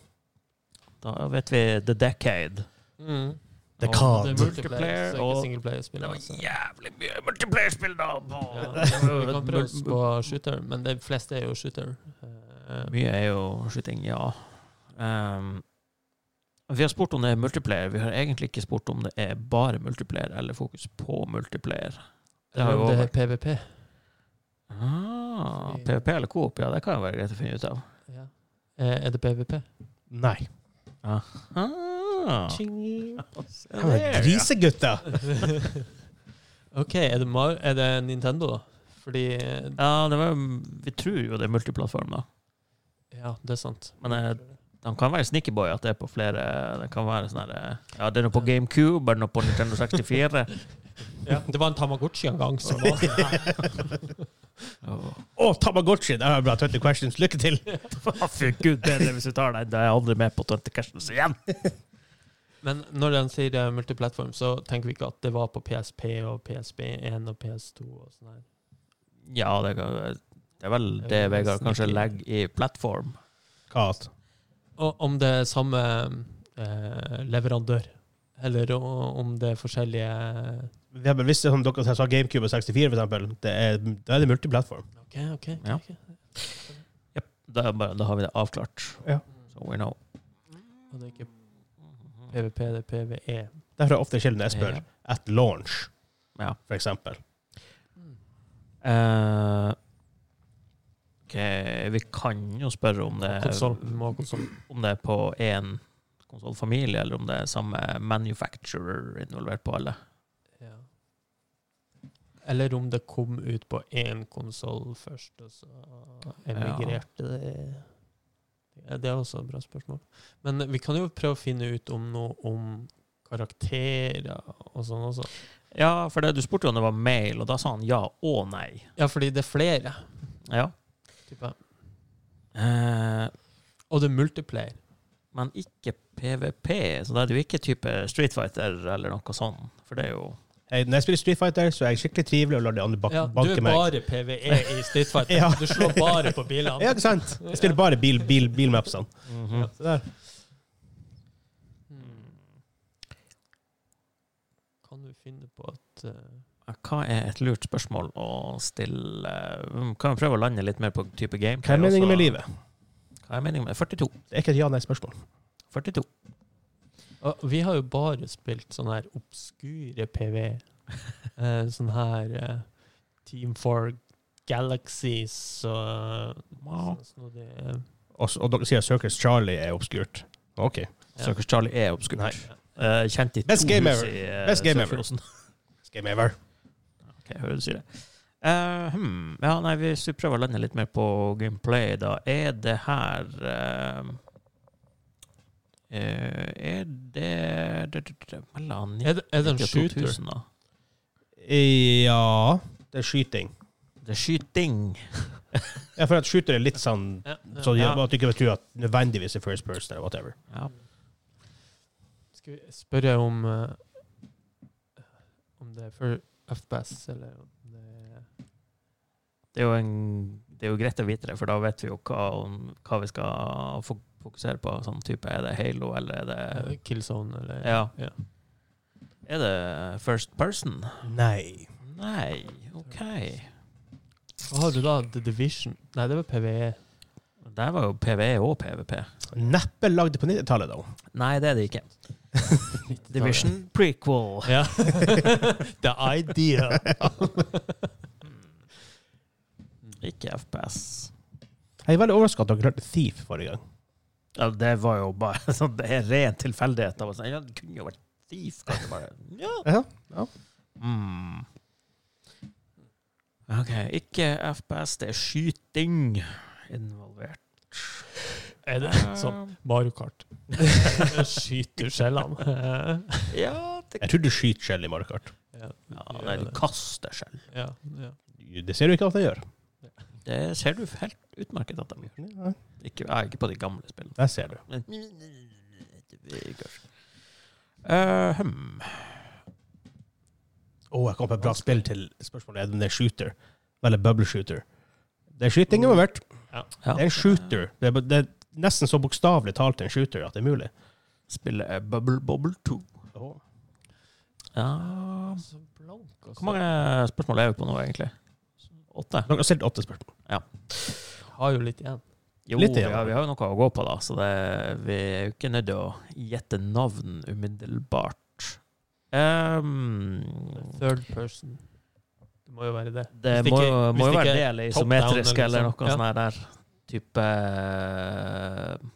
C: Da vet vi the decade.
B: Mm.
A: Det
C: Og
A: kan.
B: Det er
C: Ah, Multiplayer
B: multiplayer, så
C: og-
B: ikke singleplayer-spill.
C: Det var
B: Altså.
C: jævlig mye multiplayerspill, da! (laughs)
B: Ja,
C: På.
B: vi kan prøve oss på shooter, men de fleste er jo shooter. Eh,
C: Mye er jo skyting, ja. Ehm, vi har spurt om det er multiplayer. Vi har egentlig ikke spurt om det er bare multiplayer, eller fokus på multiplayer. Det
B: eller
C: har jo
B: om det er
C: vært-
B: PVP.
C: Ah,
B: Fordi-
C: PVP Ah, eller Coop, ja, det kan jo være greit å finne ut av.
B: Ja. Eh, Er det
C: (laughs)
B: PVP? (laughs)
A: Nei.
C: Ah,
B: Tjing.
A: Jeg var Grisegutter!
B: OK, er det, Mar er det Nintendo, da? Fordi eh,
C: ja, det var, vi tror jo det er multiplattform, da.
B: Ja, det er sant.
C: Men, eh, De kan være sneaky boy at det er på flere Det kan være sånn her eh, Ja, det er noe på GameCube, eller noe på Nintendo 64.
B: Ja, (laughs) det var en Tamagotchi en gang som var
C: (laughs) Å,
A: Å, Tamagotchi! Der har jeg bra 20 questions. Lykke til!
C: Fy gud, det er det hvis du tar den. Da er jeg aldri med på 20 Cashes igjen.
B: (laughs) Men når den sier eh, multiplattform, så tenker vi ikke at det var på PSP og PSB1 og PS2 og sånn her.
C: Ja, det, kan, det er vel det
B: Eh,
C: Vegard kanskje
B: sneaky.
C: legger i plattform.
A: Kat.
B: Og om det er samme eh, leverandør, eller o- om det er forskjellige
A: Ja, men Hvis det, er som dere sa GameCube og 64, for eksempel, det er, da er det multiplattform.
B: OK, OK.
C: Ja.
B: ok.
C: Da, er bare- da har vi det avklart.
A: Ja.
C: So we know.
B: Og det er ikke PVP, det er E. PVE.
A: Derfor er det ofte sjelden jeg spør
C: Ja.
A: at launch,
C: Ja.
A: for eksempel.
C: Eh, ok, vi kan jo spørre om det,
B: Konsoll. Må ha konsoll.
C: om det er på én konsollfamilie, eller om det er samme manufacturer involvert på alle.
B: Ja. Eller om det kom ut på én konsoll først, og så emigrerte det. Ja, det er også et bra spørsmål. Men vi kan jo prøve å finne ut om noe om karakterer og sånn også.
C: Ja, for det, du spurte jo om det var mail, og da sa han ja og nei.
B: Ja, fordi det er flere.
C: Ja.
B: Type.
C: Eh,
B: Og det er multiplayer.
C: men ikke PVP, så da er det jo ikke type Street Fighter eller noe sånn. For det er jo
A: Hey, når jeg spiller Street Fighter, så er jeg skikkelig trivelig og lar de andre bak
B: Ja, du
A: banke
B: er
A: meg.
B: bare PVE i Street Fighter.
A: (laughs) Ja.
B: Du slår bare på bilene.
A: (laughs) Ja, ikke sant? Jeg spiller bare bil, bil, bilmapsene.
C: Ja.
A: Så der.
B: Hmm. Kan du finne på at eh,
C: Hva er et lurt spørsmål å stille? Mm, Kan vi prøve å lande litt mer på type game?
A: Hva er meningen med livet?
C: Hva er meningen med 42.
A: Det er ikke et ja-nei-spørsmål.
C: 42.
B: Og vi har jo bare spilt sånne her obskure
C: (laughs)
B: PV. Eh, sånn her eh, Team for Galaxies og
C: Wow.
B: sånn snodig, eh,
A: Og, så- og dere sier at Circus Charlie er obskurt. OK.
B: Ja.
C: Circus Charlie er obskurt.
A: Nei.
C: Eh, kjent i
A: Best
C: to
A: game
C: hus
A: ever.
C: i eh,
A: Best game ever.
C: Sørfjordsen.
A: Game ever.
C: (laughs) Ok, jeg hører du sier det. Eh, hmm. Ja, nei, hvis vi prøver å lande litt mer på gameplay, da er det her eh, eh, Er det, det, det, det Mellom
B: Er, det, er det en
C: 90 og
B: shooter?
C: 2000, da?
A: Ja Det er skyting.
C: Det er skyting.
A: Ja, for at skyter er litt sånn
B: Ja,
A: Så de,
B: ja.
A: at du ikke betyr at nødvendigvis er first person eller whatever.
C: Ja.
B: Skal vi spørre om eh, om det er for FPS eller om det er
C: Det er, jo en, det er jo greit å vite det, for da vet vi jo hva, om, hva vi skal fok- fokusere på. Sånn type, Er det Halo, eller er
B: eh,
C: det
B: Killzone eller
C: Ja.
B: ja.
C: Er det first person?
A: Nei.
C: Nei, OK.
B: Hva har du da? The Division? Nei, det var E. PVE.
C: Der var jo PVE og PVP.
A: Neppe lagd på 90-tallet, da.
C: Nei, det er det ikke. Division prequel.
B: Ja. (laughs) The idea.
C: Ikke FPS.
A: Jeg er veldig overraska at dere klarte Thief forrige gang.
C: Ja, det var jo bare (laughs) sånn, Det er ren tilfeldighet. Det var sånn, Ja, det kunne jo vært Thief, kanskje. bare. Ja.
A: Ja, ja. (laughs)
C: Mm. OK, ikke FPS. Det er skyting (laughs) involvert.
B: Er det sånn Mario Kart? Skyter (laughs) skjellene.
C: Ja, det
A: Jeg tror du skyter skjell i Mario Kart.
B: ja,
C: ja, Nei, du kaster selv.
B: ja, ja.
A: Det ser du ikke at jeg gjør.
C: Det ser du helt utmerket at de gjør.
A: Nei,
C: Ikke, ja, ikke på de gamle spillene.
A: Der ser du.
C: Men- Eh, hm.
A: Å, jeg kom på et bra spill til spørsmålet. Er det en shooter? Eller bubble shooter? Det er skyting involvert.
C: Ja.
A: Det er en shooter. Det er, det er nesten så bokstavelig talt en shooter at det er mulig.
C: Spillet er Bubble Bobble 2. Ja
B: Så blank, altså.
C: Hvor mange spørsmål er vi på nå, egentlig? Åtte?
A: Dere har stilt åtte spørsmål.
B: Har jo litt igjen.
C: Jo,
A: Litt
C: Litt,
A: igjen.
C: ja, vi har jo noe å gå på, da. Så det, vi er jo ikke nødt til å gjette navn umiddelbart. Ehm,
B: Third person. Det må jo være det.
C: det
B: Hvis
C: må
B: ikke-
C: jo
B: hvis
C: må jo
B: ikke
C: være det, eller
B: top down
C: isometrisk,
B: eller
C: eller
B: noe
C: noe
B: sånt.
C: sånt her der. Type eh,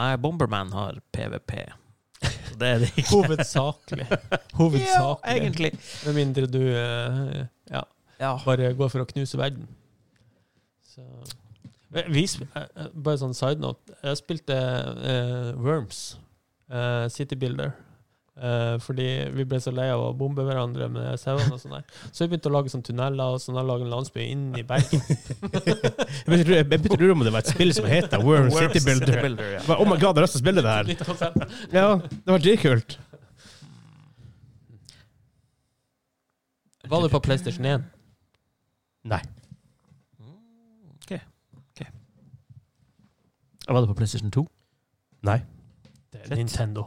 C: Nei, Bomberman har PVP. Så det er det ikke.
B: Hovedsakelig.
C: Ja,
B: (laughs) Hovedsakelig.
C: egentlig.
B: Med mindre du eh, ja,
C: Ja.
B: bare går for å knuse verden. Så. Eh, Vi, sp- eh, eh, bare sånn side note. Jeg spilte eh, Worms, eh, City Builder. Eh, fordi vi ble så lei av å bombe hverandre med sauene og sånn. der. Så vi begynte å lage sånn tunneler og sånn der, lage en landsby inn i bergen.
A: Jeg begynte å lure- jeg begynte å lure om det var et spill som heter Worm City Builder.
C: ja.
A: Bare, oh my god, jeg har lyst til å spille
B: (laughs)
A: det her.
B: Nytt konsept.
A: Ja, det var dritkult.
B: Var det på PlayStation 1?
A: Nei.
C: Ok. ok. Var det på PlayStation 2?
A: Nei.
B: Det
C: Shit.
B: er Nintendo.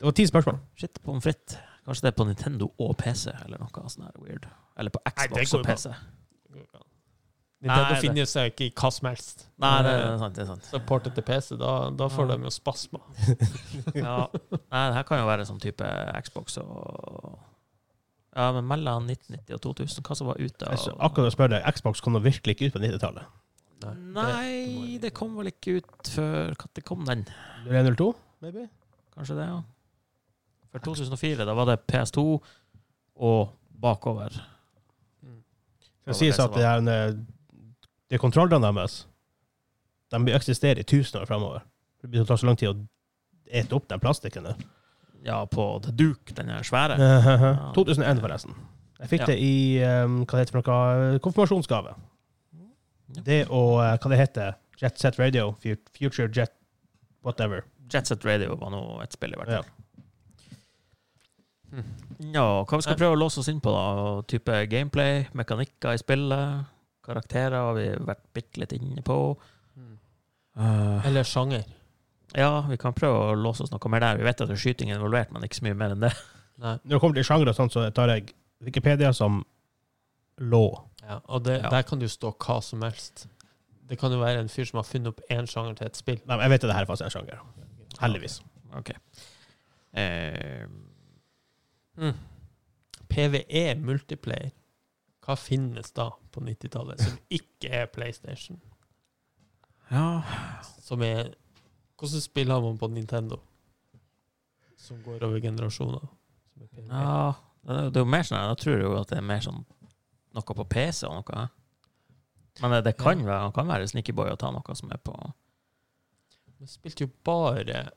A: Det var ti spørsmål.
C: Shit, pommes frites. Kanskje det er på Nintendo og PC, eller noe sånn her weird. Eller på
A: Nei, det
C: Xbox
A: går
C: og
A: jo
C: PC.
B: Nintendo
C: det-
B: finner seg ikke i hva som helst.
C: Nei, det er sant. det er sant.
B: Supportet til PC, da, da får de jo spasmer.
C: Ja. Nei, det her kan jo være sånn type Xbox og Ja, men mellom 1990 og 2000, hva som var ute av
A: Altså, akkurat å spørre deg, Xbox kom da virkelig ikke ut på 90-tallet.
C: Nei, det kom vel ikke ut før Når kom den?
A: 0102, maybe?
C: Kanskje det, ja. For 2004, da var det PS2 og bakover.
A: Det sies at det er en, eh, det er kontrollene deres De vil eksistere i tusen år fremover. Det blir ta så lang tid å ete opp den plastikken der.
C: Ja, på The Duke, den her svære.
A: (laughs) Eh, 2001, forresten. Jeg fikk
C: Ja.
A: det i eh, hva det heter for noe, konfirmasjonsgave.
C: Ja.
A: Det og eh, hva det heter Jet Set Radio, Fu- Future Jet Whatever.
C: Jetset Radio var nå et spill, i hvert fall.
B: Mm.
C: Ja, hva vi skal prøve å låse oss inn på, da? Type gameplay, mekanikker i spillet, karakterer har vi vært bitte litt inne på. Eh,
B: Mm. Eller sjanger.
C: ja, vi kan prøve å låse oss noe mer der. Vi vet at det er skyting involvert, men ikke så mye mer enn det.
B: Nei.
A: Når det kommer til sjanger, og sånt, så tar jeg Wikipedia som lå.
B: Ja, og det,
C: Ja.
B: der kan det jo stå hva som helst. Det kan jo være en fyr som har funnet opp én sjanger til et spill.
A: Nei, men Jeg vet at det her er faktisk en sjanger. Heldigvis.
C: Eh,
B: PVE E multiplayer. Hva finnes da på 90-tallet som ikke er PlayStation?
C: ja,
B: Som er Hvilke spill har man på Nintendo som går over generasjoner? Som er PvE?
C: Ja, det er- det er jo mer sånn her, Da tror jeg jo at det er mer sånn noe på PC og noe. Men det, det kan
B: Ja.
C: være, han kan være sneaky boy og ta noe som er på
B: Man spilte jo bare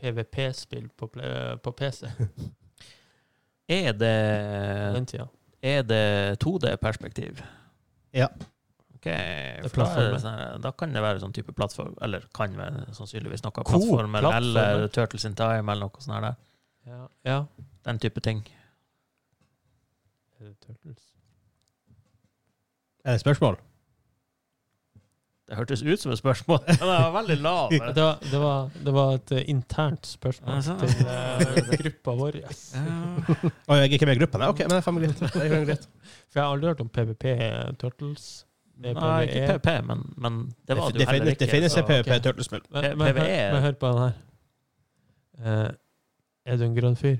B: PVP-spill på, ple- på PC på
C: Er det,
B: den tida.
C: er det 2D-perspektiv?
A: Ja.
C: Ok,
B: er
C: for da, er det
B: plattformer.
C: sånn her, da kan det være sånn type plattform, eller kan være sannsynligvis noe
B: Cool,
C: plattformer, eller
B: plattformer.
C: Turtles in Time, eller noe sånt her. der.
B: Ja. ja.
C: Den type ting.
B: Er det Turtles?
A: Er det et spørsmål?
C: Det hørtes ut som et spørsmål, men det var veldig lav.
B: Ja, Det var, det, var, det var et eh, internt spørsmål
C: Altså.
B: til eh, gruppa vår. ja.
C: Ja.
A: Å, jeg er ikke med i gruppa? Nei, ok, men det er faen meg greit. Det er faen meg greit.
B: For jeg har aldri hørt om PVP Turtles. Det er
C: Nei, ikke
B: PvE.
C: PVP, men, men (laughs) det var det jo
A: fin-
C: heller ikke.
A: det finnes
C: så-
A: et PVP
B: ok.
A: turtlespill.
B: Men,
C: P- E?
B: men, hør,
C: PvE.
B: men hør på den her. Eh, er du en grønn fyr?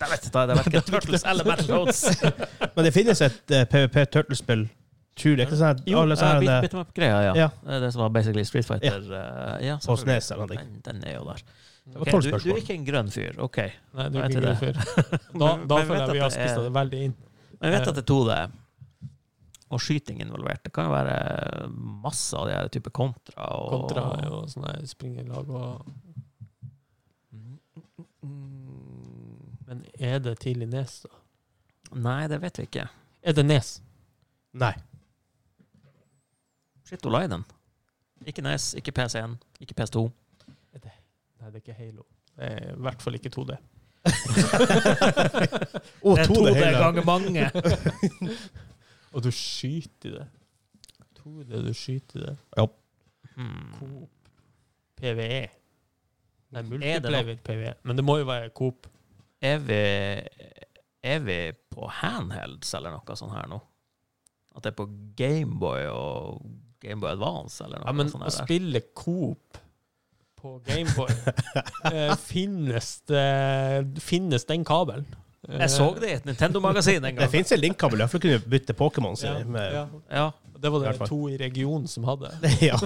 C: Jeg vet ikke, det er verken (laughs) Turtles eller Metal Roads.
A: Men det finnes et eh, PVP turtlespill. Tror det ikke sånn at (laughs)
C: Jo, eh,
A: alle sånne
C: bit,
A: her,
C: bit em up-greia, ja.
A: Ja.
C: Det er det som var basically Street Fighter. eh, ja,
A: på
C: selvfølgelig.
A: Snes eller noe.
C: den, den er jo der.
A: var
C: Ok,
A: tolv
C: du, du
A: spørsmål.
C: er ikke en grønn fyr, OK.
B: Nei, du
C: Jeg
B: er ikke en grønn
C: vet (laughs)
B: fyr. Da,
C: Men-
B: da
C: men
B: føler jeg vi
C: vet at
B: har
C: det er-
B: spist det veldig inn.
C: Men jeg vet at det er 2D og skyting involvert. Det kan jo være masse av de her type kontra og
B: Kontra er jo sånn her springelag og
C: Mhm.
B: Men er det tidlig nes, da?
C: Nei, det vet vi ikke.
B: Er det nes?
A: eh, Nei.
C: Shit, Olainen. Ikke NES, ikke PC1, ikke PS2.
B: Nei, det er ikke Halo. Det er i hvert fall ikke 2D.
A: Og
C: det er
A: 2D
C: 2D
A: hele.
C: ganger mange!
B: (laughs) Og du skyter i det. 2D, du skyter i det.
C: Hmm.
B: Coop PVE. E. Nei,
C: Er det noe-
B: multiplayer PVE. Men det må jo være Coop.
C: Er vi, er vi på handhelds eller noe sånt her nå? At det er på Gameboy og Gameboy Advance eller noe
B: Ja, men
C: sånt
B: å
C: her der?
B: spille Coop på
C: (laughs)
B: Gameboy eh, Finnes det Finnes den kabelen? Eh,
C: Jeg så (laughs) det i et Nintendo-magasin en
A: Det
C: gang.
A: fins en linkkabel, iallfall kunne du bytte Pokémon
B: Ja,
A: sin. med-
B: ja.
C: Ja.
B: Det var
A: I hvert
B: det
A: fall.
B: to i regionen som hadde.
A: (laughs) Ja.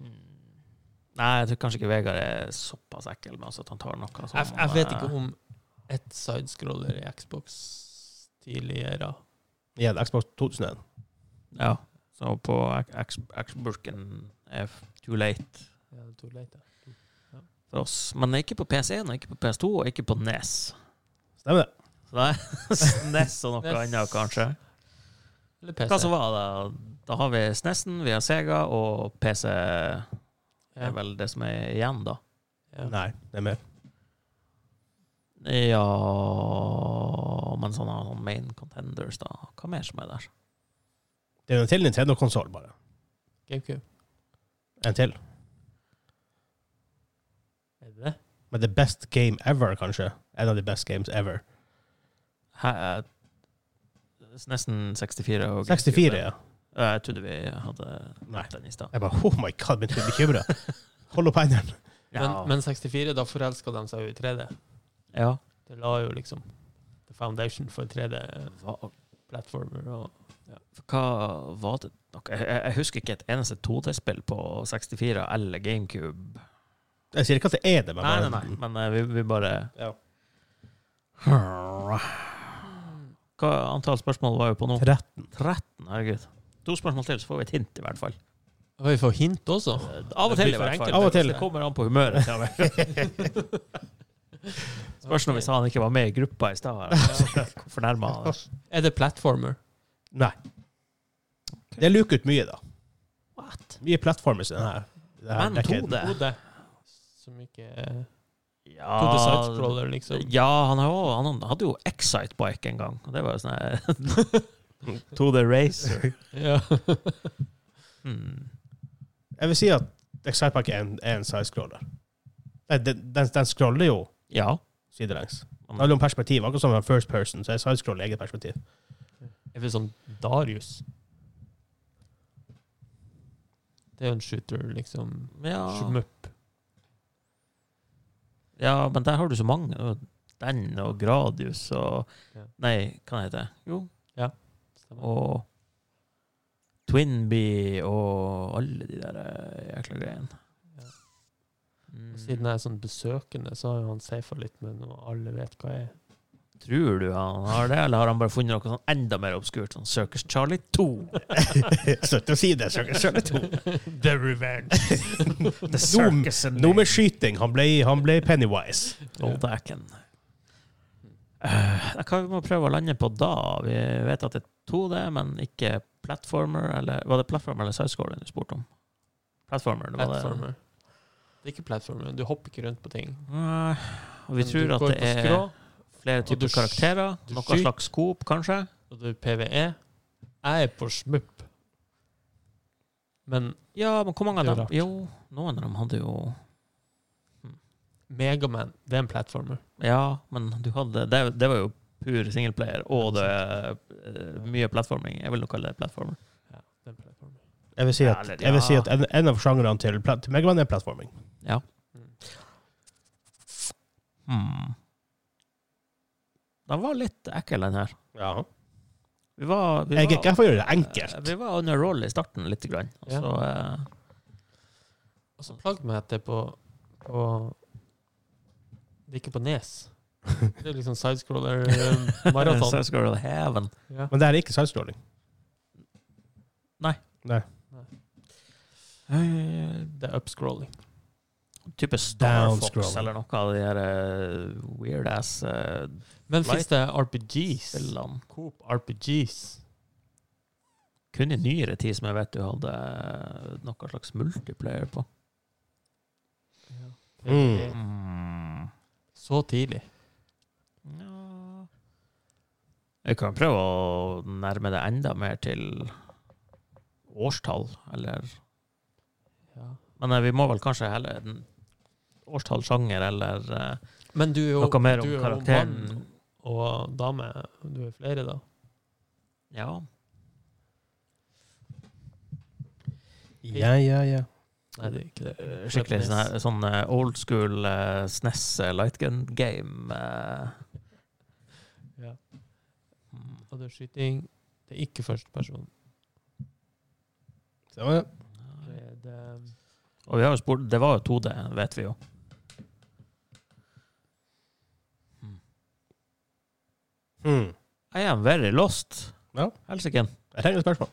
C: Hmm. Nei, jeg tror kanskje ikke Vegard er såpass ekkel med oss at han tar noe sånt.
B: Jeg, jeg vet ikke om et sidescroller i Xbox tidligere
A: Igjen, Xbox 2001.
C: Ja. Så på Xburken er f- too late
B: Ja, det tok leit, ja.
C: for oss. Men ikke på PC1, ikke på PS2 og ikke på NES.
A: Stemmer det.
C: Så det er (laughs) SNES og noe
B: Yes.
C: annet, kanskje.
B: Eller PC.
C: Hva som var det? Da har vi SNES-en, vi har Sega, og PC er
B: Ja,
C: vel det som er igjen, da.
B: ja.
A: Nei, det er mer.
C: Ja Men sånne sånne main contenders, da. Hva mer som er der?
A: Det er en til Nintendo-konsoll, bare.
B: GameCube.
A: En til.
B: Er det det?
A: Men the best game ever, kanskje. En av de best games ever.
C: Hæ? Nesten 64. Og
A: 64, ja.
C: Eh, Jeg trodde vi hadde
A: Nei.
C: den i stad.
A: Jeg bare, oh my god, begynte å bli bekymret. Hold opp hendene.
C: Ja.
B: Men, men 64, da forelska de seg jo i 3D.
C: ja.
B: Det la jo liksom the foundation for 3D
C: Hva,
B: platformer og
C: hva var det nok? Jeg, jeg jeg husker ikke et eneste 2D-spill på 64 eller GameCube.
A: Jeg sier ikke at det er det, men
C: Nei, nei,
A: bare-
C: nei, men eh, vi, vi bare
A: Ja.
C: Hva antall spørsmål var vi på nå?
A: 13.
C: 13, herregud. To spørsmål til, så får vi et hint, i hvert fall.
B: Vi får hint (laughs) også.
C: Eh, Av og til, i hvert fall.
A: Av og til.
C: Det kommer an på humøret. til meg.
A: (laughs)
C: Spørs når vi sa han ikke var med i gruppa i stad. her. Fornærma han.
B: Er det platformer?
A: Nei. Det luker ut mye, da.
C: What?
A: Mye plattformer i denne her. i denne
C: Men
A: dekken.
C: 2D?
B: Hode. Som ikke er
C: Ja,
B: Hode sidescroller, liksom.
C: ja han, har jo- han hadde jo Excitebike en gang. Og det var jo sånn her- (laughs) 2D Racer.
B: Ja.
C: Hmm.
A: Jeg vil si at Excitepack er en, er en sidescroller. Nei, Den, den, den scroller jo
C: Ja.
A: sidelengs. Det handler om perspektiv. Akkurat som en first person, så er sidescroll eget perspektiv. (laughs)
B: Er vi sånn Darius? Det er jo en shooter, liksom.
C: ja.
B: Shmup.
C: Ja, men der har du så mange. og Den og Gradius og
B: Ja.
C: Nei, hva heter det? Jo.
B: Stemmer.
C: Og Twinbee og alle de der eh, jækla greiene.
B: Ja.
C: Mm.
B: Siden jeg er sånn besøkende, så har jo han safa litt med noe alle vet hva er.
C: Tror du han har det, eller har han bare funnet noe sånn enda mer obskurt? Sånn Circus Charlie 2,
A: Slutt å si det. Circus Circus (laughs) 2.
B: The Revenge.
C: (laughs)
A: (laughs)
C: The Circus and
A: Noe med skyting. Han ble, han ble Pennywise.
C: Goldacken. Eh, Hva vi må prøve å lande på da? Vi vet at det er 2D, men ikke platformer, eller Var det platformer eller sidescoring du spurte om? Platformer. Det var det.
B: Platformer. Det er ikke platformer. Du hopper ikke rundt på ting.
C: Nei, og vi
B: Men
C: tror
B: du
C: at
B: går
C: det
B: på
C: er
B: skrå,
C: flere
B: du
C: typer
B: sk-
C: karakterer.
B: du
C: Noe
B: skyter.
C: slags coop, kanskje.
B: og det er PVE. Jeg er på smupp. Men
C: Ja, men hvor mange
B: Det er
C: av dem? Jo,
B: jo
C: noen av dem hadde jo
B: Megaman, det er en platformer.
C: Ja, men du hadde Det, det var jo pur singleplayer, og det er eh, mye plattforming. Jeg vil nok kalle det plattformer.
B: Ja, det er en platformer.
A: Jeg vil si at, jeg vil si at en, en av sjangrene til, pla- til Megaman er plattforming.
C: Hmm. Den var litt ekkel, den her.
A: Ja.
C: Vi var, vi
A: Jeg, jeg,
C: var,
A: jeg får gjøre det
C: eh,
A: enkelt.
C: Vi var under roll i starten, lite grann. Og
B: Ja.
C: så eh,
B: Og så plagg meg at det er på, på Det er ikke på Nes.
C: (laughs)
B: Det er liksom sidescroller eh, maraton.
C: Så skal du heve den.
B: Ja.
A: Men det her er ikke sidescrolling.
B: Det er upscrolling.
C: type Star Fox
A: Downscroll.
C: eller noe av de her eh, weird-ass eh,
B: Men fins det RPGs?
C: spillene.
B: Coop RPGs.
C: Kun i nyere tid som jeg vet du hadde eh, noe slags multiplayer på.
A: Mm.
C: Mm.
B: Så tidlig.
C: Ja. Jeg kan prøve å nærme det enda mer til årstall, eller
B: Ja.
C: Men eh, vi må vel kanskje heller en årstall, sjanger eller eh,
B: Men du er jo,
C: noe mer
B: du
C: om
B: er jo
C: karakteren.
B: mann og dame. Du er flere, da.
C: Ja.
A: Ja, ja, ja.
B: Nei, det er ikke det.
C: Eh, Skikkelig sånn, her, sånn eh, old school eh, SNES eh, light gun game. eh.
B: Ja.
C: Mm.
B: Og det er skyting. Det er ikke førsteperson.
A: Så, ja.
B: Det er det-
C: Og vi har jo spurt, det var jo 2D, vet vi jo.
A: Hmm.
C: I am very lost.
A: Ja.
C: Helsike.
A: Jeg trenger Hmm. et spørsmål.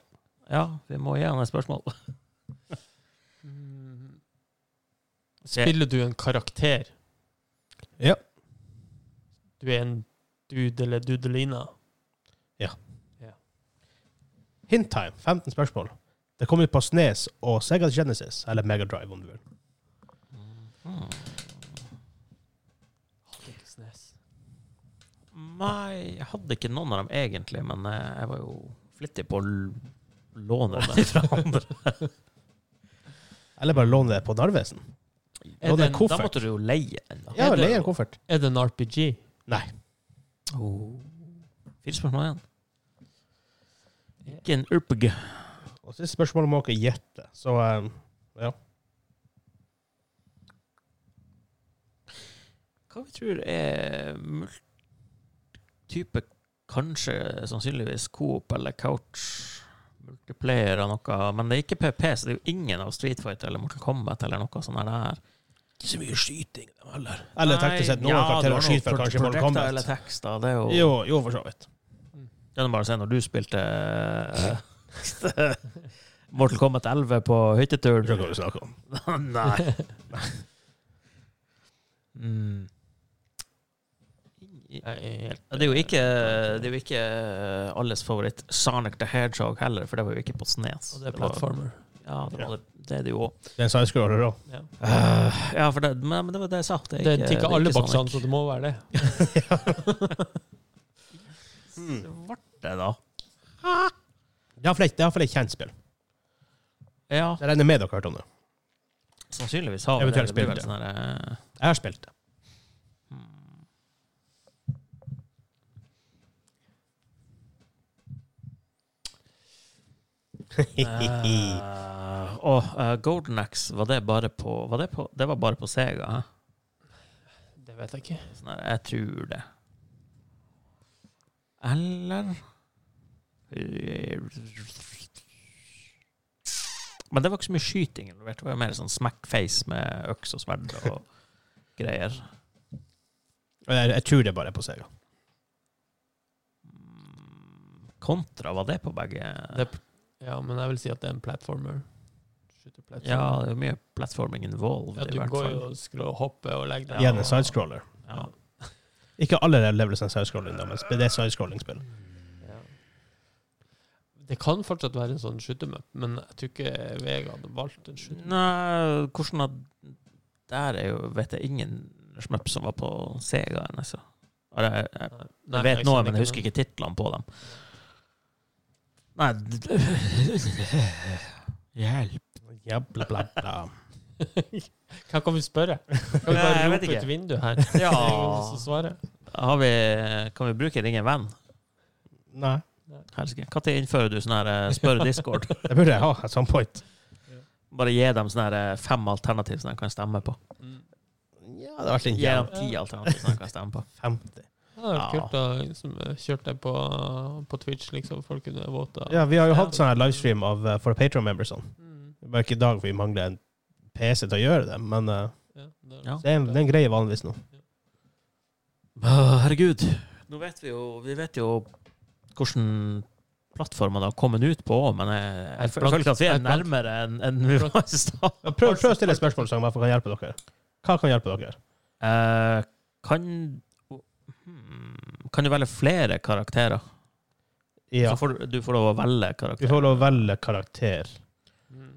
C: Ja, vi må gi han et spørsmål. (laughs)
B: Mm. Spiller du en karakter?
A: Ja.
B: Du er en dude eller dudelina?
A: Hint time. 15 spørsmål. Det kom ut på Snes og Sega Genesis, eller Megadrive, om du vil.
C: Mm.
B: Snes.
C: Nei, jeg hadde ikke noen av dem egentlig, men eh, jeg var jo flittig på å l- låne dem
A: (laughs)
C: fra andre.
A: Eller bare låne det på Narvesen.
B: Er
A: Låne en
B: det en-
C: Da
A: koffert.
C: måtte du jo leie den. da.
A: Ja,
B: Er det-
A: leie en koffert.
B: Er det en RPG?
C: Oh. Fire spørsmål igjen. Ikke en RPG.
A: Og siste spørsmål må dere gjette. Så eh,
C: Hva vi tror er mul- type kanskje, sannsynligvis Coop eller Couch multiplayer og noe, men det er ikke PP, så det er jo ingen av Street Fighter eller Mortal Kombat eller noe sånt der. der.
A: Ikke så mye skyting, heller. Eller teknisk sett, noen
C: Nei, ja, du
A: karakterer
C: har
A: skyter
C: noen
A: vel kanskje i Mortal
C: projectile Eller
A: Kombat.
C: tekster, det er jo...
A: Jo, jo, for så vidt.
C: Det er bare å se når du spilte eh, (laughs) Mortal Kombat 11 på
A: Jeg skjønner
C: hytteturen.
A: hva du snakker om.
C: (laughs)
A: (laughs)
C: Nei. Mm. Ja,
B: Jeg er helt-
C: Det er, jo ikke, det er jo ikke eh, alles favoritt Sonic the Hedgehog heller, for det var jo ikke på Snes.
B: Og det er
C: var-
B: platformer.
C: Ja, det, var, det- det er det jo òg.
A: Det er en sidescroller òg.
B: Ja.
C: ja, for det, men, men det var det jeg sa. Det
B: Eh. Det er ikke alle
C: Sonic.
B: boksene, så det må være det.
A: Hmm.
C: Så ble det, da.
A: Det er iallfall et kjent spill.
C: Ja,
A: Jeg regner med dere har hørt om det.
C: sannsynligvis har vi det.
A: Eventuelt
C: Det blir vel
A: spilte.
C: sånn her, eh,
A: Jeg har spilt det.
B: (laughs)
C: Eh, og hmm. eh, Golden Axe, var det bare på Var det på, det var bare på Sega? hæ?
B: Det vet jeg ikke.
C: Sånn her, jeg tror det. Eller Men det var ikke så mye skyting involvert. Det var mer sånn smackface med øks og sverd og (laughs) greier.
A: Jeg, jeg tror det bare er på Sega.
C: Kontra, var det på begge?
B: Det er, ja, men jeg vil si at det er en platformer. Shooter platformer.
C: ja, det er mye platforming involved,
B: Ja,
C: i
B: du
C: hvert
B: går
C: fall.
B: jo og skrå, hopper og legger deg.
A: Igjen en sidescroller.
C: Ja.
A: Ikke alle de levels en sidescrolling, da, men det er sidescrolling-spill.
B: Ja. Det kan fortsatt være en sånn skyttermøpp, men jeg tror ikke Vega hadde valgt en skyttermøpp.
C: Nei, hvordan at Der er jo, vet jeg, ingen smup som var på Segaen, altså. eh, Og det, jeg,
B: Nei,
C: jeg vet noe, men jeg husker ikke titlene på dem. Nei (laughs) d- Hjelp.
A: Ja, bla, bla, bla.
B: Hva (laughs) kan vi spørre? Kan vi
C: Nei,
B: bare
C: (laughs) jeg vet
B: rope
C: ikke.
B: ut vinduet her? Det
C: Ja.
B: er ingen som svarer.
C: Har vi, kan vi bruke Ring en venn?
A: Nei,
C: Helsike. Når innfører du sånn her eh, spør (laughs) Discord?
A: det burde jeg ha at some point.
C: Bare gi dem sånn her eh, fem alternativ som de kan stemme på.
B: Mm.
A: Ja, det har vært en
C: Gi dem
A: jævla
C: ti alternativ som de kan (laughs) stemme på.
A: 50.
B: Ja, Det
C: Ja.
B: var kult å liksom, kjøre det på, på Twitch, liksom. Folk kunne våte.
A: Ja, vi har jo hatt sånn her livestream av, eh, for Patron-membersene.
B: Mm.
A: Bare ikke i dag, for vi mangler en PC til å gjøre det, men eh,
B: Ja, det er-
C: Ja.
A: det, er en, det er en greie vanligvis nå.
C: Å, Herregud. Nå vet vi jo Vi vet jo hvordan plattformen har kommet ut på, men jeg, jeg
B: blank-
C: føler ikke at vi er
B: jeg blank-
C: nærmere enn enn vi var i stad.
A: Ja, Prøv, prøv å stille et spørsmål som i hvert fall kan hjelpe dere. Hva kan hjelpe dere?
C: Eh, Kan hmm, Kan du velge flere karakterer?
A: Ja,
C: Så får, du- du får lov å velge
A: vi
C: karakterer.
A: får lov å velge karakter.
B: Mm.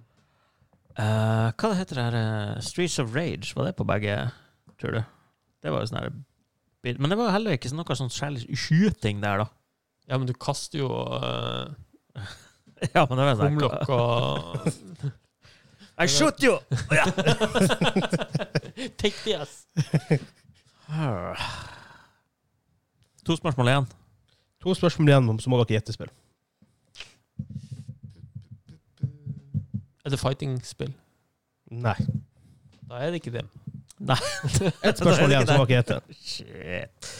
C: Eh, hva heter det her eh, Streets of Rage? Var det på begge, tror du? Det var jo sånn her bit- Men det var jo heller ikke sånn noe sånn særlig skyting der, da.
B: ja, men du kaster jo eh,
C: (laughs) Ja, men det var sånn
B: kumlokk og
C: I shoot (sighs) you! (laughs) Ja.
B: (laughs) Take the ass!
C: To spørsmål igjen.
A: To spørsmål igjen, så må dere gjette spill.
B: Er det fighting-spill?
A: Nei.
B: Da er det ikke det.
A: Et spørsmål
C: (laughs)
A: igjen, så må dere gjette.
C: Shit.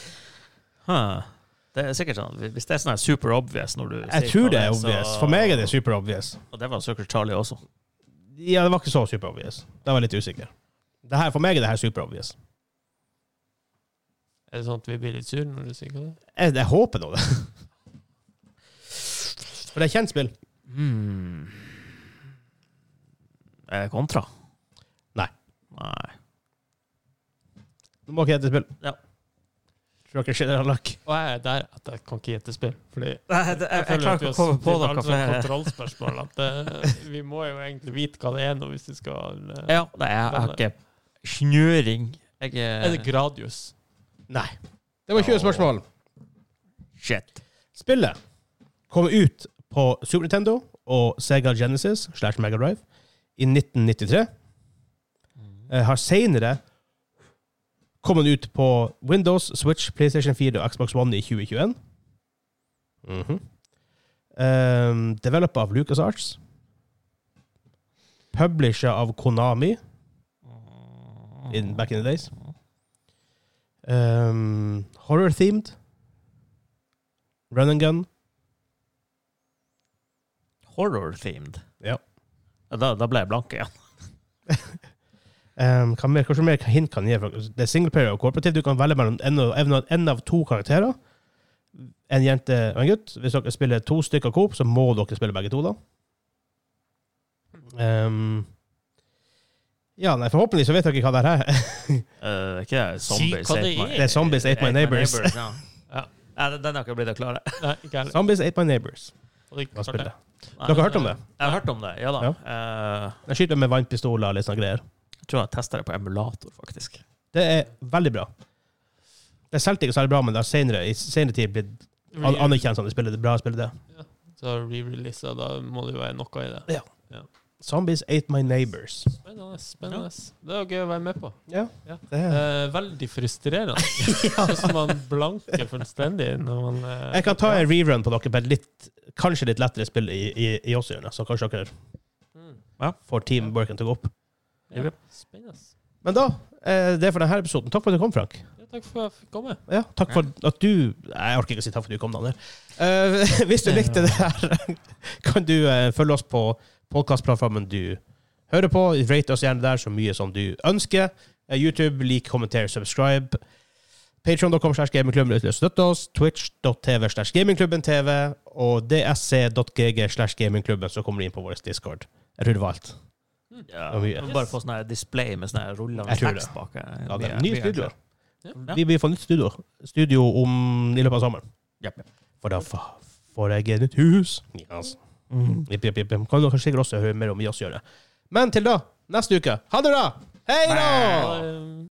C: Huh. Det er sikkert sånn, Hvis det er sånn her super obvious når du
A: Jeg
C: sier
A: tror
C: hva
A: det er
C: så-
A: obvious. For meg er det super obvious.
C: Og det var Sucker Charlie også.
A: Ja, det var ikke så super obvious. Da var jeg litt usikker. Det her, for meg er det her super obvious.
B: Er det sånn at vi blir litt sur når du sier hva det er?
A: Jeg, jeg håper nå det. For det er kjent spill.
C: Hmm. Er det kontra?
A: Nei.
C: Nei.
A: Det må ikke hete spill.
C: Ja.
A: Tror dere generell lakk.
B: Og jeg er der at jeg kan ikke gjette spill. Fordi
C: Nei, det- jeg- jeg klarer ikke å komme på noe flere.
B: kontrollspørsmål. At eh, vi må jo egentlig vite hva det er nå, hvis vi skal eh,
C: Ja, nei, jeg har ikke snøring. Jeg
B: Er det
C: er
B: Gradius?
A: Nei. Det var 20 spørsmål.
C: Shit.
A: Spillet kom ut på Super Nintendo og Sega Genesis slash Mega Drive i 1993. Eh, Har senere kommet ut på Windows, Switch, PlayStation 4 og Xbox One i 2021. Mhm. Ehm, Developa av LucasArts. Publisher av Konami in, back in the days. Ehm, Horror-themed. Run and gun.
C: Horror-themed.
A: Ja.
C: Da, da ble jeg blank igjen.
A: Um, hva mer, kanskje mer hint kan jeg gi? for- Det er singleplayer og cooperativ. Du kan velge mellom en, og- en, og- en av to karakterer. En jente og en gutt. Hvis dere spiller to stykker coop, så må dere spille begge to, da. Um, ja, nei, forhåpentlig så vet dere hva det her er. (laughs)
C: Eh, ikke det, Zombies
B: hva det
C: Ate My-
A: Det er Zombies Ate My Neighbors.
C: ja.
B: (laughs) Ja.
C: Nei, den- den har ikke blitt å klare.
B: Nei, ikke heller.
A: Zombies Ate My Neighbors.
B: Hadde ikke
A: Hva
B: klart det.
A: spiller Dere har hørt om det?
C: Jeg har hørt om det, ja da.
A: Ja.
C: Eh,
A: De skyter med vannpistoler og litt sånne greier.
C: jeg tror jeg testa det på emulator, faktisk.
A: Det er veldig bra. Det solgte ikke særlig bra, men det har senere, i senere tid blitt an- anerkjent som det spillet. Det er bra å spille det.
B: Så re-releasa, da må det jo være noe i det.
A: Zombies Ate My Neighbors.
B: Spennende. spennende. Det var gøy å være med på.
A: Ja.
B: Ja.
A: Det er.
B: Eh, veldig frustrerende. Sånn som man blanker fullstendig når man eh,
A: Jeg kan ta en rerun på dere på et litt, kanskje litt lettere spill i, i, i oss hjørnet, så kanskje dere
B: Mm.
A: får teamworken til å gå opp.
B: Ja, spennende.
A: Men da, eh, det er for denne episoden. Takk for at du kom, Frank.
B: Ja, takk for at jeg fikk komme.
A: Ja, takk for at du Nei, Jeg orker ikke å si takk for at du kom, Daniel. Eh, (laughs) hvis du likte det her, (laughs) kan du eh, følge oss på podkastplattformen du hører på. Rate oss gjerne der så mye som du ønsker. Eh, YouTube, lik, kommenter, subscribe. Patreon.com slash gamingklubben hvis du vil støtte oss. Twitch.tv slash gamingklubben TV. Og dsc.gg slash gamingklubben, så kommer du inn på vår Discord. Jeg tror det var alt. Det
C: Ja.
A: var mye.
C: Yes. Bare få sånn her display med sånn her rullende
A: Jeg tror det.
C: tekst bak. eh,
A: Ja, det
C: mye-
A: er nye
C: mye
A: studioer.
B: Ja.
A: Vi vil få nytt studio, studio om, i løpet av sommeren.
C: enklere. Japp.
A: For da fa- får jeg et nytt hus. Yes.
C: Mm.
A: Jip, jip, jip. Kan dere sikkert også høre mer om vi også gjør det. Men til da, neste uke. Ha det bra! Hei da!
B: Ha det.